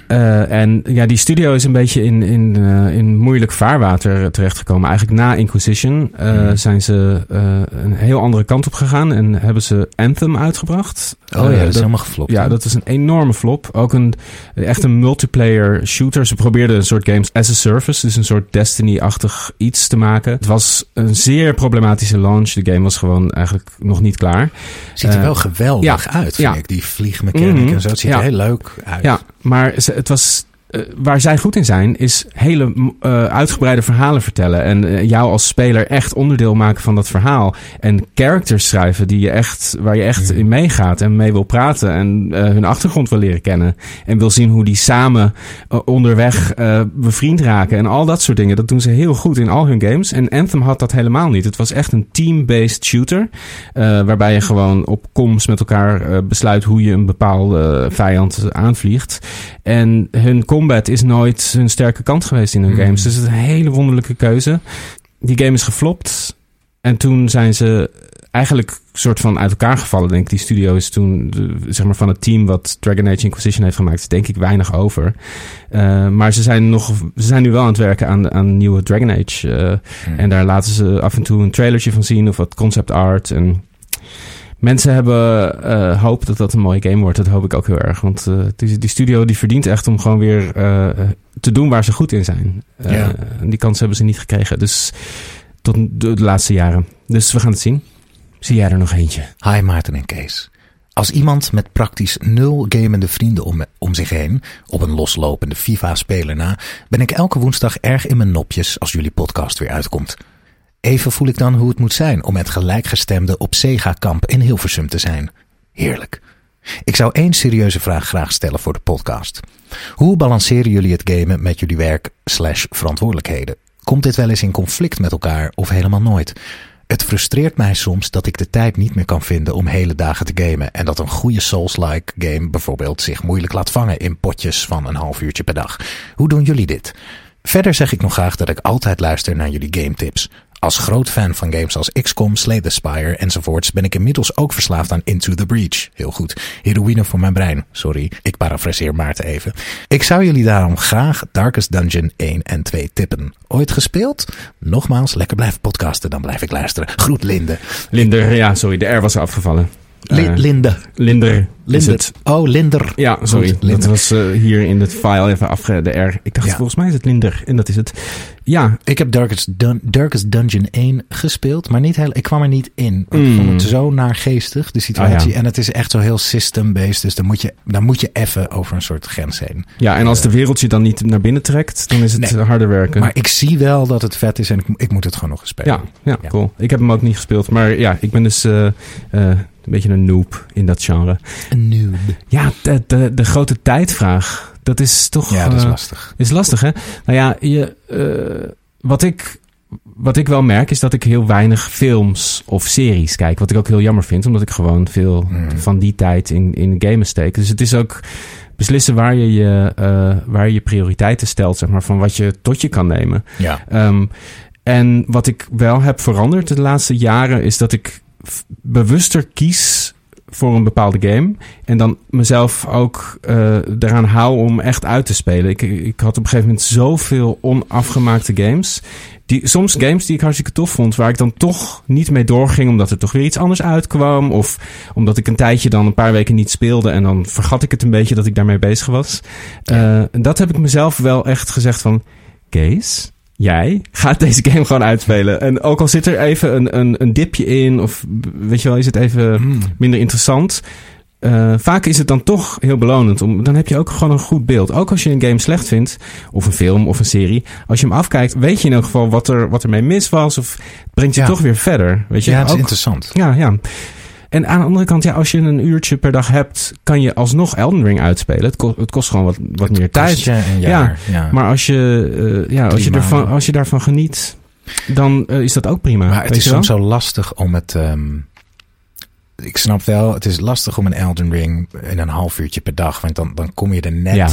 B: eh, en ja, die studio is een beetje in, in, eh, in moeilijk vaarwater eh, terechtgekomen. Eigenlijk na Inquisition eh,
C: Mhm.
B: zijn ze eh, een heel andere kant op gegaan en hebben ze Anthem uitgebracht.
C: Oh ja,
B: Eh,
C: dat is helemaal geflopt.
B: ja, dat is een enorme flop. Ook een echt een multiplayer shooter. Ze probeerden een soort games as a service, dus een soort Destiny-achtig iets te maken. Het was een zeer problematische launch. De game was gewoon eigenlijk nog niet klaar.
C: ziet er
B: eh,
C: wel geweldig uit, vind
B: ja.
C: ik. Die vliegmechanic
B: Mhm.
C: en zo. Het ziet
B: Ja.
C: er heel leuk uit.
B: Ja, maar ze- het was. eh, waar zij goed in zijn, is hele m- eh, uitgebreide verhalen vertellen. En eh, jou als speler echt onderdeel maken van dat verhaal. En characters schrijven die je echt, waar je echt
C: Mhm.
B: in meegaat en mee wil praten. En eh, hun achtergrond wil leren kennen. En wil zien hoe die samen eh, onderweg eh, bevriend raken. En al dat soort dingen. Dat doen ze heel goed in al hun games. En Anthem had dat helemaal niet. Het was echt een team-based shooter. eh, waarbij je gewoon op comms met elkaar eh, besluit hoe je een bepaalde vijand aanvliegt. En hun combat is nooit hun sterke kant geweest in hun
C: Mm.
B: games. Dus het is een hele wonderlijke keuze. Die game is geflopt. En toen zijn ze eigenlijk soort van uit elkaar gevallen, denk ik. Die studio is toen, de- zeg maar, van het team wat Dragon Age Inquisition heeft gemaakt, is denk ik weinig over. Eh, maar ze zijn, nog, ze zijn nu wel aan het werken aan, aan nieuwe Dragon Age. eh,
C: Mhm.
B: En daar laten ze af en toe een trailertje van zien of wat concept art. En mensen hebben eh, hoop dat dat een mooie game wordt. Dat hoop ik ook heel erg. Want eh, die, die studio die verdient echt om gewoon weer eh, te doen waar ze goed in zijn. Eh,
C: Ja.
B: en die kans hebben ze niet gekregen. Dus tot de, de laatste jaren. Dus we gaan het zien. Zie jij er nog eentje?
C: Hi Maarten en Kees. Als iemand met praktisch nul gamende vrienden om, om zich heen, op een loslopende FIFA-speler na, ben ik elke woensdag erg in mijn nopjes als jullie podcast weer uitkomt. Even voel ik dan hoe het moet zijn om met gelijkgestemden op Sega-kamp in Hilversum te zijn. Heerlijk. Ik zou één serieuze vraag graag stellen voor de podcast. Hoe balanceren jullie het gamen met jullie werk slash verantwoordelijkheden? Komt dit wel eens in conflict met elkaar of helemaal nooit? Het frustreert mij soms dat ik de tijd niet meer kan vinden om hele dagen te gamen en dat een goede Souls-like game bijvoorbeeld zich moeilijk laat vangen in potjes van een half uurtje per dag. Hoe doen jullie dit? Verder zeg ik nog graag dat ik altijd luister naar jullie game tips. Als groot fan van games als XCOM, Slay the Spire enzovoorts ben ik inmiddels ook verslaafd aan Into the Breach. Heel goed. Heroïne voor mijn brein. Sorry, ik parafraseer Maarten even. Ik zou jullie daarom graag Darkest Dungeon 1 en 2 tippen. Ooit gespeeld? Nogmaals, lekker blijven podcasten, dan blijf ik luisteren. Groet Linde.
B: Linder, ja, sorry, de R was afgevallen.
C: Li-
B: Eh,
C: Linder.
B: Linder. Is
C: Linder.
B: het.
C: Oh, Linder.
B: Ja, sorry.
C: Goed,
B: dat
C: Linder.
B: was eh, hier in het file even afge... De R. Ik dacht,
C: Ja.
B: volgens mij is het Linder. En dat is het. Ja,
C: Ik heb Darkest, Dun- Darkest Dungeon 1 gespeeld, maar niet heel, ik kwam er niet in. Want Ik
B: Mm.
C: vond het zo naargeestig, de situatie.
B: Ah, ja.
C: En het is echt zo heel system-based, dus dan moet, je, dan moet je even over een soort grens heen.
B: ja, en als de wereld je dan niet naar binnen trekt, dan is het
C: Nee.
B: eh, harder werken.
C: Maar ik zie wel dat het vet is en ik, ik moet het gewoon nog eens spelen.
B: Ja, ja,
C: Ja.
B: cool. Ik heb hem ook niet gespeeld. Maar ja, ik ben dus eh, eh, een beetje een noob in dat genre.
C: Een noob.
B: Ja, de, de, de grote tijdvraag. Dat is toch...
C: Ja, dat is
B: eh,
C: lastig.
B: is lastig, hè? Nou ja, je, eh, wat, ik, wat ik wel merk is dat ik heel weinig films of series kijk. Wat ik ook heel jammer vind, omdat ik gewoon veel
C: Mm.
B: van die tijd in, in gamen steek. Dus het is ook beslissen waar je je, eh, waar je je prioriteiten stelt, zeg maar, van wat je tot je kan nemen.
C: Ja.
B: Ehm, en wat ik wel heb veranderd de laatste jaren is dat ik f- bewuster kies voor een bepaalde game. En dan mezelf ook eh daaraan hou om echt uit te spelen. Ik, ik had op een gegeven moment zoveel onafgemaakte games. Die, soms games die ik hartstikke tof vond, waar ik dan toch niet mee doorging omdat er toch weer iets anders uitkwam. Of omdat ik een tijdje dan een paar weken niet speelde en dan vergat ik het een beetje dat ik daarmee bezig was. Eh, dat heb ik mezelf wel echt gezegd van, Kees, jij gaat deze game gewoon uitspelen. En ook al zit er even een, een, een dipje in of weet je wel, is het even
C: Hmm.
B: minder interessant. Eh, vaak is het dan toch heel belonend. Om, dan heb je ook gewoon een goed beeld. Ook als je een game slecht vindt, of een film of een serie. Als je hem afkijkt, weet je in elk geval wat er, wat er mee mis was. Of het brengt je
C: Ja.
B: toch weer verder. Weet je?
C: ja, het is
B: ook,
C: interessant.
B: ja, ja. En aan de andere kant, ja, als je een uurtje per dag hebt, kan je alsnog Elden Ring uitspelen. Het, ko- het kost gewoon wat, wat meer tijd.
C: Kostje een jaar. Ja,
B: Maar als je, eh, ja, als je,
C: Drie
B: ervan,
C: maanden.
B: als je daarvan geniet, dan eh, is dat ook prima.
C: Maar het
B: weet
C: is
B: je wel?
C: soms zo lastig om het. ehm, ik snap wel, het is lastig om een Elden Ring in een half uurtje per dag. Want dan, dan kom je er net,
B: Ja.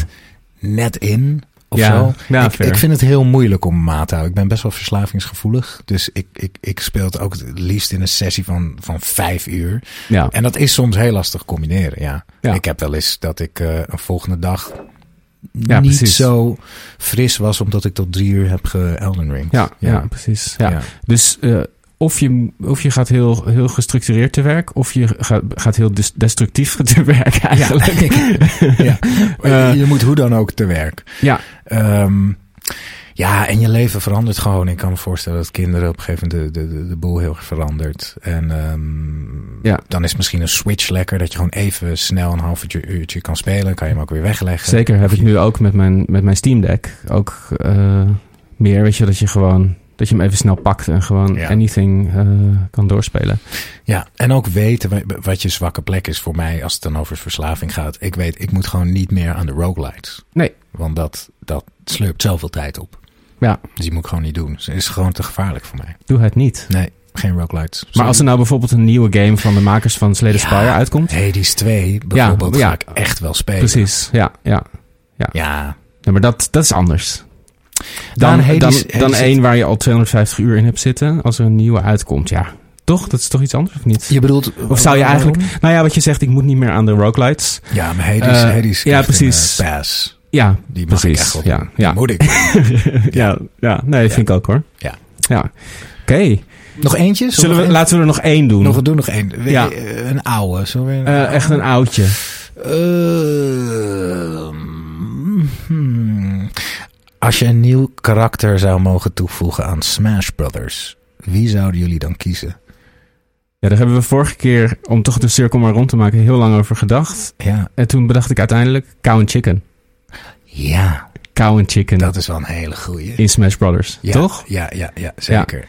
C: net in. Of
B: Ja,
C: zo.
B: ja,
C: ik,
B: fair.
C: ik vind het heel moeilijk om maat te houden. Ik ben best wel verslavingsgevoelig. Dus ik, ik, ik speel het ook het liefst in een sessie van, van vijf uur.
B: Ja.
C: En dat is soms heel lastig combineren. Ja.
B: Ja.
C: Ik heb wel eens dat ik eh, een volgende dag
B: Ja,
C: niet
B: precies.
C: zo fris was. Omdat ik tot drie uur heb ge Elden Ring.
B: Ja, ja. precies. Ja. Dus eh, of, je, of je gaat heel, heel gestructureerd te werk, of je gaat, gaat heel des- destructief [LAUGHS] te werk eigenlijk.
C: [LAUGHS] ja.
B: Eh,
C: je moet hoe dan ook te werk.
B: Ja.
C: Ehm, ja, en je leven verandert gewoon. Ik kan me voorstellen dat kinderen op een gegeven moment de, de, de, de boel heel erg verandert. En ehm,
B: Ja.
C: dan is misschien een switch lekker. Dat je gewoon even snel een half uurtje, uurtje kan spelen. Kan je hem ook weer wegleggen.
B: [LAUGHS] Zeker heb ik nu ook met mijn, met mijn Steam Deck ook eh, meer, weet je, dat je gewoon... Dat je hem even snel pakt en gewoon
C: Ja.
B: anything eh, kan doorspelen.
C: Ja, en ook weten wa- wat je zwakke plek is voor mij als het dan over verslaving gaat. Ik weet, ik moet gewoon niet meer aan de roguelites.
B: Nee.
C: Want dat, dat slurpt zoveel tijd op.
B: Ja.
C: Dus die moet ik gewoon niet doen. Dus het is gewoon te gevaarlijk voor mij.
B: Doe het niet.
C: Nee, geen roguelites.
B: Maar als er nou bijvoorbeeld een nieuwe game van de makers van Slay the
C: Ja.
B: Spire uitkomt...
C: nou Hades 2 bijvoorbeeld
B: ja.
C: ga ik echt wel spelen.
B: Precies, ja, ja.
C: Ja,
B: Ja, maar dat, dat is anders.
C: Nou,
B: Dan,
C: een
B: dan, dan,
C: Hades- Hades-
B: één waar je al 250 uur in hebt zitten. Als er een nieuwe uitkomt, ja. Toch? Dat is toch iets anders, of niet?
C: je bedoelt...
B: Of zou je
C: waarom?
B: eigenlijk- Nou ja, wat je zegt, ik moet niet meer aan de roguelites.
C: Ja, maar Hades,
B: Eh,
C: Hades
B: ja,
C: krijgt een,
B: precies.
C: eh, pass.
B: Ja,
C: Die mag ik echt
B: precies.
C: wel
B: Ja,
C: doen. Die
B: ja.
C: moet
B: [LAUGHS]
C: ik.
B: ja, ja. Nee,
C: Ja.
B: vind ik ook hoor.
C: Ja.
B: ja. Oké.
C: Nog eentje?
B: Zullen we,
C: nog
B: laten we er nog één doen.
C: één? Nog, we doen nog één. Weet
B: Ja.
C: je, eh, Een oude. Zullen we een
B: Eh, echt een oudje.
C: Ehm, Eh, hmm. Als je een nieuw karakter zou mogen toevoegen aan Smash Brothers, wie zouden jullie dan kiezen?
B: Ja, daar hebben we vorige keer, om toch de cirkel maar rond te maken, heel lang over gedacht.
C: Ja,
B: En toen bedacht ik uiteindelijk Cow and Chicken.
C: ja
B: Cow and Chicken
C: dat is wel een hele goeie.
B: in Smash Brothers.
C: Ja,
B: Toch?
C: Ja, ja, ja zeker.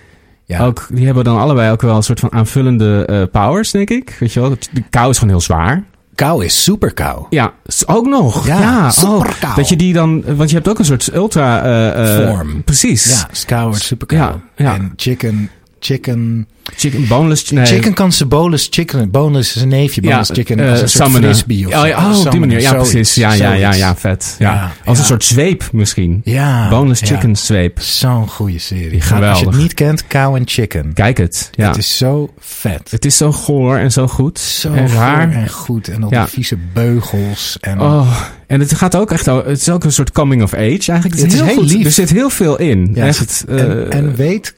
C: Ja.
B: Ook, die hebben dan allebei ook wel een soort van aanvullende eh, powers, denk ik. Weet je wel, dat- de kou is gewoon heel zwaar.
C: Kou is super kou.
B: Ja, s- ook nog.
C: Ja,
B: Ja,
C: super kou.
B: oh, Dat je die dan, want je hebt ook een soort ultra... eh, eh,
C: Vorm.
B: Precies.
C: Ja, kou is super kou.
B: Ja, ja.
C: En chicken, chicken...
B: Chicken, boneless... Nee.
C: Chicken kan ze bolus chicken, bonus is een neefje, bonus chicken
B: eh,
C: als een soort
B: summenen.
C: frisbee of
B: Oh,
C: zo.
B: ja, oh op die
C: Summenen,
B: manier. Ja,
C: zoiets,
B: precies. Ja, ja, ja,
C: zoiets.
B: ja, vet. Ja.
C: Ja,
B: Als
C: ja.
B: een soort zweep misschien.
C: Ja,
B: boneless
C: ja.
B: chicken zweep.
C: Zo'n goede serie.
B: Ja,
C: Ga- Als je het
B: geweldig.
C: niet kent, Cow and Chicken.
B: Kijk het. Ja.
C: Het is zo vet.
B: Het is zo goor en zo goed.
C: zo
B: en raar.
C: goor en goed. En al
B: Ja.
C: die vieze beugels. En
B: Oh, en het gaat ook echt. o- Het is ook een soort coming of age eigenlijk. Het is, heel, lief. Er zit heel veel in.
C: Ja,
B: echt,
C: en,
B: eh,
C: en weet,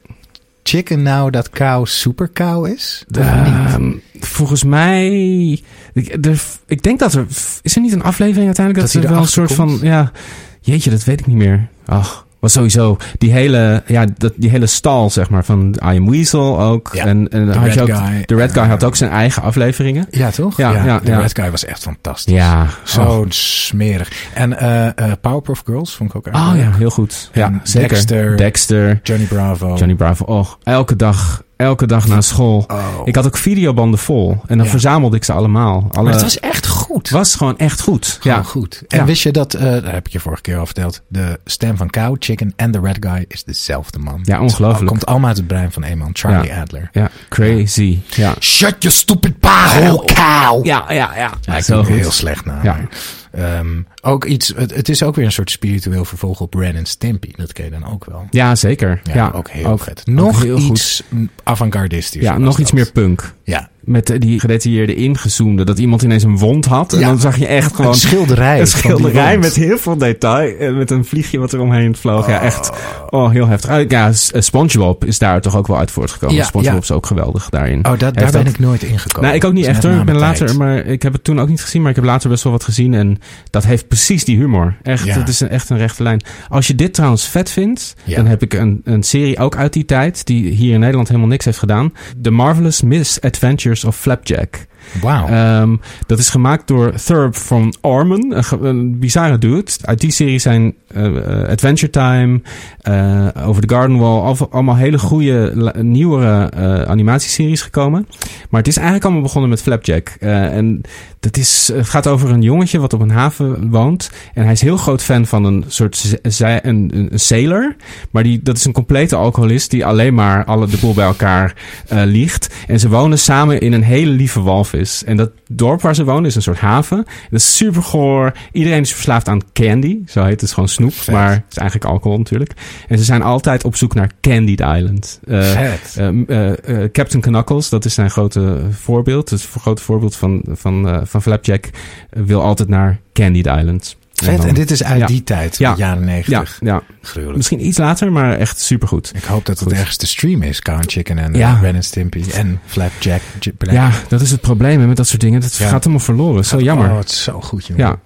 C: chicken nou dat cow super cow is?
B: Ehm, volgens mij. Ik, er- ik denk dat er. Is er niet een aflevering uiteindelijk
C: Dat
B: dat,
C: hij
B: er wel een
C: erachter
B: soort
C: komt?
B: van. Ja, jeetje, dat weet ik niet meer. Ach. Maar sowieso, die hele, ja, dat, die hele stal, zeg maar, van I Am Weasel ook.
C: Ja,
B: en en
C: The
B: had je
C: Red
B: ook-
C: Guy.
B: de Red Guy had ook zijn eigen afleveringen.
C: Ja, toch?
B: Ja, ja,
C: de
B: ja.
C: Red Guy was echt fantastisch.
B: Ja,
C: Zo smerig. En eh, eh, Powerpuff Girls vond ik ook
B: Oh,
C: eigenlijk
B: ja,
C: leuk.
B: heel goed.
C: En
B: ja, zeker.
C: Dexter.
B: Dexter.
C: Johnny Bravo.
B: Johnny Bravo. Och, elke dag, elke dag na school.
C: Oh.
B: Ik had ook videobanden vol. En dan
C: Ja.
B: verzamelde ik ze allemaal. Alle,
C: maar het was echt goed.
B: was gewoon echt goed.
C: Gewoon
B: ja.
C: goed. En
B: Ja.
C: wist je dat, eh daar heb ik je vorige keer al verteld, de stem van Cow, Chicken en de Red Guy is dezelfde man.
B: Ja, ongelooflijk.
C: Het komt allemaal uit het brein van één man, Charlie
B: Ja.
C: Adler.
B: Ja, crazy. Ja.
C: Shut your stupid
B: Oh.
C: pago, cow!
B: Ja, ja, ja.
C: Ja, ik
B: zo
C: doe
B: goed.
C: heel slecht na.
B: Ja.
C: maar, ehm, ook iets, het, het is ook weer een soort spiritueel vervolg op Ren en Stimpy. Dat ken je dan ook wel.
B: Ja, zeker. Ja,
C: ook heel vet.
B: ook
C: Nog
B: heel goed.
C: iets avant-gardistisch.
B: Ja, nog iets meer punk.
C: Ja,
B: Met eh, die gedetailleerde ingezoomde. Dat iemand ineens een wond had. En
C: Ja.
B: dan zag je echt gewoon...
C: een schilderij.
B: [LAUGHS] Een
C: van die
B: schilderij
C: wond.
B: met heel veel detail. En met een vliegje wat er omheen vloog. Ja, echt. Oh, heel heftig. Ah, Ja, S- eh, Spongebob is daar toch ook wel uit voortgekomen.
C: Ja,
B: Spongebob
C: ja.
B: is ook geweldig daarin.
C: Oh, dat, daar
B: Heeft
C: ben
B: dat-
C: ik nooit ingekomen.
B: Nou, ik ook niet
C: Dat is
B: echt
C: net
B: hoor.
C: na
B: Ik ben
C: mijn Dus tijd.
B: later, maar ik heb het toen ook niet gezien, maar ik heb later best wel wat gezien. En dat heeft precies die humor. Echt,
C: Ja.
B: het is een, echt een rechte lijn. Als je dit trouwens vet vindt,
C: Ja.
B: dan heb ik een, een serie ook uit die tijd, die hier in Nederland helemaal niks heeft gedaan. The Marvelous Misadventures of Flapjack.
C: Wauw.
B: Ehm, dat is gemaakt door Thurb van Orman, een, ge- een bizarre dude. Uit die serie zijn eh, eh, Adventure Time, eh, Over the Garden Wall, al- allemaal hele goede la- nieuwere eh, animatieseries gekomen. Maar het is eigenlijk allemaal begonnen met Flapjack. Eh, en dat is, het gaat over een jongetje wat op een haven woont. En hij is heel groot fan van een soort z- zij- een, een, een sailor. Maar die, dat is een complete alcoholist die alleen maar alle, de boel bij elkaar eh, liegt. En ze wonen samen in een hele lieve walvis. En dat dorp waar ze wonen is een soort haven. Dat is super goor. Iedereen is verslaafd aan candy. Zo heet het gewoon snoep.
C: Vet.
B: Maar het is eigenlijk alcohol natuurlijk. En ze zijn altijd op zoek naar Candied Island. Eh,
C: Vet.
B: Ehm, eh, eh, Captain Knuckles, dat is zijn grote voorbeeld. Het vo- grote voorbeeld van, van, eh, van Flapjack eh, wil altijd naar Candy Island.
C: Vet.
B: eh, dan-
C: En dit is uit
B: Ja.
C: die tijd,
B: Ja.
C: de jaren negentig.
B: Ja, ja,
C: Gruwelijk.
B: misschien iets later, maar echt supergoed.
C: Ik hoop dat het
B: Goed.
C: ergens te streamen is. Cow and Chicken en
B: Ja.
C: eh, Ren en Stimpy en Flapjack. J- Black.
B: Ja, dat is het probleem hè, met dat soort dingen. Dat
C: Ja.
B: gaat allemaal verloren. Zo jammer.
C: Oh, het is zo goed, jongen.
B: Ja.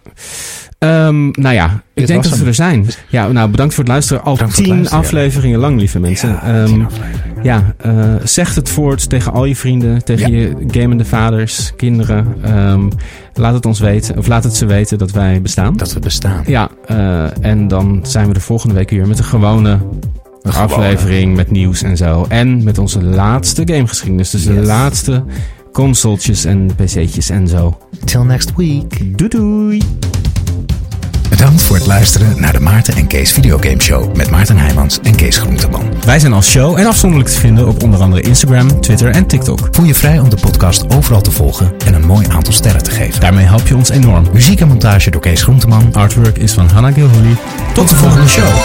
B: Ehm, nou ja, ik
C: Dit
B: denk
C: was
B: dat we
C: hem.
B: er zijn. Ja, nou, bedankt voor het luisteren. Al
C: Bedankt voor
B: tien
C: het luisteren, ja.
B: afleveringen lang, lieve mensen.
C: Ja,
B: Ehm,
C: tien afleveringen.
B: ja, eh, zeg het voort tegen al je vrienden, tegen
C: Ja.
B: je gamende vaders, kinderen. Ehm, laat het ons weten, of laat het ze weten dat wij bestaan.
C: Dat we bestaan.
B: Ja, eh, en dan zijn we de volgende week weer met een gewone, aflevering met nieuws en zo. En met onze laatste gamegeschiedenis. Dus de
C: Yes.
B: laatste consoletjes en pc'tjes en zo.
C: Till next week.
B: Doei doei!
C: Bedankt voor het luisteren naar de Maarten en Kees Videogame Show met Maarten Heijmans en Kees Groenteman.
B: Wij zijn als show en afzonderlijk te vinden op onder andere Instagram, Twitter en TikTok.
C: Voel je vrij om de podcast overal te volgen en een mooi aantal sterren te geven.
B: Daarmee help je ons enorm.
C: Muziek en montage door Kees Groenteman.
B: Artwork is van Hannah Gilhooly.
C: Tot de volgende show.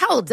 E: Hold